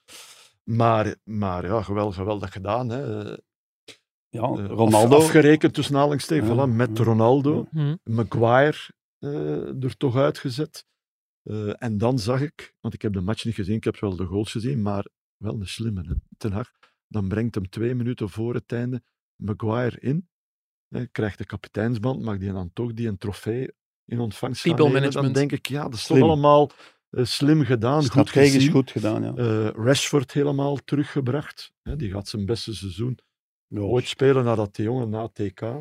Speaker 5: Maar, maar ja, geweldig, geweldig gedaan. Hè. Eh,
Speaker 2: Ja,
Speaker 5: eh, af-
Speaker 2: Ronaldo.
Speaker 5: afgerekend tussen aanhalingstekens,
Speaker 2: Ja,
Speaker 5: voilà, met
Speaker 2: ja.
Speaker 5: Ronaldo.
Speaker 1: Hm.
Speaker 5: Maguire eh, er toch uitgezet. Eh, en dan zag ik, want ik heb de match niet gezien, ik heb wel de goals gezien, maar wel een slimme. Hè. Ten Hag, dan brengt hem twee minuten voor het einde Maguire in. Hè, krijgt de kapiteinsband, mag die dan toch die een trofee in ontvangst gaan
Speaker 1: People
Speaker 5: nemen. Dan
Speaker 1: management.
Speaker 5: denk ik, ja, dat is
Speaker 2: Slim.
Speaker 5: toch allemaal eh, slim gedaan, goed gezien.
Speaker 2: Strategisch goed gedaan, ja.
Speaker 5: Eh, Rashford helemaal teruggebracht. Hè, die gaat zijn beste seizoen
Speaker 2: Ja.
Speaker 5: ooit spelen nadat die jongen na TK eh,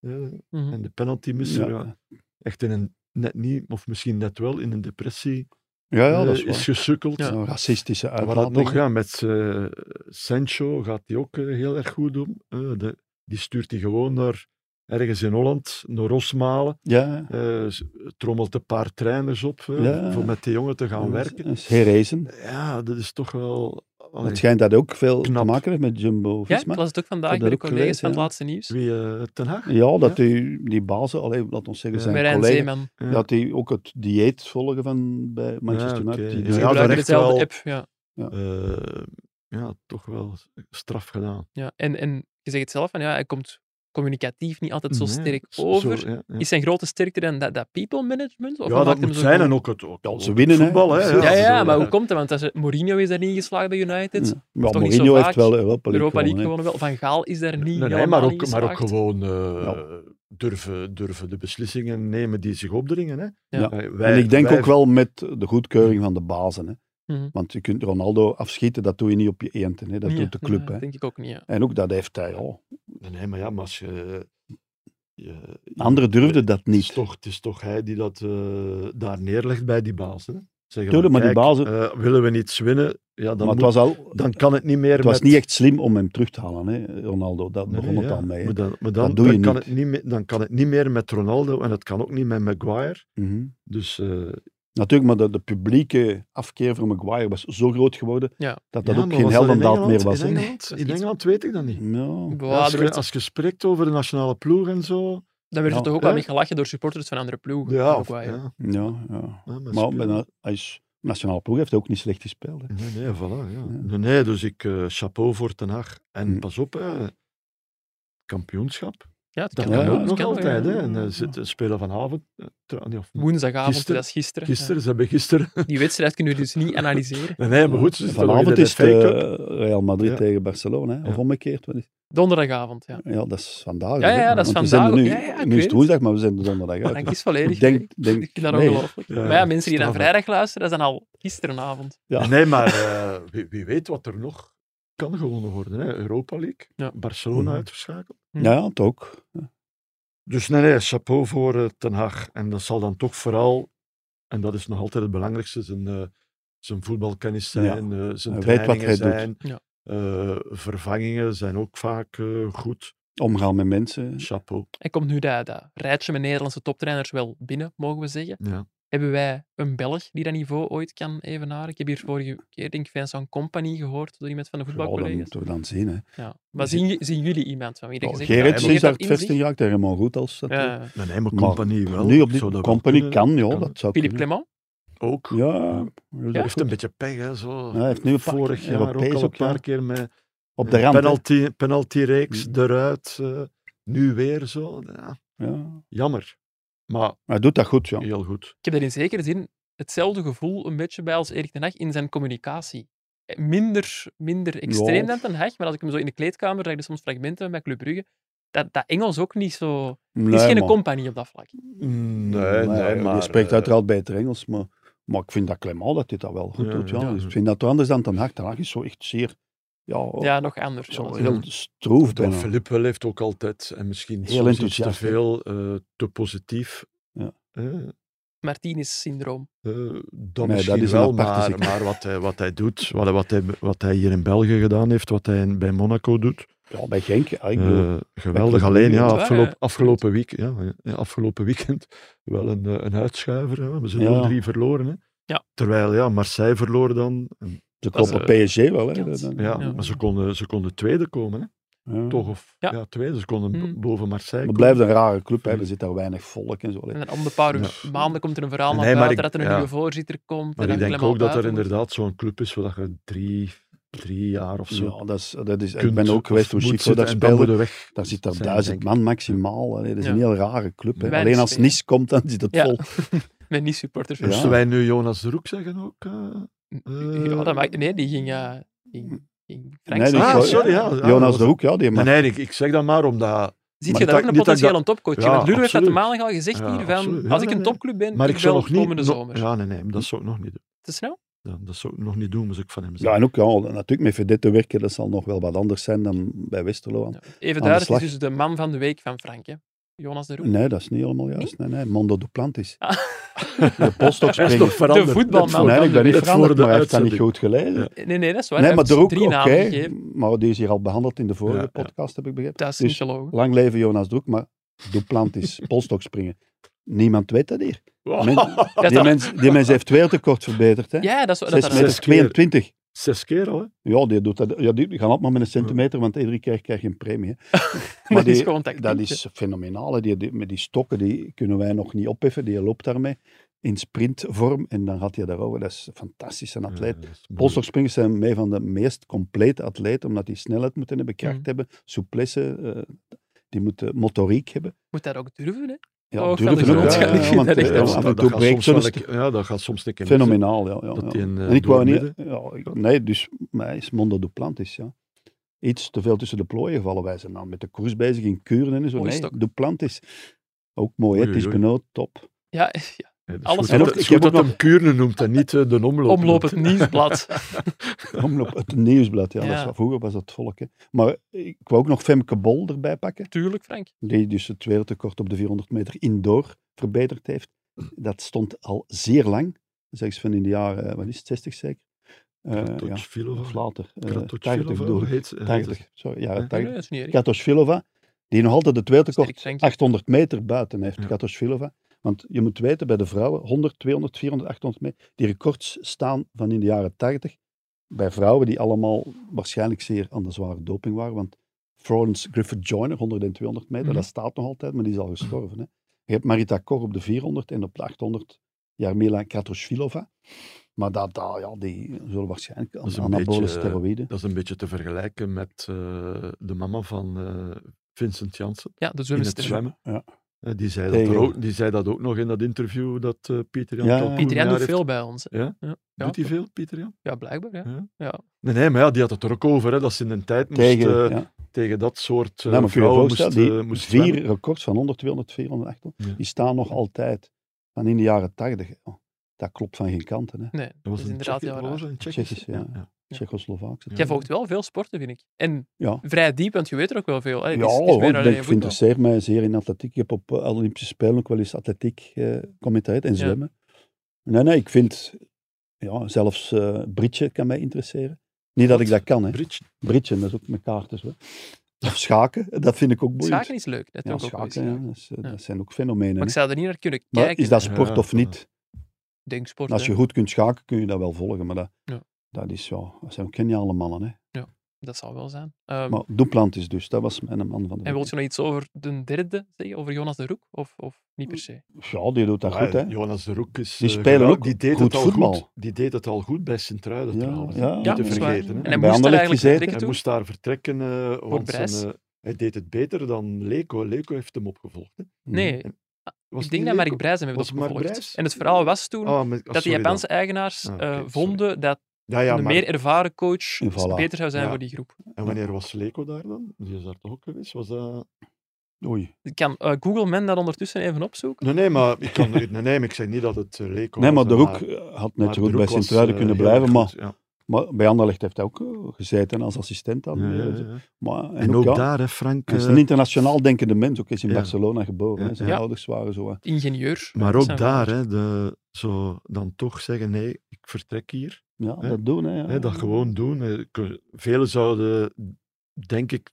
Speaker 1: Hm.
Speaker 5: en de penalty missen.
Speaker 2: Ja,
Speaker 5: Ja echt in een, net niet, of misschien net wel, in een depressie
Speaker 2: ja, ja,
Speaker 5: eh,
Speaker 2: dat
Speaker 5: is,
Speaker 2: is waar.
Speaker 5: gesukkeld.
Speaker 1: Ja.
Speaker 2: Zo'n racistische
Speaker 5: Maar dat nog,
Speaker 2: uitlatingen.
Speaker 5: ja, met eh, Sancho gaat hij ook eh, heel erg goed doen. Eh, de- die stuurt hij gewoon naar ergens in Holland, naar Rosmalen.
Speaker 2: Ja,
Speaker 5: Eh, s- trommelt een paar trainers op eh,
Speaker 2: Ja.
Speaker 5: voor met die jongen te gaan
Speaker 2: ja.
Speaker 5: werken.
Speaker 2: Dat is Herezen.
Speaker 5: Ja, dat is toch wel... allee,
Speaker 2: Het schijnt dat ook veel
Speaker 5: Knap.
Speaker 2: te maken heeft met Jumbo
Speaker 1: Ja, ik
Speaker 2: Visma.
Speaker 1: las het ook vandaag
Speaker 2: Ik
Speaker 1: bij
Speaker 2: heb
Speaker 1: de
Speaker 2: dat
Speaker 1: collega's
Speaker 2: ook gelezen,
Speaker 1: van het
Speaker 2: ja.
Speaker 1: laatste nieuws.
Speaker 5: wie, eh, Ten Hag?
Speaker 2: Ja, dat die, die bazen, alleen laat ons zeggen,
Speaker 5: Ja.
Speaker 2: zijn
Speaker 1: Bij Rijn
Speaker 2: collega,
Speaker 1: Zeeman.
Speaker 5: Ja.
Speaker 2: dat die ook het dieet volgen van bij Manchester
Speaker 5: Ja, oké.
Speaker 2: United.
Speaker 5: Ja,
Speaker 2: Die
Speaker 1: Ze
Speaker 5: dat
Speaker 1: gebruiken
Speaker 5: echt
Speaker 1: dezelfde
Speaker 5: wel.
Speaker 1: app. Ja.
Speaker 5: Eh, ja, toch wel straf gedaan.
Speaker 1: Ja. En, en je zegt het zelf, van, ja, hij komt communicatief niet altijd zo
Speaker 5: Nee,
Speaker 1: sterk
Speaker 5: zo-
Speaker 1: over.
Speaker 5: ja, ja.
Speaker 1: Is zijn grote sterkte dan dat, dat people management? Of
Speaker 5: ja,
Speaker 1: wat
Speaker 5: dat
Speaker 1: maakt hem
Speaker 5: moet
Speaker 1: zo
Speaker 5: zijn
Speaker 1: goed?
Speaker 5: en ook het, ook,
Speaker 2: Ja,
Speaker 5: ook
Speaker 2: ze
Speaker 5: het
Speaker 2: winnen, hè.
Speaker 5: voetbal. Hè,
Speaker 2: Ja,
Speaker 1: Ja, ja,
Speaker 5: zo, Mm.
Speaker 1: maar
Speaker 5: eh,
Speaker 1: hoe komt dat? Want dat is, Mourinho is daar niet geslaagd bij United.
Speaker 2: Ja, maar
Speaker 1: toch niet
Speaker 2: Mourinho
Speaker 1: zo
Speaker 2: heeft
Speaker 1: vaak.
Speaker 2: wel Europa League
Speaker 1: Europa League
Speaker 2: gewonnen, hè.
Speaker 1: gewonnen wel. Van Gaal is daar niet
Speaker 5: Nee, nee,
Speaker 1: helemaal
Speaker 5: maar,
Speaker 1: in
Speaker 5: ook, maar ook
Speaker 1: geslaagd.
Speaker 5: gewoon eh, durven, durven de beslissingen nemen die zich opdringen. Hè.
Speaker 1: Ja.
Speaker 5: Eh, wij-
Speaker 2: en ik denk
Speaker 5: wij-
Speaker 2: ook wel met de goedkeuring van de bazen. Hè.
Speaker 1: Mhm.
Speaker 2: Want je kunt Ronaldo afschieten, dat doe je niet op je eenten. Hè. Dat
Speaker 1: Ja,
Speaker 2: doet de club.
Speaker 1: ja,
Speaker 2: hè.
Speaker 1: Dat denk ik ook niet, ja.
Speaker 2: En ook dat heeft hij al.
Speaker 5: Nee, nee, maar ja, maar als je... je-
Speaker 2: Anderen durfden dat
Speaker 5: Het is,
Speaker 2: niet.
Speaker 5: toch, het is toch hij die dat eh, daar neerlegt bij die baas. Hè. Zeggen
Speaker 2: Tuurlijk,
Speaker 5: van,
Speaker 2: maar die
Speaker 5: kijk,
Speaker 2: bazen-
Speaker 5: eh, willen we niets winnen, ja, dan,
Speaker 2: maar het
Speaker 5: moet-
Speaker 2: was, al,
Speaker 5: dan kan het niet meer
Speaker 2: het was
Speaker 5: met-
Speaker 2: niet echt slim om hem terug te halen, hè, Ronaldo. Dat
Speaker 5: Nee,
Speaker 2: begon het
Speaker 5: ja,
Speaker 2: al mee. hè.
Speaker 5: Maar dan, maar dan,
Speaker 2: Dat doe je
Speaker 5: dan kan
Speaker 2: niet.
Speaker 5: Het niet meer, dan kan het niet meer met Ronaldo en het kan ook niet met Maguire.
Speaker 2: Mhm.
Speaker 5: Dus eh,
Speaker 2: Natuurlijk, maar de, de publieke afkeer voor Maguire was zo groot geworden
Speaker 1: Ja.
Speaker 2: dat dat
Speaker 5: ja,
Speaker 2: ook
Speaker 5: maar
Speaker 2: geen
Speaker 5: was dat in
Speaker 2: heldendaad
Speaker 5: Engeland?
Speaker 2: meer was.
Speaker 5: In
Speaker 2: hè.
Speaker 1: Nee,
Speaker 5: Engeland,
Speaker 1: dat is
Speaker 5: in
Speaker 1: iets-
Speaker 5: Engeland weet ik dat niet.
Speaker 2: Ja.
Speaker 1: Boah,
Speaker 5: Ja, als,
Speaker 1: daar
Speaker 5: je,
Speaker 1: werd,
Speaker 5: als je spreekt over de nationale ploeg en zo.
Speaker 1: daar werd er
Speaker 2: Ja,
Speaker 1: toch ook wel
Speaker 5: hè?
Speaker 1: mee gelachen door supporters van andere ploegen.
Speaker 5: Ja, of-
Speaker 1: Ook wel, ja.
Speaker 5: ja,
Speaker 2: Ja, ja.
Speaker 5: ja, maar
Speaker 2: Maar
Speaker 5: speel-
Speaker 2: bij de- hij is nationale ploeg heeft hij ook niet slecht gespeeld. Hè.
Speaker 5: Nee, nee, voilà. Ja. Mm. Nee, nee, dus ik eh, chapeau voor Ten Hag. En
Speaker 2: Hm.
Speaker 5: pas op, hè, kampioenschap.
Speaker 1: Ja, het
Speaker 5: Dat
Speaker 1: kan
Speaker 5: kan
Speaker 2: ja,
Speaker 1: wel,
Speaker 5: ook
Speaker 1: het
Speaker 5: nog
Speaker 1: kan wel,
Speaker 5: altijd.
Speaker 1: ja.
Speaker 5: Hè. En eh, ze ze spelen vanavond. eh, trouw- nee, of
Speaker 1: Woensdagavond,
Speaker 5: Gisteren-
Speaker 1: dat is gisteren. ja.
Speaker 5: gisteren, ze hebben gisteren.
Speaker 1: Die wedstrijd kunnen we dus niet analyseren.
Speaker 5: (laughs) Nee, nee, maar goed, ze zitten nog in
Speaker 2: Vanavond
Speaker 5: de
Speaker 2: is
Speaker 5: FA
Speaker 2: het
Speaker 5: Cup.
Speaker 2: eh, Real Madrid
Speaker 5: Ja.
Speaker 2: tegen Barcelona. Hè. Of
Speaker 5: Ja.
Speaker 2: omgekeerd. Wat is,
Speaker 1: Donderdagavond, ja.
Speaker 2: ja, dat is vandaag.
Speaker 1: Ja,
Speaker 2: hè.
Speaker 1: ja, dat is
Speaker 2: Want we zijn er
Speaker 1: vandaag.
Speaker 2: Nu,
Speaker 1: Ja, ja, ik
Speaker 2: nu
Speaker 1: weet
Speaker 2: is het
Speaker 1: het.
Speaker 2: woensdag, maar we zijn er donderdag uit.
Speaker 1: Dat is volledig.
Speaker 2: Ik denk, denk,
Speaker 1: ik vind dat
Speaker 2: nee.
Speaker 1: ongelooflijk.
Speaker 5: Ja,
Speaker 1: maar ja, mensen die dan
Speaker 5: straf, hè.
Speaker 1: vrijdag luisteren, dat is dan al gisterenavond.
Speaker 2: Ja.
Speaker 5: Nee, maar eh, wie, wie weet wat er nog kan gewonnen worden. Hè. Europa League,
Speaker 1: Ja.
Speaker 5: Barcelona
Speaker 2: Mhm.
Speaker 5: uitgeschakeld.
Speaker 2: Ja, ja, het ook.
Speaker 5: Dus nee, nee, chapeau voor eh, Ten Hag. En dat zal dan toch vooral, en dat is nog altijd het belangrijkste, zijn, eh, zijn voetbalkennis zijn, eh, zijn
Speaker 2: Hij weet wat
Speaker 5: trainingen
Speaker 2: hij doet.
Speaker 5: zijn.
Speaker 1: Ja.
Speaker 5: eh, vervangingen zijn ook vaak eh, goed.
Speaker 2: Omgaan met mensen.
Speaker 5: Chapeau.
Speaker 1: En komt nu dat, dat rijtje met Nederlandse toptrainers wel binnen, mogen we zeggen.
Speaker 5: Ja.
Speaker 1: Hebben wij een Belg die dat niveau ooit kan evenaren? Ik heb hier vorige keer, denk ik, Vincent Company gehoord door iemand van de
Speaker 2: Ja, Oh, dat
Speaker 1: voetbalcollega's.
Speaker 2: moeten we dan zien. Hè.
Speaker 1: Ja. Maar zien, ju- zien jullie iemand van wie dat
Speaker 2: Ja,
Speaker 1: gezegd
Speaker 2: Oh, Gerrit
Speaker 1: heeft?
Speaker 2: is
Speaker 1: dat
Speaker 2: daar het
Speaker 1: in zich?
Speaker 2: verst in geraakt. Hij helemaal goed als dat.
Speaker 1: Ja, ja.
Speaker 5: Nee, nee, maar
Speaker 2: Maar
Speaker 5: compagnie wel.
Speaker 2: nu op
Speaker 5: Zou
Speaker 2: dit
Speaker 5: dat
Speaker 2: company
Speaker 5: wel
Speaker 2: kan,
Speaker 5: kunnen?
Speaker 2: ja,
Speaker 5: Kan.
Speaker 2: dat zou
Speaker 1: Philippe
Speaker 2: kunnen.
Speaker 1: Clement?
Speaker 5: Ook.
Speaker 2: Ja, ja,
Speaker 5: Hij
Speaker 2: dat is
Speaker 5: heeft een
Speaker 2: goed.
Speaker 5: beetje pech, hè, zo.
Speaker 2: Ja, hij heeft nu een paar
Speaker 5: Vorig
Speaker 2: keer
Speaker 5: jaar ook
Speaker 2: Europees
Speaker 5: al
Speaker 2: ook,
Speaker 5: een paar
Speaker 2: ja.
Speaker 5: keer met
Speaker 2: op de rand. hè.
Speaker 5: penalty, penaltyreeks
Speaker 2: Mhm.
Speaker 5: eruit. eh, nu weer zo. Ja,
Speaker 2: Ja.
Speaker 5: jammer. Maar
Speaker 2: Maar hij doet dat goed, ja.
Speaker 5: heel goed.
Speaker 1: Ik heb daar in zekere zin hetzelfde gevoel een beetje bij als Erik ten Hag in zijn communicatie. Eh, Minder, minder extreem
Speaker 2: Ja.
Speaker 1: dan ten Hag, maar als ik hem zo in de kleedkamer zag, er soms fragmenten bij Club Brugge, dat, dat Engels ook niet zo...
Speaker 2: Nee,
Speaker 1: Het is geen
Speaker 2: maar-
Speaker 1: compagnie op dat vlak.
Speaker 5: Nee, nee, maar...
Speaker 2: Mm, Je spreekt
Speaker 5: eh,
Speaker 2: uiteraard beter Engels, maar, maar ik vind dat Clement dat dit dat wel goed
Speaker 5: Ja,
Speaker 2: doet. Ja.
Speaker 5: ja.
Speaker 2: Dus ik vind dat toch anders dan Ten Hag. Ten Hag is zo echt zeer... Ja,
Speaker 1: Ja, nog anders. ja,
Speaker 2: zo
Speaker 1: dat is-
Speaker 2: heel stroef
Speaker 5: Terwijl
Speaker 2: bijna.
Speaker 5: Philippe heeft ook altijd, en misschien
Speaker 2: Heel
Speaker 5: soms iets te
Speaker 2: enthousiast, hè.
Speaker 5: veel, eh, te positief.
Speaker 2: Ja.
Speaker 5: Eh,
Speaker 1: Martinez-syndroom.
Speaker 5: Eh, dat
Speaker 2: Nee,
Speaker 5: misschien
Speaker 2: dat is een
Speaker 5: wel,
Speaker 2: aparte
Speaker 5: maar,
Speaker 2: ziekte.
Speaker 5: maar wat, hij, wat hij doet, wat, hij- wat, hij, wat hij hier in België gedaan heeft, wat hij in- bij Monaco doet,
Speaker 2: Ja, bij Genk. ja, ik
Speaker 5: eh,
Speaker 2: bedoel,
Speaker 5: geweldig.
Speaker 2: Club
Speaker 5: Alleen
Speaker 2: Brugge,
Speaker 5: ja,
Speaker 1: het waar,
Speaker 5: afgelopen,
Speaker 1: hè?
Speaker 5: afgelopen, week, ja, ja, afgelopen weekend (laughs) wel een, eh, een uitschuiver. Hè. We zijn
Speaker 2: Ja.
Speaker 5: 0-3 verloren. Hè.
Speaker 1: Ja.
Speaker 5: Terwijl ja, Marseille verloor dan. En,
Speaker 2: ze
Speaker 1: dat is,
Speaker 2: kloppen
Speaker 1: eh,
Speaker 2: PSG wel. Hè,
Speaker 1: kans.
Speaker 2: Dat-
Speaker 5: ja,
Speaker 1: Ja.
Speaker 5: Maar ze konden, ze konden tweede komen, hè.
Speaker 2: ja.
Speaker 5: toch? Of,
Speaker 1: Ja.
Speaker 5: ja. tweede. Ze konden bo-
Speaker 1: Mm.
Speaker 5: boven Marseille
Speaker 2: Maar het
Speaker 5: komen.
Speaker 2: blijft een rare club. Hè. Er zit daar weinig volk en zo.
Speaker 1: En dan om de paar
Speaker 5: Ja.
Speaker 1: maanden komt er een verhaal naar
Speaker 5: Nee, maar
Speaker 1: buiten
Speaker 5: ik-
Speaker 1: dat er een
Speaker 5: ja.
Speaker 1: nieuwe voorzitter komt.
Speaker 5: Maar
Speaker 1: en
Speaker 5: ik
Speaker 1: dan
Speaker 5: denk ook
Speaker 1: Clement
Speaker 5: dat er
Speaker 1: buiten moet.
Speaker 5: inderdaad zo'n club is waar je drie, drie jaar of zo.
Speaker 2: Ja, dat is, dat is, ik
Speaker 5: kunt
Speaker 2: ben ook
Speaker 5: of
Speaker 2: geweest hoe
Speaker 5: moet
Speaker 2: Chico
Speaker 5: zitten
Speaker 2: daar
Speaker 5: en dan
Speaker 2: speelde.
Speaker 5: moet je weg.
Speaker 2: Daar zit daar
Speaker 5: zijn, denk
Speaker 2: duizend
Speaker 5: ik.
Speaker 2: man maximaal. Allee, dat is een
Speaker 1: Ja.
Speaker 2: heel rare club. Hè.
Speaker 1: Weinig
Speaker 2: Alleen als
Speaker 1: spelen.
Speaker 2: Nis komt, dan zit het
Speaker 1: Ja.
Speaker 2: vol.
Speaker 1: Met niet-supporters.
Speaker 2: Ja.
Speaker 5: Moesten wij nu Jonas de Roek zeggen ook? eh? Eh,
Speaker 1: Ja, dat maakt... Nee, die ging... eh ging, ging Frank
Speaker 2: Nee, die
Speaker 1: zeggen.
Speaker 5: Ah,
Speaker 2: gooi-
Speaker 5: sorry. Ja, ja,
Speaker 2: Jonas
Speaker 5: dat
Speaker 2: de
Speaker 5: was-
Speaker 2: Hoek, ja, die
Speaker 5: Nee,
Speaker 2: mag
Speaker 5: nee, ik, ik zeg dat maar omdat...
Speaker 1: Ziet
Speaker 5: Maar
Speaker 1: je
Speaker 5: ik
Speaker 1: daar
Speaker 5: dacht-
Speaker 1: ook een
Speaker 5: niet dat ik
Speaker 1: potentieel
Speaker 5: dat-
Speaker 1: aan topcoach?
Speaker 5: Ja,
Speaker 1: Want Lurwe heeft dat de
Speaker 5: absoluut.
Speaker 1: maling al gezegd
Speaker 5: Ja,
Speaker 1: hier. Van,
Speaker 5: absoluut. Ja,
Speaker 1: als ik een
Speaker 5: nee, nee.
Speaker 1: topclub ben,
Speaker 5: Maar ik, zou
Speaker 1: wil
Speaker 5: nog niet...
Speaker 1: komende
Speaker 5: no-
Speaker 1: zomer.
Speaker 5: ja, nee, nee, dat zou ik nog niet doen.
Speaker 1: Te snel?
Speaker 5: Dat, dat zou ik nog niet doen, moest ik van hem
Speaker 2: Ja,
Speaker 5: zeggen.
Speaker 2: en ook ja, natuurlijk met Vedette werken, dat zal nog wel wat anders zijn dan bij Westerlo.
Speaker 1: Ja. Even
Speaker 2: de
Speaker 1: duidelijk,
Speaker 2: slag.
Speaker 1: het is dus de man van de week van Frank. Hè? Jonas de Roep.
Speaker 2: Nee, dat is niet helemaal juist. Nee, nee, Mondo Duplantis.
Speaker 1: Ah.
Speaker 2: (laughs) De postdoc
Speaker 5: Hij is toch
Speaker 2: springt.
Speaker 5: veranderd.
Speaker 1: De voetbalman.
Speaker 5: Dat voor-
Speaker 2: Nee, ik ben niet
Speaker 5: Het
Speaker 2: veranderd,
Speaker 5: voor de
Speaker 2: maar hij heeft dat niet
Speaker 5: uitzending.
Speaker 2: goed gelezen.
Speaker 5: Ja.
Speaker 1: Nee, nee, dat is waar.
Speaker 2: Nee,
Speaker 1: Hij
Speaker 2: maar de
Speaker 1: heeft
Speaker 2: Roek,
Speaker 1: drie
Speaker 2: oké.
Speaker 1: namen gegeven.
Speaker 2: Maar die is hier al behandeld in de vorige
Speaker 5: Ja, ja.
Speaker 2: podcast, heb ik begrepen.
Speaker 1: Dat is
Speaker 2: Dus-
Speaker 1: niet gelogen.
Speaker 2: Lang leven Jonas Droek, maar Duplantis, polstok springen. Niemand weet dat hier. Men-
Speaker 1: Ja,
Speaker 2: die,
Speaker 1: dat-
Speaker 2: mens, die mens heeft wereldtekort verbeterd. Hè?
Speaker 1: Ja, dat is dat-
Speaker 2: 6
Speaker 1: dat-
Speaker 5: met-
Speaker 2: meter
Speaker 5: Zes keer.
Speaker 2: 22.
Speaker 5: (laughs) Zes keer al, hè?
Speaker 2: Ja, die, doet dat, ja, die gaan allemaal met een centimeter, want iedere keer krijg je een premie.
Speaker 1: (laughs)
Speaker 2: hè.
Speaker 1: dat
Speaker 2: die-
Speaker 1: is gewoon dat
Speaker 2: Dat
Speaker 1: kindje.
Speaker 2: is fenomenaal. hè. Die, die- met die stokken die kunnen wij nog niet opheffen. Die loopt daarmee in sprintvorm en dan gaat hij daarover. Dat is fantastisch, een atleet.
Speaker 5: Ja, dat is mooi.
Speaker 2: Polstokspringers zijn mee van de meest complete atleten, omdat die snelheid moeten hebben, kracht
Speaker 1: Mm.
Speaker 2: hebben, souplesse, eh, die moeten motoriek hebben.
Speaker 1: Moet dat ook durven, hè?
Speaker 2: Ja,
Speaker 1: Oh,
Speaker 2: durven
Speaker 1: dat
Speaker 5: is
Speaker 2: ook,
Speaker 5: wel-
Speaker 2: ja,
Speaker 5: dat
Speaker 1: is
Speaker 2: ja, want,
Speaker 1: echt
Speaker 2: eh,
Speaker 1: wel-
Speaker 2: af en
Speaker 5: dat,
Speaker 2: toe
Speaker 5: dat, gaat
Speaker 2: breekt
Speaker 5: soms
Speaker 2: zo'n
Speaker 5: wel een- ja, dat gaat soms een keer mis, hè.
Speaker 2: Fenomenaal, ja. ja,
Speaker 5: Dat
Speaker 2: ja.
Speaker 5: die een, eh,
Speaker 2: en ik wou niet...
Speaker 5: doormidden-
Speaker 2: Ja, ik- nee, dus mij is Mondo Duplantis, ja. Iets te veel tussen de plooien gevallen wij zijn dan. Met de koers bezig in Kuren en zo.
Speaker 1: Mooie
Speaker 2: Nee,
Speaker 1: stok.
Speaker 2: Duplantis. Ook mooi, hè.
Speaker 5: Oei,
Speaker 2: Het is
Speaker 5: oei,
Speaker 2: benoot, top.
Speaker 1: Ja, ja.
Speaker 5: Ja, dat is
Speaker 1: Alles
Speaker 5: goed
Speaker 1: en
Speaker 5: dat-
Speaker 2: ook-
Speaker 5: het is
Speaker 2: ik heb
Speaker 5: goed dat
Speaker 2: ook nog-
Speaker 5: hem Kuurne noemt en niet eh, de omloop.
Speaker 1: Omloop het nieuwsblad.
Speaker 2: Omloop, het nieuwsblad, ja. Dat
Speaker 1: Ja.
Speaker 2: is, wat- vroeger was dat het volk, hè. Maar ik wou ook nog Femke Bol erbij pakken.
Speaker 1: Tuurlijk, Frank.
Speaker 2: Die dus het wereldtekort op de 400 meter indoor verbeterd heeft. Dat stond al zeer lang. Zelfs van in de jaren, eh, wat is het, 60 zeker? Eh, ja. Of
Speaker 5: Kratochvilova.
Speaker 2: later. eh, 80 bedoel ik. 80, sorry, ja,
Speaker 5: Nee,
Speaker 1: Nee, nee,
Speaker 2: 80.
Speaker 1: dat is niet erg.
Speaker 2: Katoshvilova, die nog altijd het
Speaker 1: Sterk,
Speaker 2: wereldtekort
Speaker 1: denk ik.
Speaker 2: 800 meter buiten heeft,
Speaker 5: Ja.
Speaker 2: Katoshvilova. Want je moet weten, bij de vrouwen, 100, 200, 400, 800 meter, die records staan van in de jaren 80. Bij vrouwen die allemaal waarschijnlijk zeer aan de zware doping waren. Want Florence Griffith Joyner, 100 en 200 meter,
Speaker 1: Mhm.
Speaker 2: dat staat nog altijd, maar die is al gestorven. Hè. Je hebt Marita Kor op de 400 en op de 800 Jarmila Kratoshvilova. Maar dat, dat, ja, die zullen waarschijnlijk
Speaker 5: is
Speaker 2: aan
Speaker 5: een
Speaker 2: anabole
Speaker 5: beetje, eh,
Speaker 2: steroïden.
Speaker 5: Dat is een beetje te vergelijken met eh, de mama van eh, Vincent Janssen
Speaker 1: Ja, dus de
Speaker 5: in het
Speaker 1: zwemster.
Speaker 5: zwemmen.
Speaker 2: Ja.
Speaker 5: Eh, die, zei dat
Speaker 2: Tegen-
Speaker 5: er ook, die zei dat ook nog in dat interview dat eh, Pieter Jan
Speaker 2: Ja,
Speaker 5: Kalkoen
Speaker 2: ja.
Speaker 1: Pieter Jan
Speaker 5: daar
Speaker 1: doet
Speaker 5: heeft-
Speaker 1: veel bij ons. hè.
Speaker 5: Ja?
Speaker 1: Ja, ja,
Speaker 5: Doet hij veel, Pieter Jan?
Speaker 1: ja, blijkbaar. Ja.
Speaker 5: Nee, nee, maar ja, die had het er ook over, hè, dat ze in een tijd moest,
Speaker 2: Tegen,
Speaker 5: eh,
Speaker 2: ja.
Speaker 5: tegen dat soort eh,
Speaker 2: Nou, maar kun je je
Speaker 5: vrouwen moest,
Speaker 2: voorstellen, die
Speaker 5: eh, moest
Speaker 2: vier
Speaker 5: zwemmen.
Speaker 2: records van 100, 200, 400, 800,
Speaker 5: Ja.
Speaker 2: die staan nog altijd. Van in de jaren 80, oh, dat klopt van geen kanten. Hè.
Speaker 1: Nee,
Speaker 5: Dat was
Speaker 1: is
Speaker 5: een
Speaker 1: inderdaad
Speaker 5: Tsjechi-
Speaker 1: heel raar.
Speaker 5: wat was dat, een Tsjechische?
Speaker 2: Tsjechisch, ja. Tsjechoslovaakse.
Speaker 5: Ja.
Speaker 1: Jij volgt wel veel sporten, vind ik. En
Speaker 2: Ja.
Speaker 1: vrij diep, want je weet er ook wel veel. hè. Het
Speaker 2: Ja,
Speaker 1: is, het is
Speaker 2: hoor,
Speaker 1: meer
Speaker 2: ik
Speaker 1: alleen
Speaker 2: denk, ik
Speaker 1: voetbal.
Speaker 2: interesseer mij zeer in atletiek. Ik heb op eh, Olympische Spelen ook wel eens atletiek eh commentaar en
Speaker 1: Ja.
Speaker 2: zwemmen. Nee, nee, ik vind, ja, zelfs eh Britje kan mij interesseren. Niet dat ik dat kan, hè.
Speaker 5: Bridge.
Speaker 2: Britje, dat is ook mijn kaartjes. hè. Of schaken, (laughs) dat vind ik ook boeiend.
Speaker 1: Schaken is leuk. Dat
Speaker 2: ja,
Speaker 1: doe ik ook wel eens,
Speaker 2: schaken,
Speaker 1: ja.
Speaker 2: ja, dat, is, eh,
Speaker 1: Ja.
Speaker 2: dat zijn ook fenomenen.
Speaker 1: Maar ik
Speaker 2: hè.
Speaker 1: zou er niet naar kunnen
Speaker 2: Maar
Speaker 1: kijken.
Speaker 2: is dat sport
Speaker 5: Ja,
Speaker 2: of
Speaker 5: ja.
Speaker 2: niet?
Speaker 1: Ik Denk sport.
Speaker 2: Als je
Speaker 1: hè.
Speaker 2: goed kunt schaken, kun je dat wel volgen. Maar dat,
Speaker 1: Ja. Ehm,
Speaker 2: dat is zo. Dat zijn ook geniale mannen. Hè.
Speaker 1: Dat zal wel zijn. Ehm,
Speaker 2: Maar Duplantis dus, dat was mijn man van
Speaker 1: en
Speaker 2: de
Speaker 1: wil
Speaker 2: week.
Speaker 1: je nog iets over de derde zeggen? Over Jonas de Roek? Of, of niet per se?
Speaker 2: Ja, die doet dat
Speaker 5: Ja,
Speaker 2: goed, hè.
Speaker 5: Jonas de Roek is...
Speaker 2: Die
Speaker 5: eh,
Speaker 2: spelen
Speaker 5: geweldig.
Speaker 2: ook
Speaker 5: die deed
Speaker 2: goed
Speaker 5: het al
Speaker 2: voetbal.
Speaker 5: Goed. Die deed het al goed bij Sint-Truiden
Speaker 2: Ja,
Speaker 5: trouwens.
Speaker 2: ja.
Speaker 5: Niet
Speaker 1: Ja,
Speaker 5: te
Speaker 1: dat is waar.
Speaker 5: vergeten.
Speaker 1: En
Speaker 5: Hè.
Speaker 1: hij
Speaker 2: bij
Speaker 1: moest er
Speaker 2: Anderlecht
Speaker 1: eigenlijk
Speaker 2: gezeten?
Speaker 1: vertrekken
Speaker 5: Hij
Speaker 1: toe.
Speaker 5: moest daar vertrekken, eh, want zijn,
Speaker 1: Brijs.
Speaker 5: eh, hij deed het beter dan Leko. Leko heeft hem opgevolgd. hè.
Speaker 1: Nee,
Speaker 5: En- Was
Speaker 1: ik denk
Speaker 5: niet
Speaker 1: dat Mark
Speaker 5: Leko?
Speaker 1: Brijs hem heeft
Speaker 5: Was het Mark
Speaker 1: opgevolgd.
Speaker 5: Brijs?
Speaker 1: En het verhaal was toen
Speaker 5: Ah, maar- ah,
Speaker 1: dat de
Speaker 5: sorry
Speaker 1: Japanse eigenaars
Speaker 5: Ah,
Speaker 1: eh,
Speaker 5: oké, sorry.
Speaker 1: vonden dat
Speaker 5: dan. Ja, ja,
Speaker 1: een
Speaker 5: maar-
Speaker 1: meer ervaren coach
Speaker 2: En voilà.
Speaker 1: beter zou zijn
Speaker 5: Ja.
Speaker 1: voor die groep.
Speaker 5: En wanneer was Leko daar dan? Die is daar toch ook geweest? Was dat...
Speaker 2: Hm. Oei.
Speaker 1: Ik Kan eh, Google men dat ondertussen even opzoeken?
Speaker 5: Nee, nee, maar ik kan er... Nee, nee, maar ik zeg niet dat het eh, Leko
Speaker 2: Nee,
Speaker 5: was.
Speaker 2: maar de
Speaker 5: hè,
Speaker 2: Roek eh, had net
Speaker 5: maar
Speaker 2: zo goed
Speaker 5: de
Speaker 2: bij
Speaker 5: Roek was,
Speaker 2: Sint-Truiden
Speaker 5: eh,
Speaker 2: kunnen
Speaker 5: heel
Speaker 2: blijven.
Speaker 5: erg
Speaker 2: Maar
Speaker 5: goed, ja.
Speaker 2: Maar bij Anderlecht heeft hij ook eh, gezeten als assistent. Dan,
Speaker 5: Ja, ja,
Speaker 2: eh,
Speaker 5: ja.
Speaker 2: Maar, en,
Speaker 5: En
Speaker 2: ook,
Speaker 5: ook
Speaker 2: ja,
Speaker 5: daar, hè, Frank.
Speaker 2: hij is
Speaker 5: eh,
Speaker 2: een internationaal denkende mens. Ook hij is in
Speaker 5: ja.
Speaker 2: Barcelona geboren. hè.
Speaker 5: Ja,
Speaker 2: Zijn
Speaker 1: ja.
Speaker 2: ouders waren zo. eh,
Speaker 1: ingenieur.
Speaker 5: maar
Speaker 1: Dat
Speaker 5: ook
Speaker 1: zijn
Speaker 5: daar, hè, de, zo, dan toch zeggen: nee, ik vertrek hier.
Speaker 2: Ja,
Speaker 5: Hè?
Speaker 2: dat doen. Hè, ja.
Speaker 5: Hè, dat gewoon doen. hè. Kun- Velen zouden, denk ik,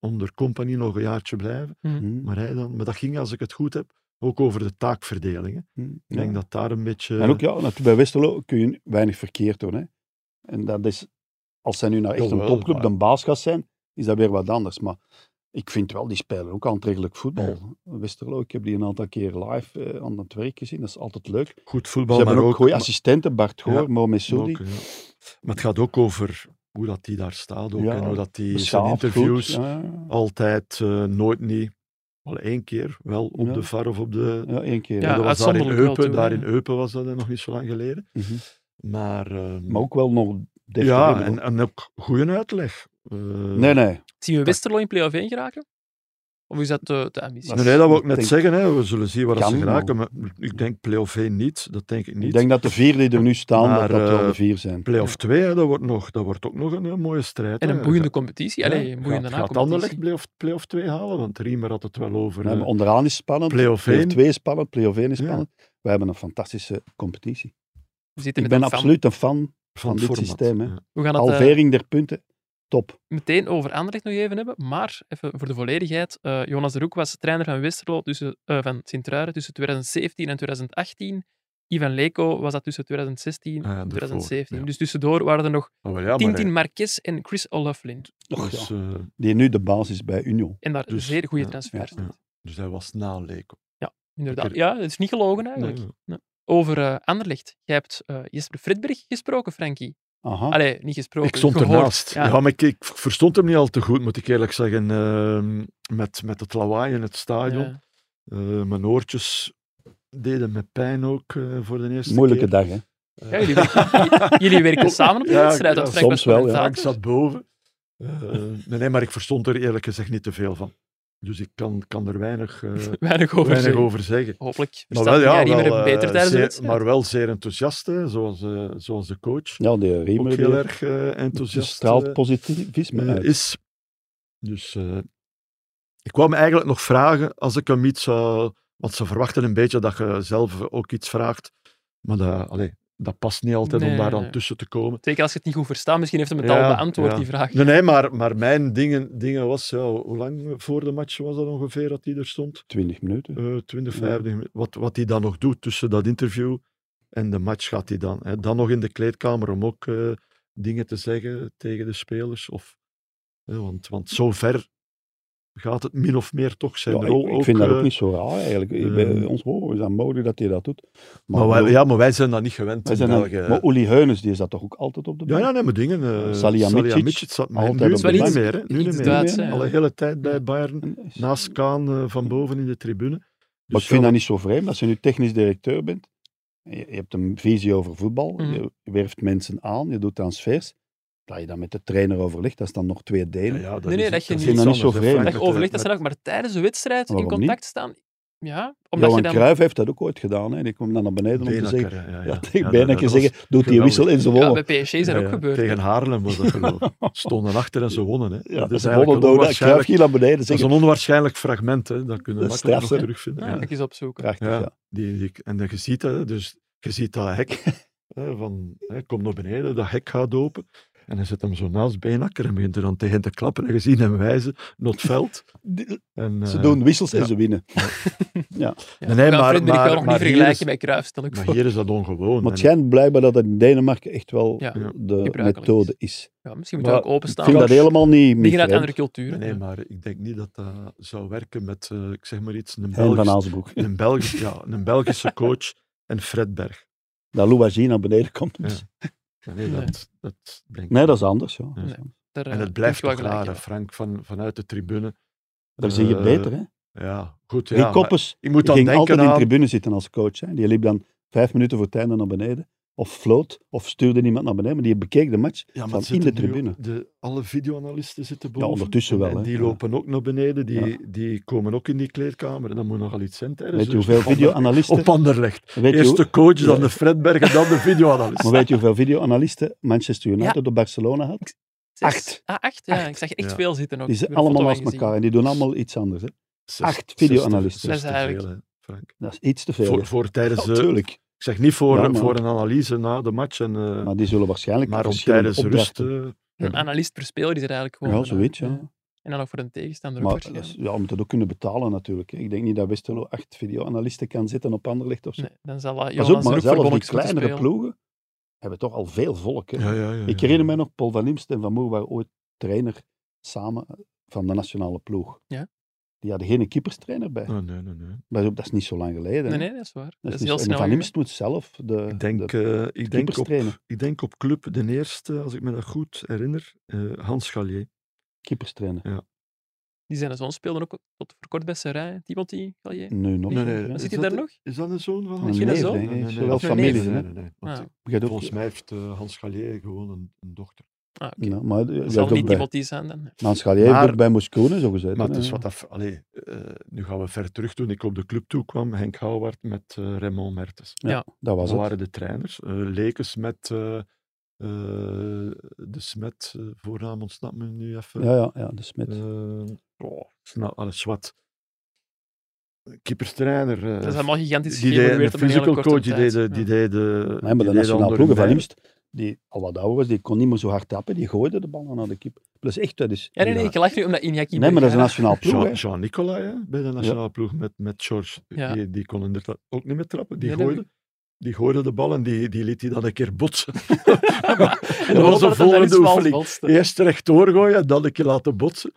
Speaker 5: onder compagnie nog een jaartje blijven.
Speaker 2: Hm,
Speaker 5: Maar, hij dan, maar dat ging, als ik het goed heb, ook over de taakverdeling. hè.
Speaker 2: hm,
Speaker 5: Ik
Speaker 2: ja.
Speaker 5: denk dat daar een beetje.
Speaker 2: En ook ja, natu- bij Westerlo kun je weinig verkeerd doen. Hè. En dat is, als zij nu nou echt een
Speaker 5: Jawel,
Speaker 2: topclub,
Speaker 5: maar-
Speaker 2: dan baas gaat zijn, is dat weer wat anders. Maar ik vind wel, die spelen ook aantrekkelijk voetbal. Westerlo, ik heb die een aantal keer live eh, aan het werk gezien, dat is altijd leuk.
Speaker 5: goed
Speaker 2: Ze
Speaker 5: voetbal.
Speaker 2: hebben
Speaker 5: maar
Speaker 2: ook, goede
Speaker 5: maar-
Speaker 2: assistenten, Bart Goor,
Speaker 5: Ja,
Speaker 2: Mo
Speaker 5: maar
Speaker 2: Messoudi.
Speaker 5: ook, eh, ja. Maar het gaat ook over hoe dat die daar staat. Ook,
Speaker 2: Ja,
Speaker 5: en hoe dat die zijn
Speaker 2: Beschaafd,
Speaker 5: interviews
Speaker 2: goed, ja.
Speaker 5: altijd, eh, nooit niet. Wel één keer, wel op
Speaker 2: Ja.
Speaker 5: de VAR of op de.
Speaker 2: Ja, één keer.
Speaker 1: Ja,
Speaker 5: dat was daar in
Speaker 1: uitzonderlijk wel
Speaker 5: Eupen.
Speaker 1: toe,
Speaker 5: daar
Speaker 1: ja.
Speaker 5: in Eupen was dat eh, nog niet zo lang geleden.
Speaker 2: Mhm.
Speaker 5: Maar, ehm,
Speaker 2: Maar ook wel nog deftig.
Speaker 5: ja,
Speaker 2: hè,
Speaker 5: en,
Speaker 2: bedoel.
Speaker 5: en ook goede uitleg. Eh,
Speaker 2: Nee, nee.
Speaker 1: Zien we Westerlo in play-off 1 geraken? Of is dat te, te ambitieus?
Speaker 5: nee, dat wil ik net
Speaker 2: Denk-
Speaker 5: zeggen. Hè. We zullen zien waar dat
Speaker 2: Kan,
Speaker 5: ze geraken. Maar ik denk play-off 1 niet. Dat denk ik niet.
Speaker 2: Ik denk dat de vier die er nu staan,
Speaker 5: Maar,
Speaker 2: dat dat wel
Speaker 5: eh,
Speaker 2: de vier zijn.
Speaker 5: Play-off 2, hè, dat, wordt nog, dat wordt ook nog een, eh, mooie strijd.
Speaker 1: En
Speaker 5: hè.
Speaker 1: een boeiende competitie. Allee, een boeiende
Speaker 5: gaat, gaat
Speaker 1: na-competitie.
Speaker 5: Anderlecht play-off, play-off 2 halen? Want Riemer had het wel over.
Speaker 2: Nee,
Speaker 5: eh,
Speaker 2: maar onderaan is spannend.
Speaker 5: play-off
Speaker 2: Play-off
Speaker 5: 1.
Speaker 2: 2 is spannend, play-off 1 is
Speaker 5: Ja.
Speaker 2: spannend. Wij hebben een fantastische competitie.
Speaker 1: We zitten
Speaker 2: Ik
Speaker 1: met
Speaker 2: ben
Speaker 1: een fan.
Speaker 2: absoluut een fan.
Speaker 5: van,
Speaker 2: dit
Speaker 5: format.
Speaker 2: systeem, hè.
Speaker 5: Ja.
Speaker 1: We gaan het eh,
Speaker 2: Halvering der punten, top.
Speaker 1: meteen over Anderlecht nog even hebben. Maar even voor de volledigheid. eh, Jonas de Roek was trainer van Westerlo tussen, eh, van Sint-Truiden tussen 2017 en 2018. Ivan Leko was dat tussen 2016 en
Speaker 5: Ah, daarvoor,
Speaker 1: 2017.
Speaker 5: ja.
Speaker 1: Dus tussendoor waren er nog
Speaker 5: Ah, wel ja, maar
Speaker 1: Tintin
Speaker 5: hij-
Speaker 1: Marquez en Chris O'Loughlin.
Speaker 2: Och,
Speaker 5: dus,
Speaker 2: ja.
Speaker 5: eh,
Speaker 2: Die nu de baas is bij Union.
Speaker 1: En daar
Speaker 5: Dus,
Speaker 1: zeer goede
Speaker 5: ja,
Speaker 1: transfers.
Speaker 5: ja. dus hij was na Leko.
Speaker 1: Inderdaad.
Speaker 5: Ik-
Speaker 1: Ja, het is niet gelogen eigenlijk.
Speaker 5: Nee,
Speaker 1: Over eh, Anderlecht. Jij hebt eh, Jesper Fredberg gesproken, Frankie.
Speaker 2: Aha.
Speaker 1: Allee, niet gesproken.
Speaker 5: Ah. ik stond
Speaker 1: gehoord.
Speaker 5: ernaast.
Speaker 1: Ja.
Speaker 5: Ja. maar ik, ik verstond hem niet al te goed, moet ik eerlijk zeggen. ehm, met, met het lawaai in het stadion.
Speaker 1: Ja.
Speaker 5: Eh, mijn oortjes deden me pijn ook eh, voor de eerste
Speaker 2: Moeilijke
Speaker 5: keer.
Speaker 2: dag, hè.
Speaker 5: Eh,
Speaker 1: Ja, jullie werken, (laughs) jullie werken samen op de
Speaker 5: Oh. Ja,
Speaker 1: wedstrijd.
Speaker 5: ja,
Speaker 1: dat Frank was
Speaker 2: soms wel, ja.
Speaker 5: Frank
Speaker 1: commentator.
Speaker 5: zat boven. Eh, nee, nee, maar ik verstond er eerlijk gezegd niet te veel van. Dus ik kan, kan er (laughs) weinig, eh,
Speaker 1: Weinig (laughs) over.
Speaker 5: weinig
Speaker 1: zeggen.
Speaker 5: over zeggen.
Speaker 1: Hopelijk
Speaker 5: Maar
Speaker 1: verstaat
Speaker 5: wel, ja,
Speaker 1: niet
Speaker 5: wel,
Speaker 1: meer
Speaker 5: eh,
Speaker 1: beter tijdens de
Speaker 5: zeer-
Speaker 1: wedstrijd.
Speaker 5: Maar wel zeer enthousiast, hè, zoals, eh, zoals de coach.
Speaker 2: Ja, die Riemer
Speaker 5: ook
Speaker 2: die
Speaker 5: heel erg eh, enthousiast
Speaker 2: straalt
Speaker 5: eh,
Speaker 2: positivisme
Speaker 5: eh,
Speaker 2: uit.
Speaker 5: is. Dus eh, ik wou me eigenlijk nog vragen, als ik hem iets zou... Want ze verwachten een beetje dat je zelf ook iets vraagt. Maar dat, allee, dat past niet altijd
Speaker 1: Nee,
Speaker 5: om daar
Speaker 1: nee.
Speaker 5: dan tussen te komen.
Speaker 1: Zeker als je het niet goed verstaat. Misschien heeft hem het al
Speaker 5: Ja,
Speaker 1: beantwoord,
Speaker 5: ja.
Speaker 1: die vraag.
Speaker 5: Nee, nee maar, maar mijn dingen, dingen was... Ja, hoe lang voor de match was dat ongeveer dat hij er stond?
Speaker 2: 20 minuten.
Speaker 5: eh 20,
Speaker 2: Ja.
Speaker 5: 25 minuten. Wat, wat hij dan nog doet tussen dat interview en de match gaat hij dan. Hè. Dan nog in de kleedkamer om ook eh, dingen te zeggen tegen de spelers. Of, hè, want, want zover gaat het min of meer toch zijn
Speaker 2: Ja,
Speaker 5: rol
Speaker 2: ik, ik
Speaker 5: ook.
Speaker 2: vind dat
Speaker 5: eh,
Speaker 2: ook niet zo raar, eigenlijk.
Speaker 5: eh,
Speaker 2: bij ons horen is dat mogelijk dat hij dat doet.
Speaker 5: maar wij, ja, maar wij zijn dat niet gewend
Speaker 2: wij
Speaker 5: in
Speaker 2: zijn dan-
Speaker 5: België. eh.
Speaker 2: maar Uli Heunens, die is dat toch ook altijd op de
Speaker 5: ja,
Speaker 2: bank?
Speaker 5: ja, nee, maar dingen. eh
Speaker 2: Salihamidzic,
Speaker 5: Salihamidzic zat maar
Speaker 2: altijd
Speaker 5: nu,
Speaker 2: op de
Speaker 5: niet
Speaker 1: bank.
Speaker 5: meer. Hè, nu
Speaker 1: Iets
Speaker 5: niet meer.
Speaker 1: Duits,
Speaker 2: hè.
Speaker 1: ja.
Speaker 5: Al een hele tijd bij Bayern.
Speaker 2: En- Maar
Speaker 5: Naast Kaan eh, van boven in de tribune.
Speaker 2: ik
Speaker 5: Dus
Speaker 2: vind
Speaker 5: ja,
Speaker 2: dat niet zo vreemd. Als je nu technisch directeur bent, je, je hebt een visie over voetbal,
Speaker 1: Mhm.
Speaker 2: je werft mensen aan, je doet transfers, dat je dan met de trainer overlegt, dat is dan nog twee
Speaker 5: ja,
Speaker 2: delen.
Speaker 5: ja, dat
Speaker 1: Nee, nee,
Speaker 5: is-
Speaker 1: dat je
Speaker 5: is
Speaker 1: niet-
Speaker 2: Dat
Speaker 5: iets
Speaker 2: is
Speaker 5: anders,
Speaker 2: zo
Speaker 5: hè, Frank,
Speaker 2: vreemd.
Speaker 1: Dat je overlegt dat
Speaker 5: met-
Speaker 1: ze dan ook maar tijdens de wedstrijd in
Speaker 2: Waarom
Speaker 1: contact staan. Ja, omdat
Speaker 2: Johan
Speaker 1: je dan...
Speaker 2: Cruijff heeft dat ook ooit gedaan. Hè. Die kwam dan naar beneden om te zeggen...
Speaker 5: Benakker, ja, ja,
Speaker 2: (laughs) Ja,
Speaker 5: ja.
Speaker 2: tegen
Speaker 5: Ja,
Speaker 2: Benakker
Speaker 5: dat- dat
Speaker 2: zeggen,
Speaker 5: was
Speaker 2: doet die
Speaker 5: geweldig.
Speaker 2: wissel in zijn
Speaker 1: Ja,
Speaker 2: wollen.
Speaker 1: bij PSG is dat
Speaker 5: Ja,
Speaker 1: ook
Speaker 5: ja.
Speaker 1: gebeurd.
Speaker 5: Tegen Haarlem was dat
Speaker 2: (laughs)
Speaker 5: geloof ik. Stonden achter en ze wonnen. Hè.
Speaker 2: Ja,
Speaker 5: dat
Speaker 2: dat
Speaker 5: is
Speaker 2: is wollen
Speaker 5: eigenlijk een
Speaker 2: door dat Cruijff
Speaker 5: onwaarschijnlijk,
Speaker 2: ging naar beneden.
Speaker 5: dat is
Speaker 2: Zeggen,
Speaker 5: een onwaarschijnlijk fragment. Hè. Dat kunnen we
Speaker 2: Dat is
Speaker 5: makkelijk nog
Speaker 2: straf,
Speaker 5: terugvinden.
Speaker 1: Ja,
Speaker 5: Ja.
Speaker 1: ik eens opzoeken.
Speaker 2: prachtig,
Speaker 5: Ja,
Speaker 2: ja.
Speaker 5: Die, die, en dan je ziet dat, hè, dus je ziet
Speaker 2: (laughs)
Speaker 5: dat hek hè, van, hè, kom naar beneden, dat hek gaat open. En hij zet hem zo naast Benakker en begint er dan tegen te klappen. En je ziet hem wijzen naar het veld.
Speaker 2: Die-
Speaker 5: En,
Speaker 2: Ze
Speaker 5: eh,
Speaker 2: doen wissels en
Speaker 5: ja.
Speaker 2: ze winnen.
Speaker 1: Ja.
Speaker 5: Nee, nee,
Speaker 1: Ja,
Speaker 5: maar-
Speaker 1: Fred, ben ik wel
Speaker 5: maar-
Speaker 1: nog niet
Speaker 5: maar hier
Speaker 1: vergelijken
Speaker 5: is-
Speaker 1: met Cruijff, stel ik
Speaker 5: Maar
Speaker 1: voor.
Speaker 5: hier is dat ongewoon.
Speaker 2: Maar het
Speaker 5: En-
Speaker 2: schijnt blijkbaar dat dat in Denemarken echt wel
Speaker 1: Ja,
Speaker 2: de
Speaker 1: gebruikelijk
Speaker 2: methode is.
Speaker 1: Ja, misschien moeten we ook
Speaker 2: Maar Ik
Speaker 1: openstaan.
Speaker 2: vind dat
Speaker 1: voor-
Speaker 2: helemaal niet
Speaker 1: Dingen uit andere
Speaker 2: vreemd.
Speaker 1: culturen.
Speaker 5: Nee, maar ik denk niet dat dat zou werken met, eh, ik zeg maar iets, een
Speaker 2: En Van
Speaker 5: Belgische,
Speaker 2: Azenbroek.
Speaker 5: een Belgische, ja, een Belgische coach en Fred Berg.
Speaker 2: (laughs) Dat Louagie naar beneden komt.
Speaker 5: Ja. Nee,
Speaker 1: Nee.
Speaker 5: dat, dat denk ik
Speaker 2: Nee, dat is
Speaker 5: niet.
Speaker 2: anders. Ja.
Speaker 5: Ja.
Speaker 1: Daar, eh,
Speaker 5: En het
Speaker 1: geef
Speaker 5: blijft
Speaker 1: je wel
Speaker 5: toch
Speaker 1: gelijk
Speaker 5: raar, hè,
Speaker 1: in.
Speaker 5: Frank, van, vanuit de tribune.
Speaker 2: Daar zie je
Speaker 5: Eh,
Speaker 2: beter. Hè?
Speaker 5: Ja, goed.
Speaker 2: Rick
Speaker 5: Ja, maar
Speaker 2: Koppers
Speaker 5: ik moet dan
Speaker 2: ging altijd
Speaker 5: denken
Speaker 2: in de
Speaker 5: aan...
Speaker 2: tribune zitten als coach. Hè? Die liep dan vijf minuten voor het einde naar beneden. of floot of stuurde iemand naar beneden, maar die bekeek de match
Speaker 5: Ja, maar
Speaker 2: van in de
Speaker 5: zitten nu
Speaker 2: tribune.
Speaker 5: ook De, alle videoanalisten zitten boven.
Speaker 2: ondertussen
Speaker 5: En-
Speaker 2: wel,
Speaker 5: En
Speaker 2: hè.
Speaker 5: die
Speaker 2: Ja.
Speaker 5: lopen ook naar beneden. Die, die komen ook in die kleedkamer. En dan moet nogal iets zijn Dus tijdens
Speaker 2: Weet je
Speaker 5: de-
Speaker 2: hoeveel
Speaker 5: op Ander-
Speaker 2: videoanalisten...
Speaker 5: Op Anderlecht.
Speaker 2: Weet je
Speaker 5: Eerst
Speaker 2: hoe-
Speaker 5: de coach, dan
Speaker 2: Ja.
Speaker 5: de Fredberg en
Speaker 2: (laughs)
Speaker 5: dan de videoanalist.
Speaker 2: Maar weet je hoeveel videoanalisten Manchester United op Barcelona had?
Speaker 1: Zes-
Speaker 2: Acht.
Speaker 1: Ah, acht? Ja,
Speaker 2: Acht.
Speaker 1: ik zag echt
Speaker 5: Ja.
Speaker 1: veel zitten ook.
Speaker 2: Die
Speaker 1: Ik heb
Speaker 2: zijn
Speaker 1: er een
Speaker 2: allemaal
Speaker 1: foto
Speaker 2: naast
Speaker 1: van gezien.
Speaker 2: elkaar en die doen allemaal iets anders. Hè.
Speaker 5: Zes-
Speaker 2: acht videoanalisten.
Speaker 5: zes te- zes
Speaker 1: Dat is
Speaker 5: te
Speaker 1: eigenlijk-
Speaker 5: veel, hè, Frank.
Speaker 2: Dat is iets te veel.
Speaker 5: Voor,
Speaker 2: hè.
Speaker 5: voor tijdens... eh,
Speaker 2: Natuurlijk.
Speaker 5: ik zeg niet voor,
Speaker 2: Ja, maar-
Speaker 5: voor een analyse na de match. En, eh,
Speaker 2: Maar die zullen waarschijnlijk
Speaker 5: maar om
Speaker 2: verschillende
Speaker 5: tijdens de rust...
Speaker 2: opdrachten-
Speaker 5: eh,
Speaker 1: Een analist per speler is er eigenlijk gewoon.
Speaker 2: Ja,
Speaker 1: eh,
Speaker 2: zoiets, ja.
Speaker 1: En dan nog voor een tegenstander ook
Speaker 2: Maar dat is-
Speaker 1: waarschijnlijk.
Speaker 2: ja, om het ook kunnen betalen natuurlijk. hè. Ik denk niet dat Westerlo acht videoanalisten kan zitten op Anderlecht of zo.
Speaker 1: Nee, dan zal eh,
Speaker 2: Pas op,
Speaker 1: Jonas er
Speaker 2: maar
Speaker 1: ook voor
Speaker 2: zelfs die
Speaker 1: Bonniks moeten
Speaker 2: kleinere
Speaker 1: spelen.
Speaker 2: ploegen hebben toch al veel volk. Hè.
Speaker 5: ja, ja, ja,
Speaker 2: Ik
Speaker 5: ja.
Speaker 2: herinner mij nog, Paul van Imst en Van Moer waren ooit trainer samen eh, van de nationale ploeg.
Speaker 1: Ja.
Speaker 2: Die hadden geen keeperstrainer bij.
Speaker 5: Oh, nee, nee, nee.
Speaker 2: Maar dat is niet zo lang geleden. hè.
Speaker 1: Nee, nee, dat is waar. Dat is
Speaker 2: niet
Speaker 1: heel
Speaker 2: zo-
Speaker 1: snel.
Speaker 2: en Van
Speaker 1: gegaan.
Speaker 2: Imst moet zelf de...
Speaker 5: Ik denk,
Speaker 2: de-
Speaker 5: eh, ik, denk op,
Speaker 2: keeperstrainer.
Speaker 5: ik denk op club de eerste, als ik me dat goed herinner, eh, Hans Gallier.
Speaker 2: keeperstrainer.
Speaker 1: Die zijn zoon speelden ook tot voor kort bij Serrain. Timothy, Gallier.
Speaker 2: Nu nog.
Speaker 5: Nee, nee,
Speaker 2: Oh, ja.
Speaker 1: Maar zit hij
Speaker 5: dat
Speaker 1: daar
Speaker 5: het?
Speaker 1: nog?
Speaker 5: Is dat een zoon van
Speaker 2: Een
Speaker 5: Hans
Speaker 1: Misschien
Speaker 2: neef,
Speaker 1: dat zo?
Speaker 2: denk ik.
Speaker 5: Nee, nee,
Speaker 2: Zo wel
Speaker 1: Of een neef.
Speaker 2: familie. hè.
Speaker 5: Nee, nee, nee. Want
Speaker 1: Ah,
Speaker 2: Gaat ook-
Speaker 5: Volgens mij heeft eh, Hans Gallier gewoon een, een dochter.
Speaker 1: ah, oké.
Speaker 2: Ja, maar
Speaker 1: Dat
Speaker 2: dat
Speaker 1: zal niet
Speaker 2: ook bij,
Speaker 1: Timothy zijn dan.
Speaker 2: maar als Schalier heeft
Speaker 5: Maar-
Speaker 2: ook bij Moscone zo gezeten.
Speaker 5: Maar het
Speaker 2: hè.
Speaker 5: is wat dat... Allee, eh, nu gaan we ver terug. Toen ik op de club toe kwam, Henk Houwaard met eh, Raymond Mertens.
Speaker 2: Dat was
Speaker 5: Dat
Speaker 2: het.
Speaker 5: waren de trainers. Eh, Lekens met... eh, eh, de Smet, eh, voornaam ontsnapt me nu even.
Speaker 2: Ja, ja, ja, de Smit.
Speaker 5: Eh, oh, nou, alles wat. Keeperstrainer. eh,
Speaker 1: Dat is allemaal gigantisch
Speaker 5: die deed, de
Speaker 1: geëvolueerd op een hele
Speaker 5: physical
Speaker 1: korte
Speaker 5: coach, die
Speaker 1: tijd.
Speaker 5: deed, de- die
Speaker 1: Ja.
Speaker 5: deed de...
Speaker 2: Nee, maar
Speaker 5: die
Speaker 2: de
Speaker 5: deed
Speaker 2: nationale
Speaker 5: onder
Speaker 2: ploegen van
Speaker 5: mij.
Speaker 2: Imst, die al wat ouder was, die kon niet meer zo hard tappen, die gooide de ballen naar de keeper. Plus echt, dat is...
Speaker 1: Ja, nee, nee, ik lach nu omdat Iñaki...
Speaker 2: Nee, maar dat is een
Speaker 1: Bergara-
Speaker 2: nationaal ploeg,
Speaker 5: Jean,
Speaker 2: hè.
Speaker 5: Jean Nicolai, hè, bij de nationale ploeg met, met George.
Speaker 1: Ja.
Speaker 5: Die, die kon inderdaad ook niet meer trappen. Die
Speaker 1: Nee, dat
Speaker 5: gooide. Die gooide de bal en die, die liet hij dan een keer
Speaker 2: (laughs)
Speaker 5: botsen.
Speaker 1: En
Speaker 5: dat
Speaker 1: dan dat het
Speaker 5: was de
Speaker 1: dan
Speaker 5: volgende
Speaker 1: Ruud Waals
Speaker 5: oefening.
Speaker 1: botste.
Speaker 5: Eerst rechtdoor gooien, dan een keer laten botsen.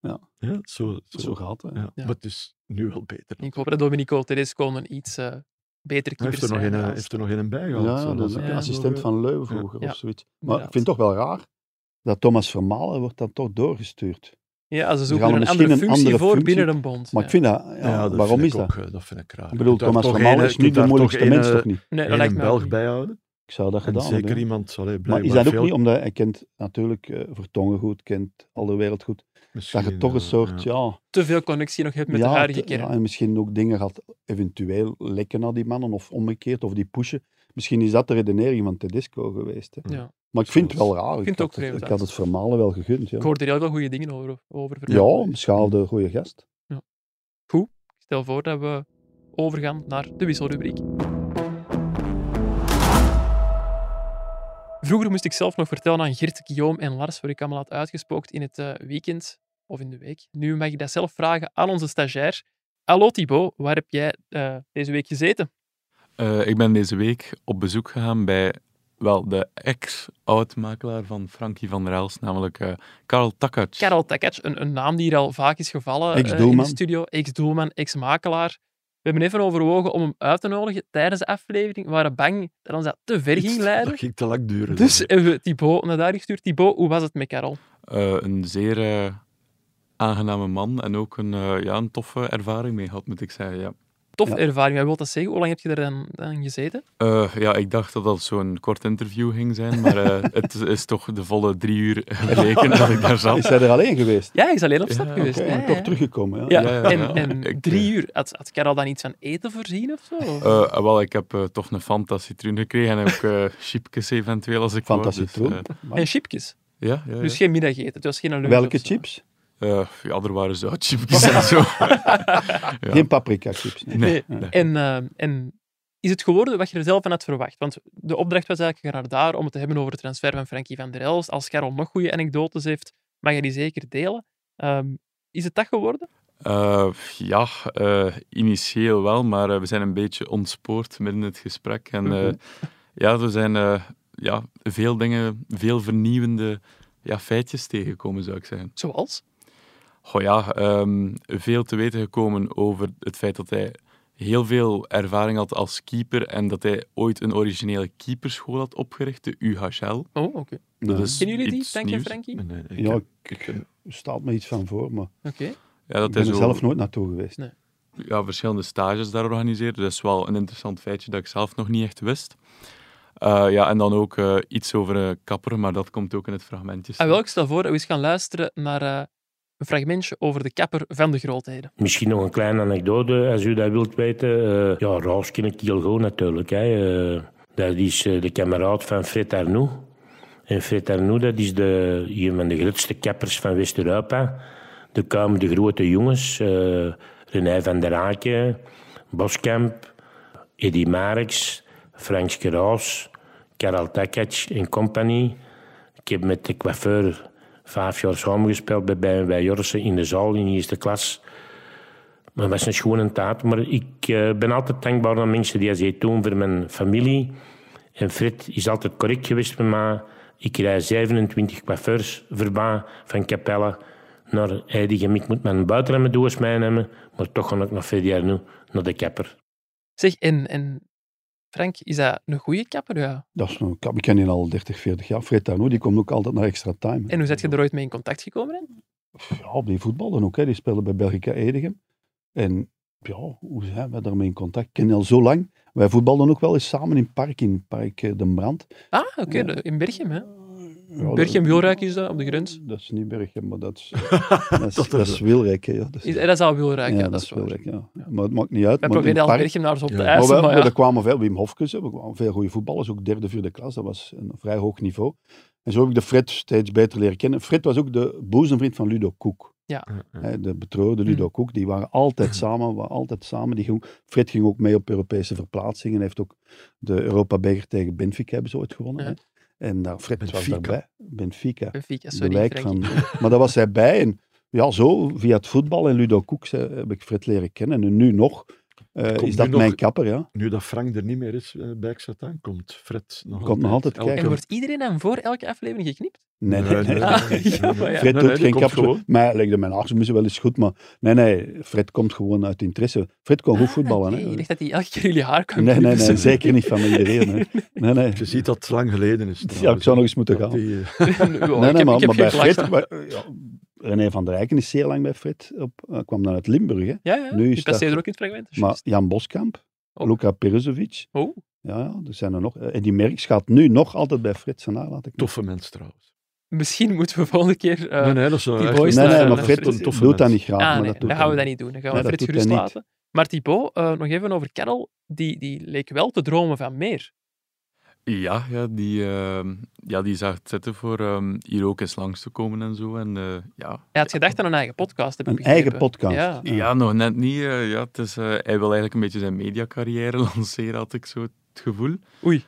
Speaker 2: Ja.
Speaker 5: zo, zo,
Speaker 2: Zo gaat het. hè.
Speaker 5: Ja.
Speaker 1: Ja.
Speaker 5: Maar het is nu wel beter.
Speaker 1: Ik hoop dat Domenico Tedesco een iets eh, beter
Speaker 5: Hij
Speaker 1: keeper
Speaker 5: heeft er nog
Speaker 1: zijn.
Speaker 5: een, eh,
Speaker 1: dan-
Speaker 5: heeft er nog een bij
Speaker 2: Ja,
Speaker 5: gehad. zo,
Speaker 2: dat is ook
Speaker 5: dat
Speaker 1: ja,
Speaker 2: een
Speaker 5: nog,
Speaker 2: assistent
Speaker 5: eh,
Speaker 2: van Leuven vroeger
Speaker 1: Ja.
Speaker 2: of zoiets. Maar ik
Speaker 1: Inderdaad.
Speaker 2: vind het toch wel raar dat Thomas Vermalen wordt dan toch doorgestuurd.
Speaker 1: Ja, ze
Speaker 2: gaan
Speaker 1: zoeken een
Speaker 2: misschien
Speaker 1: andere
Speaker 2: een
Speaker 1: functie
Speaker 2: andere
Speaker 1: voor
Speaker 2: functie.
Speaker 1: binnen een bond.
Speaker 2: Maar
Speaker 1: ja.
Speaker 2: ik vind dat... ja,
Speaker 5: Ja, dat
Speaker 2: waarom
Speaker 5: vind
Speaker 2: is
Speaker 5: ik
Speaker 2: dat?
Speaker 5: Ook, eh, dat vind ik raar.
Speaker 2: Ik bedoel, Thomas Vermalen is niet de moeilijkste mens, toch niet?
Speaker 1: Nee, dat
Speaker 5: En
Speaker 1: lijkt
Speaker 5: een
Speaker 1: me ook
Speaker 5: Belg
Speaker 1: niet.
Speaker 5: bijhouden.
Speaker 2: Ik zou dat
Speaker 5: En
Speaker 2: gedaan hebben.
Speaker 5: zeker
Speaker 2: hè.
Speaker 5: iemand, allee,
Speaker 2: Maar is
Speaker 5: blijkbaar
Speaker 2: dat ook
Speaker 5: veel,
Speaker 2: niet omdat hij kent natuurlijk eh, Vertongen goed, kent Allerwereld goed, dat je
Speaker 5: misschien,
Speaker 2: toch een
Speaker 5: eh,
Speaker 2: soort,
Speaker 5: ja.
Speaker 2: ja
Speaker 1: te veel connectie nog hebt met de
Speaker 2: Ja,
Speaker 1: huidige
Speaker 2: het-
Speaker 1: kern.
Speaker 2: Ja, en misschien ook dingen gaat eventueel lekken naar die mannen of omgekeerd, of die pushen. Misschien is dat de redenering van Tedesco geweest. Hè.
Speaker 1: Ja.
Speaker 2: Maar ik vind het wel raar.
Speaker 1: vind het ook
Speaker 2: had, het,
Speaker 1: vreemd,
Speaker 2: ik had het vermalen wel gegund. Ja,
Speaker 1: Ik hoor er heel veel goede dingen over. over vertellen.
Speaker 2: ja schaalde goede gast.
Speaker 1: Ik stel voor dat we overgaan naar de wisselrubriek. Vroeger moest ik zelf nog vertellen aan Gert, Guillaume en Lars waar ik allemaal had uitgespookt in het eh, weekend of in de week. Nu mag ik dat zelf vragen aan onze stagiair. Hallo Thibaut, waar heb jij eh, deze week gezeten?
Speaker 10: Eh, ik ben deze week op bezoek gegaan bij wel, de ex-oud-makelaar van Frankie van der Els, namelijk eh Karl Takac.
Speaker 1: Karel Takac, een, een naam die hier al vaak is gevallen eh, in de
Speaker 2: Ex-doelman.
Speaker 1: studio. Ex-doelman, ex-makelaar. We hebben even overwogen om hem uit te nodigen tijdens de aflevering. We waren bang dat ons dat te ver
Speaker 5: Iets-
Speaker 1: ging leiden.
Speaker 5: Dat ging te lang duren.
Speaker 1: Dus
Speaker 5: dat-
Speaker 1: hebben we Thibaut naar daar gestuurd. Thibaut, hoe was het met Karel?
Speaker 10: Eh, een zeer eh, aangename man en ook een, eh, ja, een toffe ervaring mee had, moet ik zeggen. Ja.
Speaker 1: Tof
Speaker 2: Ja.
Speaker 1: ervaring. Wat wil dat zeggen? Hoe lang heb je daar dan, dan gezeten?
Speaker 10: Eh, ja, ik dacht dat dat zo'n kort interview ging zijn, maar eh, het is toch de volle drie uur geleken dat ik daar zat.
Speaker 2: (laughs) Is hij er alleen geweest?
Speaker 1: Ja, hij is alleen op stap
Speaker 10: Ja,
Speaker 1: geweest.
Speaker 2: Oké,
Speaker 1: Ja,
Speaker 2: en
Speaker 1: ja.
Speaker 2: toch teruggekomen. Ja.
Speaker 1: Ja,
Speaker 10: Ja, ja, ja.
Speaker 1: en, en
Speaker 10: Ik,
Speaker 1: drie uur. Had, had Karel dan iets van eten voorzien of zo? Of-
Speaker 10: Eh, eh, wel, ik heb eh, toch een fantasietroen gekregen en ook eh chipjes eventueel als ik wou, dus,
Speaker 2: Fantasietroen.
Speaker 10: eh,
Speaker 2: Maar
Speaker 1: en chipjes.
Speaker 10: ja, ja, ja.
Speaker 1: Dus geen middageten. Het was geen lunch.
Speaker 2: Welke
Speaker 1: of zo.
Speaker 2: chips?
Speaker 10: Eh, ja, er waren zoutchipjes en zo. Ja.
Speaker 2: Geen paprika chips. Nee.
Speaker 10: Nee,
Speaker 1: Nee.
Speaker 10: nee.
Speaker 1: En, eh, en is het geworden wat je er zelf van had verwacht? Want de opdracht was eigenlijk, ga naar daar om het te hebben over de transfer van Frankie van der Elst. Als Karel nog goede anekdotes heeft, mag je die zeker delen. Ehm, is het dat geworden?
Speaker 10: Eh, ja, eh, initieel wel, maar eh, we zijn een beetje ontspoord midden in het gesprek. En
Speaker 2: Mhm.
Speaker 10: eh, ja, er zijn eh, ja, veel dingen, veel vernieuwende ja, feitjes tegengekomen, zou ik zeggen.
Speaker 1: Zoals?
Speaker 10: Goh ja, ehm, veel te weten gekomen over het feit dat hij heel veel ervaring had als keeper en dat hij ooit een originele keeperschool had opgericht, de UHL.
Speaker 1: Oh, oké.
Speaker 2: Nou,
Speaker 10: Dat is
Speaker 1: Kennen jullie die,
Speaker 10: iets
Speaker 1: Frank en
Speaker 10: nieuws.
Speaker 1: Frankie?
Speaker 5: Nee, nee, ik
Speaker 2: Ja,
Speaker 5: heb-
Speaker 2: ik,
Speaker 5: ik heb-
Speaker 2: staat me iets van voor, maar
Speaker 1: Oké.
Speaker 10: Ja,
Speaker 2: ik
Speaker 10: dat hij
Speaker 2: ben
Speaker 10: zo
Speaker 2: er zelf nooit naartoe geweest.
Speaker 1: Nee.
Speaker 10: ja, verschillende stages daar organiseerde. Dat is wel een interessant feitje dat ik zelf nog niet echt wist. Eh, ja, en dan ook eh, iets over eh, kapper, maar dat komt ook in het fragmentje.
Speaker 1: En Ah, wel, ik stel voor dat we eens gaan luisteren naar eh, een fragmentje over de kapper van de grootheden.
Speaker 11: Misschien nog een kleine anekdote, als u dat wilt weten. Eh, ja, Raus ken ik heel goed natuurlijk. Hè. Eh, dat is eh, de kameraad van Fred Arnoux. En Fred Arnoux, dat is de, een van de grootste kappers van West-Europa. Daar kwamen de grote jongens. eh René van der Aken, Boskamp, Eddy Mareks, Frank Raus, Karel Takac en compagnie. Ik heb met de coiffeur vijf jaar samengespeeld bij, bij, bij Jorsen in de zaal in de eerste klas. Maar dat was een schone taart. Maar ik eh, ben altijd dankbaar aan mensen die ze toen voor mijn familie. En Fred is altijd correct geweest met mij. Ik rij 27 coiffeurs verbaan van Capelle naar Heidigem. Ik moet mijn buitenremmendoos meenemen, maar toch ga ik nog veel jaar nu naar de kapper.
Speaker 1: Zeg, en, en Frank, is dat een goede kapper? Ja.
Speaker 2: Dat is een, kap- ik ken die al 30, 40 jaar. Fred Arnoux, die komt ook altijd naar extra time. hè.
Speaker 1: En hoe zet je er ooit mee in contact gekomen? Hè?
Speaker 2: Ja, op die voetballen ook. Hè. Die spelen bij Belgica Edegem. En ja, hoe zijn wij daarmee in contact? Ik ken die al zo lang. Wij voetbalden ook wel eens samen in het park, in het park eh, Den Brand.
Speaker 1: Ah, oké, de- in Berchem. Hè?
Speaker 2: Ja,
Speaker 1: Berchem,
Speaker 2: dat-
Speaker 1: Wilrijk is dat, op de grens.
Speaker 2: Dat is niet Berchem, maar
Speaker 1: (laughs)
Speaker 2: dat is, dat is, dat is Wilrijk. hè, Ja. Dat
Speaker 1: Is, eh, dat is al Wilrijk, ja,
Speaker 2: ja,
Speaker 1: dat is waar.
Speaker 2: Wilrijk, ja. Maar het maakt niet uit.
Speaker 1: Wij
Speaker 2: maar in
Speaker 1: proberen
Speaker 2: het
Speaker 1: al
Speaker 2: park-
Speaker 1: Berchem naar ons op te
Speaker 5: Ja.
Speaker 1: eisen,
Speaker 2: maar, wel,
Speaker 1: maar
Speaker 2: maar
Speaker 1: ja.
Speaker 2: er kwamen veel, Wim Hofkes, hè, we kwamen veel goede voetballers, ook derde, vierde klas, dat was een vrij hoog niveau. En zo heb ik de Fred steeds beter leren kennen. Fred was ook de boezemvriend van Ludo Koek.
Speaker 1: Ja. Mm.
Speaker 2: Hè, de betrouwde Ludo Koek, die waren altijd
Speaker 1: (clears throat)
Speaker 2: samen, waren altijd samen. Die ging, Fred ging ook mee op Europese verplaatsingen, heeft ook de Europa Beker tegen Benfica hebben ze ooit gewonnen.
Speaker 1: Ja.
Speaker 2: Hè. En daar, Fred
Speaker 5: Benfica.
Speaker 2: was daarbij, Benfica.
Speaker 1: Benfica,
Speaker 2: De
Speaker 1: sorry,
Speaker 2: wijk
Speaker 1: Frankie. (laughs)
Speaker 2: van- maar daar was hij bij. En ja, zo, via het voetbal en Ludo Koek eh, heb ik Fred leren kennen. En nu nog eh,
Speaker 5: komt
Speaker 2: is
Speaker 5: nu
Speaker 2: dat
Speaker 5: nog-
Speaker 2: mijn kapper, ja.
Speaker 5: Nu dat Frank er niet meer is eh, bij Xatan, komt Fred nog
Speaker 2: Komt nog altijd
Speaker 5: elke-
Speaker 1: En wordt iedereen dan voor elke aflevering geknipt?
Speaker 2: Nee, nee, nee.
Speaker 1: Ah, ja, maar ja.
Speaker 2: Fred
Speaker 5: Nee, nee,
Speaker 2: doet
Speaker 5: die
Speaker 2: geen
Speaker 5: komt
Speaker 2: kapsel.
Speaker 5: gewoon.
Speaker 2: Maar legde mijn arts wel eens goed, maar nee, nee, Fred komt gewoon uit interesse. Fred kon goed voetballen.
Speaker 1: Ah, oké,
Speaker 2: hè.
Speaker 1: Ik dacht dat hij elke keer jullie haar kwam
Speaker 2: Nee, nee,
Speaker 1: (laughs)
Speaker 2: nee,
Speaker 1: knippen.
Speaker 2: zeker niet van
Speaker 1: (laughs)
Speaker 2: iedereen. Hè. Nee, nee.
Speaker 5: Je ziet dat het lang geleden is.
Speaker 2: Ja, ik zou nog eens moeten
Speaker 5: Dat
Speaker 2: gaan.
Speaker 5: die, eh,
Speaker 1: Oh,
Speaker 2: Nee,
Speaker 1: ik heb-
Speaker 2: nee, maar,
Speaker 1: ik heb
Speaker 2: maar bij
Speaker 1: geen klacht.
Speaker 2: Fred... maar, eh, ja, René van der Eycken is zeer lang bij Fred. Op, eh, kwam dan uit Limburg, hè.
Speaker 1: Ja, ja,
Speaker 2: Nu
Speaker 1: nu
Speaker 2: is
Speaker 1: is dat...
Speaker 2: dat-
Speaker 1: er ook in het fragment. dus
Speaker 2: Maar
Speaker 1: juist.
Speaker 2: Jan Boskamp,
Speaker 5: Oh.
Speaker 1: Ook.
Speaker 2: Luka Peruzovic,
Speaker 1: Oh,
Speaker 2: ja, ja, er zijn er nog. Eh, En die Merks gaat nu nog altijd bij Fred zijn haar, laat ik
Speaker 5: toffe mens trouwens.
Speaker 1: misschien moeten we volgende keer... eh,
Speaker 5: nee, nee, dat is een,
Speaker 1: die
Speaker 5: echt
Speaker 1: boys
Speaker 5: een-
Speaker 2: Nee, nee,
Speaker 1: daar- eh,
Speaker 2: maar
Speaker 1: dat
Speaker 2: Fred
Speaker 1: is een
Speaker 5: toffe
Speaker 2: doet dat
Speaker 5: mens.
Speaker 2: niet graag.
Speaker 1: ah,
Speaker 2: maar
Speaker 1: nee,
Speaker 2: dat doet
Speaker 1: gaan we
Speaker 2: hij
Speaker 1: dat
Speaker 2: niet.
Speaker 1: niet doen. Dan gaan we
Speaker 2: Nee, dat
Speaker 1: Fred
Speaker 2: doet
Speaker 1: gerust
Speaker 2: hij niet.
Speaker 1: laten. Maar Thibaut, eh, nog even over Karel, die, die leek wel te dromen van meer.
Speaker 10: Ja, ja, die, ehm, ja, die zag het zitten voor ehm, hier ook eens langs te komen en zo. En, eh, ja.
Speaker 1: Hij had gedacht aan een eigen podcast, heb ik
Speaker 2: Een eigen
Speaker 1: begrepen.
Speaker 2: podcast.
Speaker 1: Ja.
Speaker 10: Ja. nog net niet. eh, ja, het is, eh, hij wil eigenlijk een beetje zijn mediacarrière (laughs) lanceren, had ik zo het gevoel.
Speaker 1: Oei.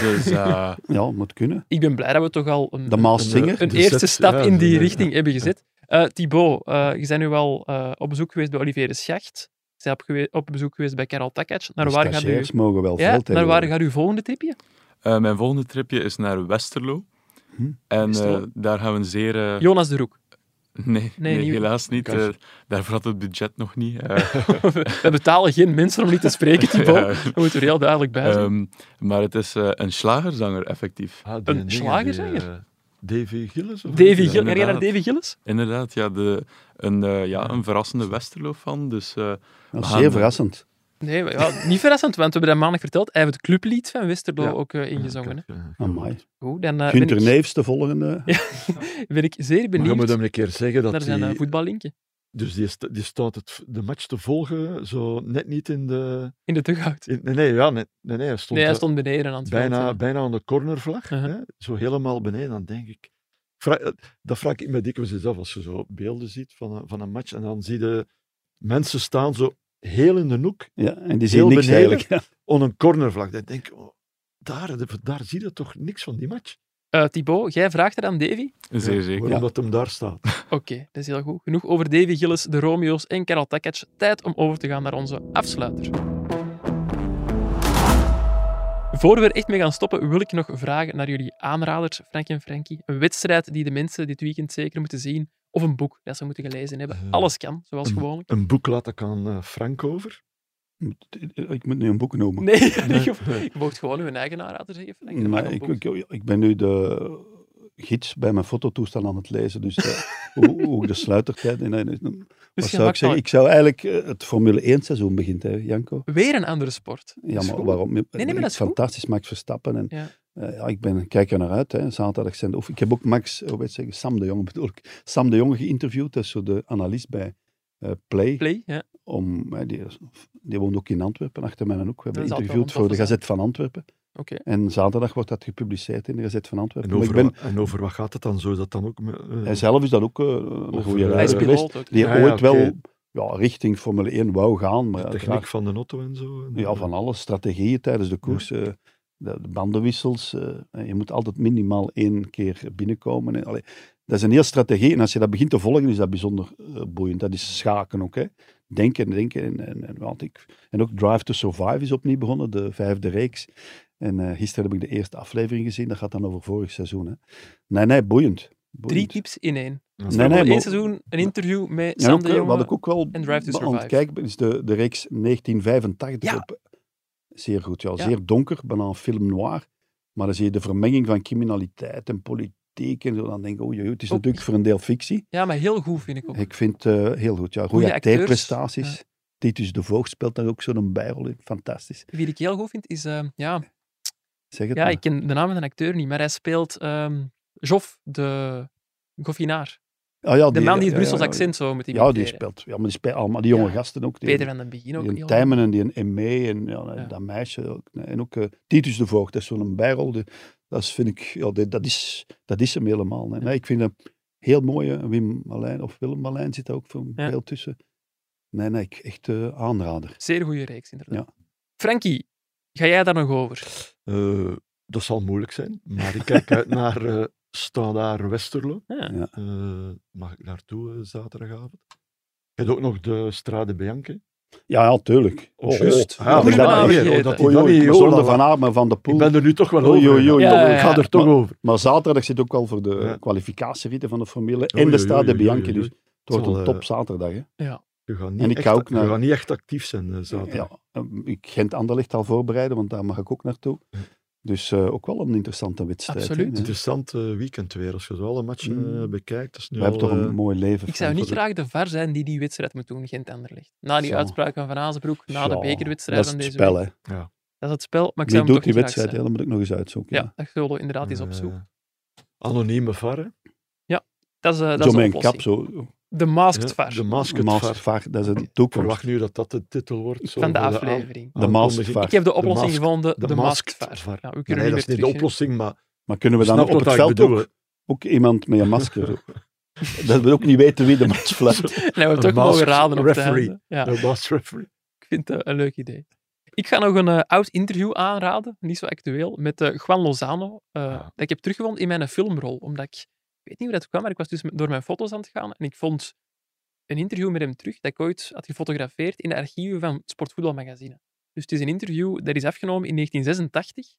Speaker 10: Dus eh,
Speaker 2: Ja, moet kunnen.
Speaker 1: Ik ben blij dat we toch al een,
Speaker 2: De Maas
Speaker 5: Een, eh,
Speaker 2: Singer.
Speaker 1: een
Speaker 5: De
Speaker 1: eerste
Speaker 5: zet-
Speaker 1: stap
Speaker 5: ja,
Speaker 1: in die
Speaker 5: ja.
Speaker 1: richting hebben gezet. Eh Thibaut, eh, je bent nu al eh, op bezoek geweest bij Olivier de Schacht. Je bent op, gewe- op bezoek geweest bij Karel Takac. Naar
Speaker 2: Dus
Speaker 1: waar, gaat u,
Speaker 2: stagiairs mogen
Speaker 1: ja,
Speaker 2: wel veel
Speaker 1: naar waar
Speaker 2: tegenwoordig.
Speaker 1: gaat uw volgende tripje?
Speaker 10: eh, mijn volgende tripje is naar Westerlo.
Speaker 2: Hm.
Speaker 10: En eh,
Speaker 1: Westerlo?
Speaker 10: daar gaan we een zeer... eh,
Speaker 1: Jonas de Roek.
Speaker 10: (laughs) nee, nee,
Speaker 1: niet-
Speaker 10: helaas niet. eh, daarvoor had het budget nog niet. eh.
Speaker 1: We betalen geen mensen om niet te
Speaker 5: (laughs)
Speaker 1: spreken, Thibaut.
Speaker 10: Ja.
Speaker 1: Dat moet er heel duidelijk bij
Speaker 5: Eh,
Speaker 1: zijn.
Speaker 10: Ehm, maar het is eh, een slagerzanger, effectief.
Speaker 5: Ah, die
Speaker 1: Een
Speaker 5: dingen die,
Speaker 1: slagerzanger?
Speaker 5: eh, Davy Gillis? of
Speaker 1: Davy
Speaker 5: niet?
Speaker 1: Gillis. Ken jij naar
Speaker 10: inderdaad.
Speaker 1: Davy Gillis?
Speaker 10: Inderdaad, ja, de, een, eh, ja, een verrassende Westerlo van. Dus eh,
Speaker 2: Dat is
Speaker 1: Ah,
Speaker 10: We gaan
Speaker 2: zeer
Speaker 10: de-
Speaker 2: verrassend.
Speaker 1: Nee, maar ja, niet verrassend, want we hebben dat maandag verteld. Hij heeft het clublied van Westerlo
Speaker 5: Ja.
Speaker 1: ook eh,
Speaker 5: Ja,
Speaker 1: ingezongen. hè.
Speaker 5: kijk, ja.
Speaker 2: Amai.
Speaker 1: Goed, dan eh,
Speaker 2: Gunter
Speaker 1: ben, ik,
Speaker 2: Neefs, de volgende.
Speaker 1: (laughs) ben ik zeer
Speaker 5: Maar je moet
Speaker 1: benieuwd
Speaker 5: hem een keer zeggen dat
Speaker 1: naar zijn eh,
Speaker 5: die-
Speaker 1: voetballinkje
Speaker 5: Dus die, sta- die staat het, de match te volgen, zo net niet in de...
Speaker 1: in de dugout.
Speaker 5: in- nee, nee, ja, nee, nee, nee, hij stond,
Speaker 1: Nee, hij
Speaker 5: eh,
Speaker 1: stond beneden aan het veld,
Speaker 5: bijna,
Speaker 1: ja.
Speaker 5: bijna aan de cornervlag,
Speaker 1: Uh-huh.
Speaker 5: hè, zo helemaal beneden. Dan denk ik... Vraag, eh, dat vraag ik me dikwijls eens af, als je zo beelden ziet van een, van een match en dan zie je mensen staan zo heel in de hoek,
Speaker 2: Ja, en die zien
Speaker 5: Heel
Speaker 2: niks
Speaker 5: beneden.
Speaker 2: eigenlijk. Ja.
Speaker 5: aan een cornervlag. Dan denk ik, oh, daar, daar zie je toch niks van die match?
Speaker 1: Eh, Thibaut, jij vraagt het aan Davy?
Speaker 10: zeer
Speaker 5: Ja,
Speaker 10: zeker.
Speaker 5: Waarom dat hem daar staat.
Speaker 1: Oké, dat is heel goed. Genoeg over Davy Gillis, de Romeo's en Karel Takac. Tijd om over te gaan naar onze afsluiter. Voor we er echt mee gaan stoppen, wil ik nog vragen naar jullie aanraders, Frank en Frankie. Een wedstrijd die de mensen dit weekend zeker moeten zien, of een boek dat ze moeten gelezen hebben.
Speaker 5: Eh,
Speaker 1: Alles kan, zoals gewoonlijk.
Speaker 5: Een boek laat ik aan eh, Frank over. Eh,
Speaker 2: Ik moet nu een boek noemen.
Speaker 1: Nee, (laughs) je
Speaker 5: nee.
Speaker 1: je mocht gewoon uw eigen aanrader zeggen, Frank. Dat mag
Speaker 2: Maar
Speaker 1: een
Speaker 2: ik,
Speaker 1: boek.
Speaker 2: ik, ik ben nu de gids bij mijn fototoestel aan het lezen. Dus
Speaker 1: (laughs)
Speaker 2: eh, hoe, hoe ik de sluitertijd... En, en, en- wat
Speaker 1: Dus je
Speaker 2: zou ik
Speaker 1: maakt al-
Speaker 2: zeggen? Ik zou eigenlijk... eh, Het Formule 1 seizoen begint, hè, Janko.
Speaker 1: Weer een andere sport. Dus
Speaker 2: Ja, maar
Speaker 1: School.
Speaker 2: waarom?
Speaker 1: Nee, nee, maar dat is goed.
Speaker 2: Fantastisch, Max Verstappen. En,
Speaker 1: Ja.
Speaker 2: eh, ja, ik ben, kijk er naar uit. Hè. Zaterdag zijn de, of, ik heb ook Max, eh, hoe weet zeggen, Sam de Jong (laughs) bedoel ik, Sam de Jong geïnterviewd. Dat is zo de analist bij eh, Play.
Speaker 1: Play, ja.
Speaker 2: Om, eh, die, die woont ook in Antwerpen, achter mij en ook. We hebben
Speaker 1: Dat is altijd wel
Speaker 2: interviewd
Speaker 1: een
Speaker 2: voor de
Speaker 1: toffe
Speaker 2: Gazet van Antwerpen.
Speaker 1: Oké.
Speaker 2: En zaterdag wordt dat gepubliceerd in de Gazet van Antwerpen.
Speaker 5: En
Speaker 2: Maar
Speaker 5: over,
Speaker 2: ik ben,
Speaker 5: wa- en over wat gaat het dan? Zo is dat dan ook... met, eh,
Speaker 2: hij zelf is dat ook eh, een goede
Speaker 5: Hij
Speaker 2: rijder
Speaker 5: is
Speaker 2: geweest,
Speaker 5: piloot ook.
Speaker 2: Die
Speaker 5: Ja, ja,
Speaker 2: ooit wel
Speaker 5: oké.
Speaker 2: ja, richting Formule 1 wou gaan. Maar
Speaker 5: de
Speaker 2: uiteraard-
Speaker 5: techniek van de auto en zo. En,
Speaker 2: ja, van alles. Strategieën tijdens de koers. eh, de, de bandenwissels. eh, je moet altijd minimaal één keer binnenkomen. En, allee, dat is een heel strategie. En als je dat begint te volgen, is dat bijzonder eh, boeiend. Dat is schaken ook. Hè. Denken, denken. En, en, en, want ik, en ook Drive to Survive is opnieuw begonnen, de vijfde reeks. En eh gisteren heb ik de eerste aflevering gezien. Dat gaat dan over vorig seizoen. Hè. Nee, nee, boeiend.
Speaker 1: Drie
Speaker 2: boeiend.
Speaker 1: tips in één.
Speaker 2: Nee,
Speaker 1: Nee,
Speaker 2: nee,
Speaker 1: nee,
Speaker 2: maar-
Speaker 1: één seizoen, een interview met
Speaker 2: En
Speaker 1: Sam
Speaker 2: ook,
Speaker 1: de
Speaker 2: eh,
Speaker 1: Jonge
Speaker 2: wat ik ook wel
Speaker 1: en Drive to
Speaker 2: be- aan het
Speaker 1: Survive.
Speaker 2: kijken ben, is de, de reeks 1985. Op, eh, zeer goed, ja.
Speaker 1: Ja.
Speaker 2: Zeer donker, bijna een film noir. Maar dan zie je de vermenging van criminaliteit en politiek en zo. Dan denk ik, oei, oei, het is natuurlijk voor een deel fictie.
Speaker 1: Ja, maar heel goed vind ik ook.
Speaker 2: Ik vind het heel goed, ja.
Speaker 1: Goeie
Speaker 2: Goede
Speaker 1: acteurs.
Speaker 2: acteerprestaties. Titus de Voogd speelt daar ook zo'n bijrol in. Fantastisch.
Speaker 1: Wie ik heel goed vind is, eh, ja,
Speaker 2: Zeg het
Speaker 1: ja
Speaker 2: maar.
Speaker 1: ik ken de naam van de acteur niet, maar hij speelt ehm Joff, de goffinaar.
Speaker 2: Ah, ja,
Speaker 1: de man die het
Speaker 2: ja,
Speaker 1: Brussels
Speaker 2: ja, ja.
Speaker 1: accent zo met die
Speaker 2: Ja, die
Speaker 1: imiteren.
Speaker 2: speelt. Ja, maar die speelt allemaal. Die jonge gasten ook. Die,
Speaker 1: Peter van den Begin ook
Speaker 2: Die
Speaker 1: heel
Speaker 2: een Tijmen en die een Emme en ja, dat meisje. ook. En ook eh, Titus de Voogd, dat is zo'n bijrol. Die- dat is, vind ik, ja, die- dat, is, dat is hem helemaal. hè. Nee, ik vind hem heel mooi. hè. Wim Malijn of Willem Malijn zit daar ook voor
Speaker 1: Ja.
Speaker 2: veel tussen. Nee, nee, ik, echt eh, aanrader.
Speaker 1: Zeer goede reeks, inderdaad.
Speaker 2: Ja.
Speaker 1: Frankie, ga jij daar nog over?
Speaker 5: Eh, dat zal moeilijk zijn, maar ik kijk (laughs) uit naar eh Standaard Westerlo.
Speaker 1: Ja.
Speaker 2: Ja.
Speaker 5: Eh, mag ik naartoe eh, zaterdagavond? Je hebt ook nog de Strade Bianche.
Speaker 2: Ja, ja, tuurlijk.
Speaker 5: Oh, Juist. Ja,
Speaker 2: dat is oh,
Speaker 5: dat
Speaker 2: dat
Speaker 5: niet
Speaker 2: niet
Speaker 5: weer,
Speaker 2: vergeten.
Speaker 5: dat Oh, die
Speaker 2: Oei,
Speaker 5: dan
Speaker 2: oei,
Speaker 5: niet
Speaker 2: maar
Speaker 5: Jola
Speaker 2: zonder Van
Speaker 5: laat.
Speaker 2: Aert, maar Van de Poel.
Speaker 5: Ik ben er nu toch wel over.
Speaker 2: Oei, oei, oei,
Speaker 5: gegaan.
Speaker 1: Ja, ja,
Speaker 5: Ik ga
Speaker 1: ja.
Speaker 5: er toch
Speaker 2: Maar-
Speaker 5: over.
Speaker 2: Maar zaterdag zit ook al voor de
Speaker 5: Ja.
Speaker 2: kwalificatieritten van de Formule
Speaker 5: Oei,
Speaker 2: en de
Speaker 5: oei,
Speaker 2: Stade
Speaker 5: oei,
Speaker 2: Bianchi.
Speaker 5: oei,
Speaker 2: Dus
Speaker 5: oei.
Speaker 2: het wordt
Speaker 5: Zal,
Speaker 2: een
Speaker 5: eh,
Speaker 2: top zaterdag. Hè.
Speaker 1: Ja.
Speaker 5: Je gaat
Speaker 2: En
Speaker 5: niet,
Speaker 2: ik
Speaker 5: echt,
Speaker 2: ga ook
Speaker 5: je
Speaker 2: naar-
Speaker 5: gaat niet echt actief zijn eh, zaterdag.
Speaker 2: Ja, ehm, ik Gent Anderlecht al voorbereiden, want daar mag ik ook naartoe. Dus eh, ook wel een interessante wedstrijd. hè.
Speaker 1: Absoluut.
Speaker 2: Ja.
Speaker 5: Interessant eh, weekend weer. Als je zo alle matchen
Speaker 2: Mm.
Speaker 5: eh, bekijkt, dat is nu
Speaker 2: We hebben
Speaker 5: al,
Speaker 2: toch een
Speaker 5: eh,
Speaker 2: mooi leven.
Speaker 1: Ik zou
Speaker 2: Frank,
Speaker 1: niet
Speaker 2: voor
Speaker 1: graag de VAR zijn die die wedstrijd moet doen, Gent Anderlecht. Na die
Speaker 2: Zo.
Speaker 1: uitspraak van Van Azenbroek,
Speaker 2: de-
Speaker 1: na de
Speaker 2: Ja,
Speaker 1: bekerwedstrijd
Speaker 2: Dat
Speaker 1: van
Speaker 2: is
Speaker 1: deze
Speaker 2: het spel,
Speaker 1: week.
Speaker 2: hè.
Speaker 5: ja.
Speaker 1: Dat is het spel, maar ik
Speaker 2: Wie
Speaker 1: zou hem
Speaker 2: doet
Speaker 1: toch
Speaker 2: die
Speaker 1: niet graag
Speaker 2: wedstrijd? hè?
Speaker 1: zijn.
Speaker 2: Dat moet ik nog eens uitzoeken.
Speaker 1: Ja,
Speaker 2: Ja.
Speaker 1: dat zullen we inderdaad eens opzoeken.
Speaker 5: Eh, anonieme VAR, hè?
Speaker 1: Dat is, eh, dat
Speaker 2: Zo
Speaker 1: is een
Speaker 2: met een kap,
Speaker 1: oplossing.
Speaker 2: zo.
Speaker 1: De Masked
Speaker 5: Ja,
Speaker 1: VAR
Speaker 5: De Masked
Speaker 2: Masked
Speaker 5: VAR.
Speaker 2: Var, dat is de
Speaker 5: Ik verwacht
Speaker 2: toekomst.
Speaker 5: nu dat dat de titel wordt. zo
Speaker 1: van de
Speaker 5: voor
Speaker 1: aflevering.
Speaker 5: aan-
Speaker 2: De Masked
Speaker 5: aankondiging.
Speaker 2: VAR.
Speaker 1: Ik heb de oplossing
Speaker 5: masked-
Speaker 1: gevonden, de,
Speaker 5: de
Speaker 1: Masked VAR.
Speaker 5: masked VAR.
Speaker 1: Ja, we
Speaker 5: Nee,
Speaker 1: kunnen
Speaker 5: dat
Speaker 1: niet
Speaker 5: is
Speaker 1: meer
Speaker 5: niet
Speaker 1: terug.
Speaker 5: de
Speaker 1: hè.
Speaker 5: oplossing, maar
Speaker 2: Maar kunnen we dan
Speaker 5: Snap
Speaker 2: op
Speaker 5: wat
Speaker 2: het
Speaker 5: ik
Speaker 2: veld
Speaker 5: bedoel,
Speaker 2: ook, ook iemand met een masker? zo?
Speaker 5: (laughs)
Speaker 2: dat we ook niet weten wie de match fluit.
Speaker 1: Nee, we hebben
Speaker 5: De
Speaker 1: toch mogen
Speaker 5: masked
Speaker 1: raden op het
Speaker 5: referee.
Speaker 1: einde. Ja,
Speaker 5: de Masked referee.
Speaker 1: ik vind het een leuk idee. Ik ga nog een eh, oud interview aanraden, niet zo actueel, met eh, Juan Lozano. eh,
Speaker 5: Ah.
Speaker 1: Dat ik heb teruggevonden in mijn filmrol. Omdat ik, ik weet niet hoe dat kwam, maar ik was dus door mijn foto's aan het gaan. En ik vond een interview met hem terug dat ik ooit had gefotografeerd in de archieven van Sportvoetbalmagazine. Dus het is een interview dat is afgenomen in 1986.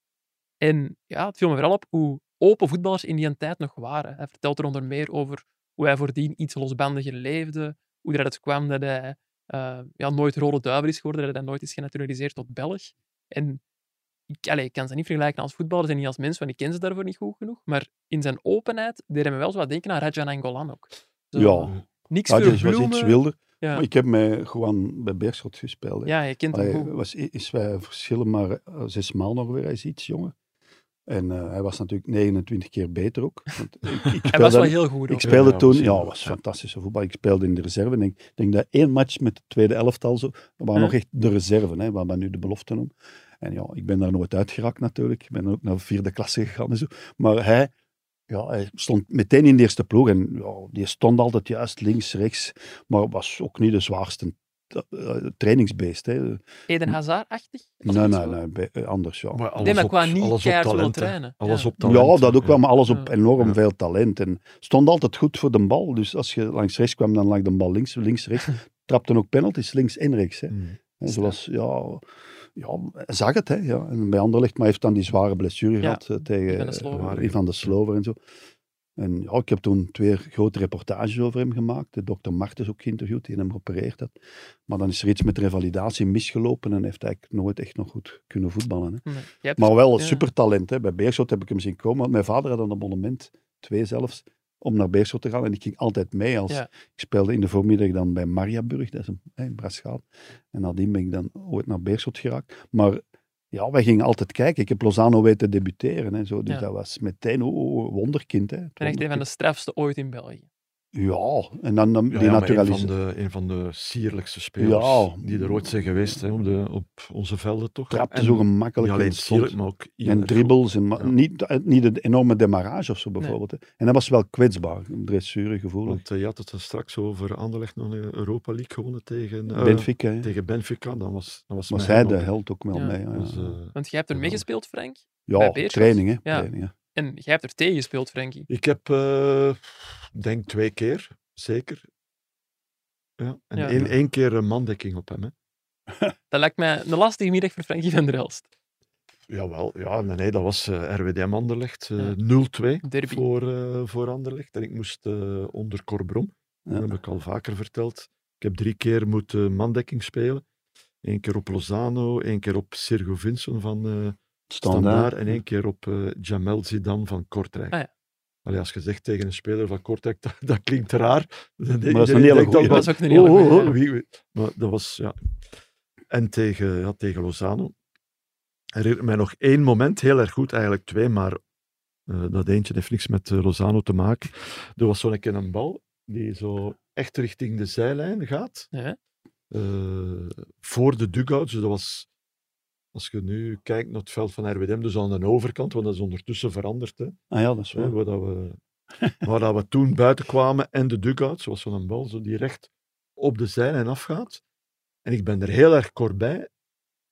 Speaker 1: En ja, het viel me vooral op hoe open voetballers in die tijd nog waren. Hij vertelt er onder meer over hoe hij voordien iets losbandiger leefde, hoe dat het kwam dat hij eh, ja, nooit rode duivel is geworden, dat hij nooit is genaturaliseerd tot Belg. En ik, allee, ik kan ze niet vergelijken als voetballers en niet als mens, want ik ken ze daarvoor niet goed genoeg. Maar in zijn openheid deed hij me wel zo wat denken aan Rajan Angolan ook. Zo,
Speaker 2: Ja,
Speaker 1: Niks
Speaker 2: dat
Speaker 1: voor
Speaker 2: is- was dus, iets
Speaker 1: bloemen.
Speaker 2: wilder.
Speaker 1: Ja.
Speaker 2: Maar ik heb mij gewoon bij Beerschot gespeeld. hè.
Speaker 1: ja, je kent hem
Speaker 2: Allee,
Speaker 1: goed.
Speaker 2: was, is wij verschillen maar eh, zes maal nog weer. Hij is iets jonger. En eh, hij was natuurlijk 29 keer beter ook. Want ik,
Speaker 1: (laughs)
Speaker 2: ik
Speaker 1: Hij was
Speaker 2: speelde-
Speaker 1: wel heel goed.
Speaker 2: ik
Speaker 1: ook.
Speaker 2: speelde
Speaker 5: Ja,
Speaker 2: toen,
Speaker 5: misschien
Speaker 2: ja,
Speaker 5: wel.
Speaker 2: was fantastische voetbal. Ik speelde in de reserve. En ik ik denk dat één match met de tweede elftal, zo, we waren
Speaker 1: Ja.
Speaker 2: nog echt de reserve, hè, waar men nu de belofte om. En ja, ik ben daar nooit uitgeraakt natuurlijk. Ik ben dan ook naar vierde klasse gegaan en zo. Maar hij, ja, hij stond meteen in de eerste ploeg. En ja, die stond altijd juist links, rechts. Maar was ook niet de zwaarste eh, trainingsbeest. Hè.
Speaker 1: Eden Hazard-achtig? Was
Speaker 2: Nee,
Speaker 1: dat
Speaker 2: nee,
Speaker 1: zo?
Speaker 2: nee, be- eh, anders, ja.
Speaker 5: Maar alles
Speaker 1: Nee, maar
Speaker 5: op,
Speaker 1: qua niet
Speaker 5: alles op
Speaker 1: keihard willen
Speaker 5: talent, hè.
Speaker 1: trainen.
Speaker 5: Alles
Speaker 1: Ja.
Speaker 5: op talent.
Speaker 2: Ja, dat ook wel,
Speaker 5: Ja.
Speaker 2: maar alles op
Speaker 1: Ja.
Speaker 2: enorm
Speaker 5: Ja.
Speaker 2: veel talent. En stond altijd goed voor de bal. Dus als je langs rechts kwam, dan lag de bal links, links, rechts.
Speaker 5: (laughs)
Speaker 2: Trapte ook penalties links en rechts. Hè.
Speaker 5: Mm.
Speaker 2: En zoals, ja, ja, hij zag het. Hè, ja. En bij Anderlecht, maar hij heeft dan die zware blessure gehad eh, tegen
Speaker 1: Ivan de Slover.
Speaker 2: eh, Ivan de Slover en zo. En ja, ik heb toen twee grote reportages over hem gemaakt. De dokter Martens ook geïnterviewd, die hem geopereerd had. Maar dan is er iets met revalidatie misgelopen en heeft hij eigenlijk nooit echt nog goed kunnen voetballen. Hè.
Speaker 1: Nee. Jij hebt-
Speaker 2: Maar wel een
Speaker 1: ja.
Speaker 2: supertalent. Hè. Bij Beerschot heb ik hem zien komen, want mijn vader had een abonnement twee zelfs, om naar Beerschot te gaan. En ik ging altijd mee. Als,
Speaker 1: Ja.
Speaker 2: Ik speelde in de voormiddag dan bij Mariaburg, dat is een, hè, in Braschaat. En nadien ben ik dan ooit naar Beerschot geraakt. Maar ja, wij gingen altijd kijken. Ik heb Lozano weten debuteren. Hè, zo. Dus
Speaker 1: Ja.
Speaker 2: dat was meteen, oh, oh, wonderkind. Hè, Het
Speaker 1: ben echt een van de
Speaker 2: wonderkind.
Speaker 1: strafste ooit in België.
Speaker 2: Ja, en dan, dan
Speaker 5: Ja,
Speaker 2: die
Speaker 5: ja, maar
Speaker 2: naturalisatie.
Speaker 5: Een van de, een van de sierlijkste spelers
Speaker 2: Ja.
Speaker 5: die er ooit zijn geweest hè, op, de, op onze velden toch.
Speaker 2: trapte
Speaker 5: En
Speaker 2: zo gemakkelijk.
Speaker 5: Niet alleen
Speaker 2: en stond.
Speaker 5: sierlijk, maar ook
Speaker 2: En dribbles. En, ma- niet, eh, niet een enorme demarrage of zo bijvoorbeeld. hè. En dat was wel kwetsbaar. Dressure, gevoelig.
Speaker 5: Want eh, je had het er straks over Anderlecht nog een Europa League gewonnen tegen eh,
Speaker 2: Benfica, hè.
Speaker 5: Tegen Benfica, dan was, dan was
Speaker 2: Was
Speaker 5: mijn
Speaker 2: hij de
Speaker 5: ook, hè.
Speaker 2: held ook wel
Speaker 1: Ja.
Speaker 2: mee? Ja,
Speaker 5: Dus,
Speaker 2: ja.
Speaker 5: eh,
Speaker 1: Want jij hebt er meegespeeld, Frank?
Speaker 2: Ja,
Speaker 1: Bij Beerschot?
Speaker 2: training, hè,
Speaker 1: Ja.
Speaker 2: training, hè.
Speaker 1: En jij hebt er tegen gespeeld, Frankie.
Speaker 5: ik heb, eh, denk twee keer, zeker. Ja. En
Speaker 1: Ja.
Speaker 5: Één, één keer een mandekking op hem. Hè.
Speaker 1: Dat lijkt mij een lastige middag voor Frankie van der Elst.
Speaker 5: Jawel, ja, nee, nee, dat was eh, RWDM Anderlecht, eh,
Speaker 1: Ja.
Speaker 5: 0-2
Speaker 1: Derby.
Speaker 5: voor, eh, voor Anderlecht. En ik moest eh, onder Corbrom,
Speaker 2: Ja.
Speaker 5: dat heb ik al vaker verteld. Ik heb drie keer moeten mandekking spelen. Eén keer op Lozano, één keer op Sergio Vinson van eh Standaard en één keer op eh Jamel Zidane van Kortrijk.
Speaker 1: Ah, ja.
Speaker 5: Allee, als je zegt tegen een speler van Kortrijk, (laughs) dat, dat klinkt raar. Dan
Speaker 2: een
Speaker 5: iedereen
Speaker 2: hele
Speaker 5: denkt
Speaker 2: goeie.
Speaker 5: wel,
Speaker 1: Dat is ook een hele
Speaker 5: oh, oh,
Speaker 1: goeie,
Speaker 5: oh,
Speaker 1: ja.
Speaker 5: wie- wie- Maar dat was, ja. En tegen, ja, tegen Lozano. Herinner mij nog één moment, heel erg goed, eigenlijk twee, maar eh, dat eentje heeft niks met eh, Lozano te maken. Er was zo'n keer een bal die zo echt richting de zijlijn gaat.
Speaker 1: Ja.
Speaker 5: Eh, voor de dugout, dus dat was als je nu kijkt naar het veld van RWDM, dus aan de overkant, want dat is ondertussen veranderd. Hè,
Speaker 2: Ah ja, dat is
Speaker 5: hè,
Speaker 2: waar.
Speaker 5: waar, dat
Speaker 2: (laughs)
Speaker 5: we, waar dat we toen buiten kwamen en de dugout, zoals zo'n bal, zo die recht op de zijlijn afgaat. En ik ben er heel erg kort bij.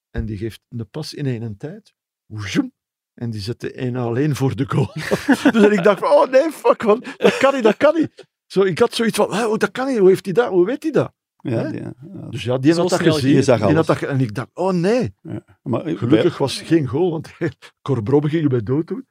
Speaker 5: En die geeft een pas in één tijd. Woezoem. En die zet de een alleen voor de goal. (laughs) dus en ik dacht, van, oh nee, fuck, man, dat kan niet, dat kan niet. Zo, ik had zoiets van, hè, hoe, dat kan niet, hoe heeft hij dat, hoe weet hij dat?
Speaker 2: Ja,
Speaker 5: Hè?
Speaker 2: ja, ja.
Speaker 5: Dus ja, die
Speaker 1: Zo
Speaker 5: had dat
Speaker 1: snel
Speaker 5: gezien.
Speaker 2: je zag
Speaker 5: die had
Speaker 2: alles.
Speaker 5: dat ge- en ik dacht, oh nee.
Speaker 2: Maar, eh,
Speaker 5: Gelukkig was het geen goal, want (laughs) Corbrobe ging bij dood doen.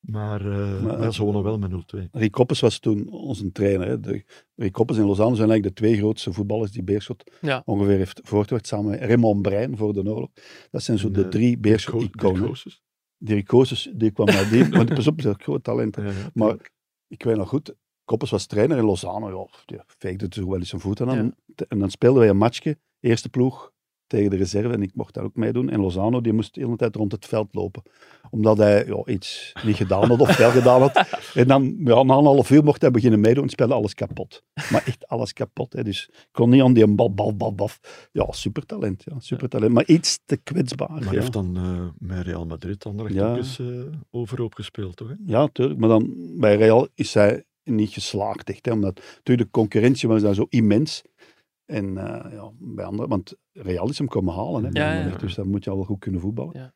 Speaker 5: Maar, eh
Speaker 2: Maar-
Speaker 5: maar ze wonnen wel met 0-2.
Speaker 2: bij- Rick Koppes was toen onze trainer. Hè. De, Rick Koppes en Lozano zijn eigenlijk de twee grootste voetballers die Beerschot
Speaker 1: Ja.
Speaker 2: ongeveer heeft voortgebracht. Samen met Raymond Brein voor de oorlog. Dat zijn zo
Speaker 5: En,
Speaker 2: de
Speaker 5: eh,
Speaker 2: drie
Speaker 5: Co- Dirk
Speaker 2: Beerschot-iconen.
Speaker 5: Goossens.
Speaker 2: Dirk Goossens, die kwam naar die. (laughs) Maar pas op, dat is een groot talent. hè.
Speaker 5: Ja, ja.
Speaker 2: Maar ik weet nog goed, Koppers was trainer in Lozano. joh, die veegde er wel eens zijn voeten aan. En dan speelden wij een matchje, eerste ploeg, tegen de reserve. En ik mocht daar ook meedoen. En Lozano die moest de hele tijd rond het veld lopen. Omdat hij ja, iets niet gedaan had
Speaker 5: (laughs)
Speaker 2: of wel gedaan had. En dan, ja, na een half uur mocht hij beginnen meedoen. En speelde alles kapot. Maar echt alles kapot. Hè. Dus ik kon niet aan die bal, bal, bal, bal. Ja, supertalent. Ja, supertalent. Maar iets te kwetsbaar.
Speaker 5: Maar hij
Speaker 2: ja.
Speaker 5: heeft dan eh met Real Madrid Anderlecht
Speaker 2: Ja.
Speaker 5: ook eens eh, overhoop gespeeld,
Speaker 1: Eh,
Speaker 5: toch? hè?
Speaker 2: Ja, tuurlijk. Maar dan, bij Real is zij niet geslaagd, echt. Hè? Omdat natuurlijk de concurrentie was daar zo immens. En eh, ja, bij anderen, want Real is hem komen halen. Hè, bij
Speaker 1: Ja,
Speaker 2: Anderlecht,
Speaker 5: ja.
Speaker 2: Dus dan moet je al wel goed kunnen voetballen.
Speaker 1: Ja.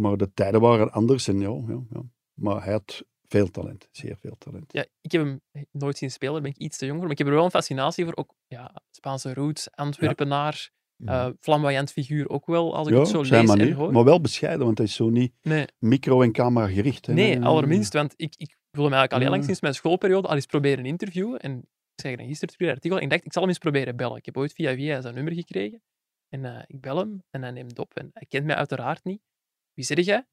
Speaker 2: Maar de tijden waren anders. En ja, ja, ja. Maar hij had veel talent. Zeer veel talent.
Speaker 1: Ja, ik heb hem nooit zien spelen, daar ben ik iets te jong voor. Maar ik heb er wel een fascinatie voor. Ook ja, Spaanse roots, Antwerpenaar, eh flamboyant figuur ook wel, als ik
Speaker 2: ja,
Speaker 1: het zo
Speaker 2: op
Speaker 1: lees
Speaker 2: zijn manier.
Speaker 1: en hoor.
Speaker 2: Maar wel bescheiden, want hij is zo niet
Speaker 1: Nee,
Speaker 2: micro- en camera gericht. Hè,
Speaker 1: nee, allerminst, want ik, ik wil hem eigenlijk al heel lang
Speaker 2: Ja.
Speaker 1: sinds mijn schoolperiode al eens proberen interviewen. En ik zei dan gisteren terug een artikel en ik dacht, ik zal hem eens proberen bellen. Ik heb ooit via via zijn nummer gekregen. En eh, ik bel hem en hij neemt op. En hij kent mij uiteraard niet. Wie zeg jij? Ik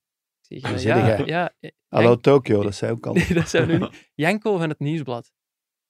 Speaker 1: zeg,
Speaker 2: Wie
Speaker 1: eh,
Speaker 2: zeg
Speaker 1: ja,
Speaker 2: jij?
Speaker 1: ja, eh, (laughs)
Speaker 2: Hallo
Speaker 1: Jan-
Speaker 2: Tokio, Ah, dat zei ook al.
Speaker 1: Nee, dat zijn we nu niet. Janko van het Nieuwsblad.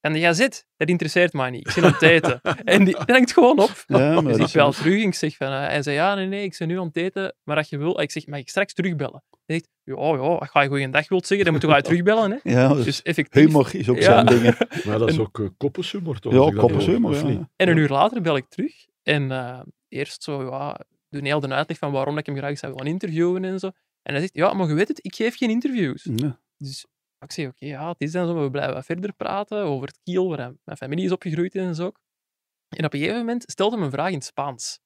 Speaker 1: En jij zit, dat interesseert mij niet. Ik zit aan het eten. En die brengt gewoon op. (laughs)
Speaker 2: Ja, maar
Speaker 1: dus
Speaker 2: dat
Speaker 1: ik
Speaker 2: is-
Speaker 1: bel terug en ik zeg van... eh, hij zei, ja, nee, nee, ik zit nu aan het eten. Maar als je wil... Ik zeg, mag ik straks terugbellen? Hij zegt, ja, ja, als je goeiedag wilt zeggen, dan moet je
Speaker 2: (laughs)
Speaker 1: wel terugbellen. Hè.
Speaker 2: Ja, dus
Speaker 1: Dus effectief.
Speaker 2: humor is ook
Speaker 1: Ja. (laughs)
Speaker 2: zijn ding. hè.
Speaker 5: Maar dat is ook uh, koppenshumor, toch? als
Speaker 2: Ja,
Speaker 5: ik dat hoor,
Speaker 2: koppenshumor.
Speaker 5: of
Speaker 2: Ja,
Speaker 5: niet?
Speaker 2: ja.
Speaker 1: En een uur later bel ik terug. En eh, eerst zo, ja, doe heel de uitleg van waarom ik hem graag zou willen interviewen en zo. En hij zegt, ja, maar je weet het, ik geef geen interviews.
Speaker 2: Ja.
Speaker 1: Dus ik zei, oké, ja, het is dan zo, maar we blijven wat verder praten over het Kiel, waar hij- mijn familie is opgegroeid en zo. ook. En op een gegeven moment stelde hij me een vraag in het Spaans.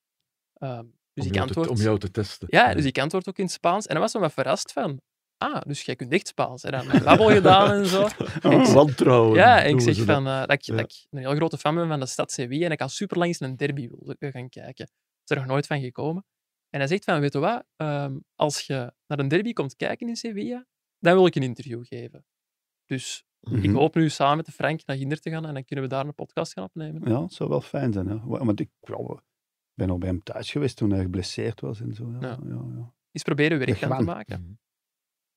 Speaker 1: Ehm, dus
Speaker 5: om,
Speaker 1: ik
Speaker 5: jou te, om
Speaker 1: antwoord...
Speaker 5: jou te testen.
Speaker 1: Ja, dus ik antwoord ook in het Spaans. En hij was dan wat verrast van, ah, dus jij kunt echt Spaans. En dan een babbel gedaan en
Speaker 5: (laughs)
Speaker 1: zo. En ik-
Speaker 5: Wantrouwen.
Speaker 1: ja, en ik
Speaker 5: doen
Speaker 1: zeg
Speaker 5: ze
Speaker 1: van, eh, dat, ik,
Speaker 5: Ja.
Speaker 1: dat ik een heel grote fan ben van de stad Sevilla en ik al super lang eens een derby wil wil gaan kijken. Dat is er nog nooit van gekomen. En hij zegt van, weet je wat, ehm, als je naar een derby komt kijken in Sevilla, dan wil ik een interview geven. Dus ik
Speaker 2: Mhm.
Speaker 1: hoop nu samen met de Frank naar Ginder te gaan en dan kunnen we daar een podcast gaan opnemen.
Speaker 2: Ja, het zou wel fijn zijn. Hè? Wa- Want ik wel, ben al bij hem thuis geweest toen hij geblesseerd was en zo. Ja,
Speaker 1: Ja.
Speaker 2: ja. Ja, ja.
Speaker 1: Eens proberen werk
Speaker 2: Echt
Speaker 1: aan te
Speaker 2: waar.
Speaker 1: maken.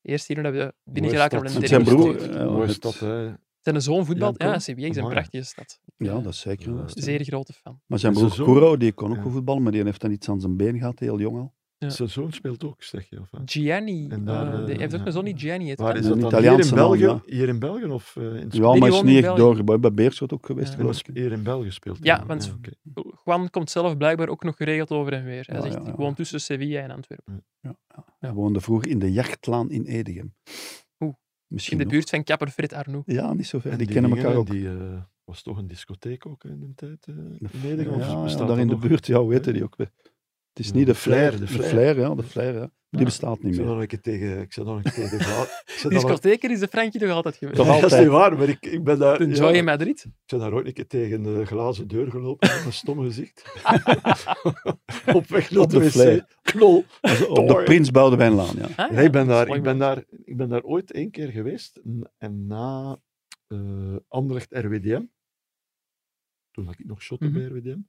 Speaker 1: Eerst hier hebben we binnen
Speaker 5: Mooie
Speaker 1: geraken op
Speaker 5: stad.
Speaker 1: een
Speaker 5: Het
Speaker 1: derde
Speaker 5: zijn broer-
Speaker 1: plek.
Speaker 5: eh, Mooie het- stad, hè.
Speaker 1: Zijn zoon voetbal?
Speaker 5: Janko?
Speaker 1: Ja, CBX is een
Speaker 5: Amai.
Speaker 1: prachtige stad.
Speaker 2: Ja, dat is zeker een stad.
Speaker 1: Zeer grote fan.
Speaker 2: Maar zijn broer Kuro, die kon ook goed voetballen, maar die heeft dan iets aan zijn been gehad, heel jong al.
Speaker 1: Ja.
Speaker 5: Zijn zoon speelt ook, zeg je. Of, hè?
Speaker 1: Gianni.
Speaker 5: En
Speaker 1: eh,
Speaker 5: daar,
Speaker 1: die
Speaker 5: eh,
Speaker 1: heeft ook
Speaker 5: ja.
Speaker 1: een zoon die Gianni heet.
Speaker 5: Waar
Speaker 1: hè?
Speaker 5: is dat
Speaker 2: Een
Speaker 5: dan? Hier
Speaker 2: Italiaanse
Speaker 5: in
Speaker 2: man,
Speaker 5: België?
Speaker 2: ja.
Speaker 5: Hier in België of eh, in
Speaker 2: Ja, maar is
Speaker 1: woont in
Speaker 2: niet echt
Speaker 1: België.
Speaker 2: doorgebouwd. Bij Beerschot ook geweest,
Speaker 1: Ja.
Speaker 2: geloof ik.
Speaker 5: Hier in België speelt hij
Speaker 1: Ja,
Speaker 5: dan.
Speaker 1: want
Speaker 5: oké.
Speaker 1: Juan komt zelf blijkbaar ook nog geregeld over en weer. Hij
Speaker 5: Ah,
Speaker 2: Ja,
Speaker 1: zegt,
Speaker 2: ja, ja.
Speaker 1: ik woon tussen Sevilla en Antwerpen.
Speaker 2: Hij woonde vroeger in de Jachtlaan in Edegem.
Speaker 1: Oeh.
Speaker 2: Misschien
Speaker 1: In de
Speaker 2: nog.
Speaker 1: buurt van kapper Frit Arnoux.
Speaker 2: Ja, niet zo ver.
Speaker 5: En
Speaker 2: Die, kennen
Speaker 5: dingen,
Speaker 2: elkaar ook.
Speaker 5: Die eh, was toch een discotheek ook in de tijd? eh in
Speaker 2: Ja,
Speaker 5: Nederland? Of
Speaker 2: ja,
Speaker 5: bestaat dat
Speaker 2: daar in de
Speaker 5: nog?
Speaker 2: buurt, ja, hoe heette die ook? weer? Het is
Speaker 5: Ja,
Speaker 2: niet de
Speaker 5: de Flair,
Speaker 2: flair,
Speaker 5: de
Speaker 2: de
Speaker 5: Flair.
Speaker 2: flair, ja, de flair, ja. Maar
Speaker 5: Ja.
Speaker 2: Die bestaat
Speaker 5: Ik
Speaker 2: niet
Speaker 5: zat
Speaker 2: meer.
Speaker 5: dan een keer tegen... Ik zat dan een keer tegen...
Speaker 2: (laughs)
Speaker 5: Vla- ik zat dan een-
Speaker 1: Discotheker is de Frankie toch altijd geweest.
Speaker 2: Toch
Speaker 1: (laughs)
Speaker 5: Ja, Dat is
Speaker 2: altijd.
Speaker 5: niet waar, maar ik, ik ben daar...
Speaker 1: De
Speaker 5: ja,
Speaker 1: Joy in Madrid.
Speaker 5: Ik ben daar ooit een keer tegen de glazen deur gelopen met een stom
Speaker 2: (laughs)
Speaker 5: gezicht. op weg naar
Speaker 2: Op
Speaker 5: de
Speaker 2: de
Speaker 5: wc.
Speaker 2: Flair.
Speaker 5: Knol.
Speaker 2: Op de Prins Boudewijnlaan, ja.
Speaker 1: Ah,
Speaker 5: Nee, ik, ben
Speaker 1: dat is
Speaker 5: daar,
Speaker 1: mooi,
Speaker 5: ik, ben daar, ik ben daar ooit één keer geweest n- en na eh Anderlecht RWDM, toen had ik nog shotten
Speaker 1: Mhm.
Speaker 5: bij RWDM,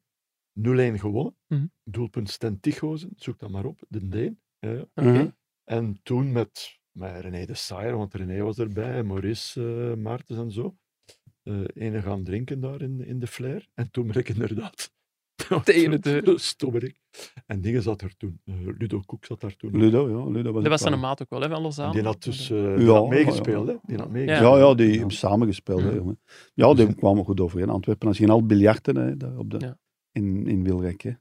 Speaker 5: 0-1 gewonnen.
Speaker 1: Mhm.
Speaker 5: Doelpunt Sten Tichhozen, zoek dat maar op, de Deen. Ja, ja.
Speaker 1: man. Oké.
Speaker 2: Mhm.
Speaker 5: En toen met, met René de Saaier, want René was erbij, Maurice eh, Maartens en zo. eh ene gaan drinken daar in, in de flair. En toen ben ik inderdaad... (laughs)
Speaker 1: Tegen de deur.
Speaker 5: Stommerik. En dingen zat er toen. eh, Ludo Koek zat daar toen.
Speaker 2: Ludo, ja. Ludo was
Speaker 1: Dat was
Speaker 2: ook
Speaker 1: zijn
Speaker 2: wel-
Speaker 1: maat ook wel, hè, van Lozano.
Speaker 5: Die had dus eh,
Speaker 2: Ja,
Speaker 5: die had
Speaker 2: ja,
Speaker 5: meegespeeld,
Speaker 2: ja.
Speaker 5: hè? Die had
Speaker 2: Ja,
Speaker 5: meegespeeld.
Speaker 2: ja, die hebben samen gespeeld.
Speaker 5: Ja.
Speaker 2: Hè, jongen. Ja, die kwamen goed over in Antwerpen. Als je al biljarten hè, daar op de,
Speaker 1: Dus- Ja.
Speaker 2: in, in Wilrijk. Hè.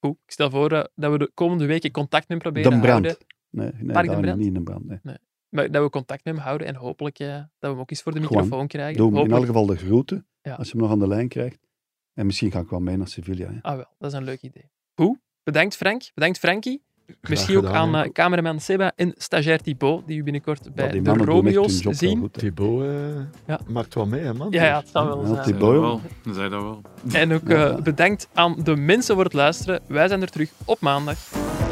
Speaker 1: Goed, ik stel voor eh, dat we de komende weken contact met hem proberen
Speaker 2: Den
Speaker 1: te houden.
Speaker 2: Brand. Nee, nee
Speaker 1: Park Den
Speaker 2: daar
Speaker 1: Brand?
Speaker 2: niet in Den Brand. Nee.
Speaker 1: Maar dat we contact met hem houden en hopelijk eh, dat we hem ook eens voor de
Speaker 2: Gewoon.
Speaker 1: microfoon krijgen.
Speaker 2: Doe hem in
Speaker 1: Hopelijk-
Speaker 2: elk geval de groeten,
Speaker 1: Ja.
Speaker 2: als je hem nog aan de lijn krijgt. En misschien ga ik wel mee naar Sevilla. Hè.
Speaker 1: Ah wel, dat is een leuk idee. Goed, bedankt Frank, bedankt Frankie.
Speaker 5: Graag
Speaker 1: Misschien ook
Speaker 5: gedaan,
Speaker 1: aan
Speaker 5: Henk.
Speaker 1: eh, cameraman Seba en stagiair Thibaut, die u binnenkort
Speaker 2: Ja,
Speaker 1: bij
Speaker 2: die
Speaker 1: de
Speaker 2: mannen doen echt hun
Speaker 1: Romeo's
Speaker 2: job wel
Speaker 1: zien.
Speaker 2: goed, hè.
Speaker 5: Thibaut eh,
Speaker 1: Ja.
Speaker 5: maakt wel mee, hè, man.
Speaker 1: Ja, ja, het zal
Speaker 2: Ja,
Speaker 1: wel zijn.
Speaker 2: Thibaut, jongen.
Speaker 10: Dan zei dat wel.
Speaker 1: En ook eh, bedankt aan de mensen voor het luisteren. Wij zijn er terug op maandag.
Speaker 6: eh,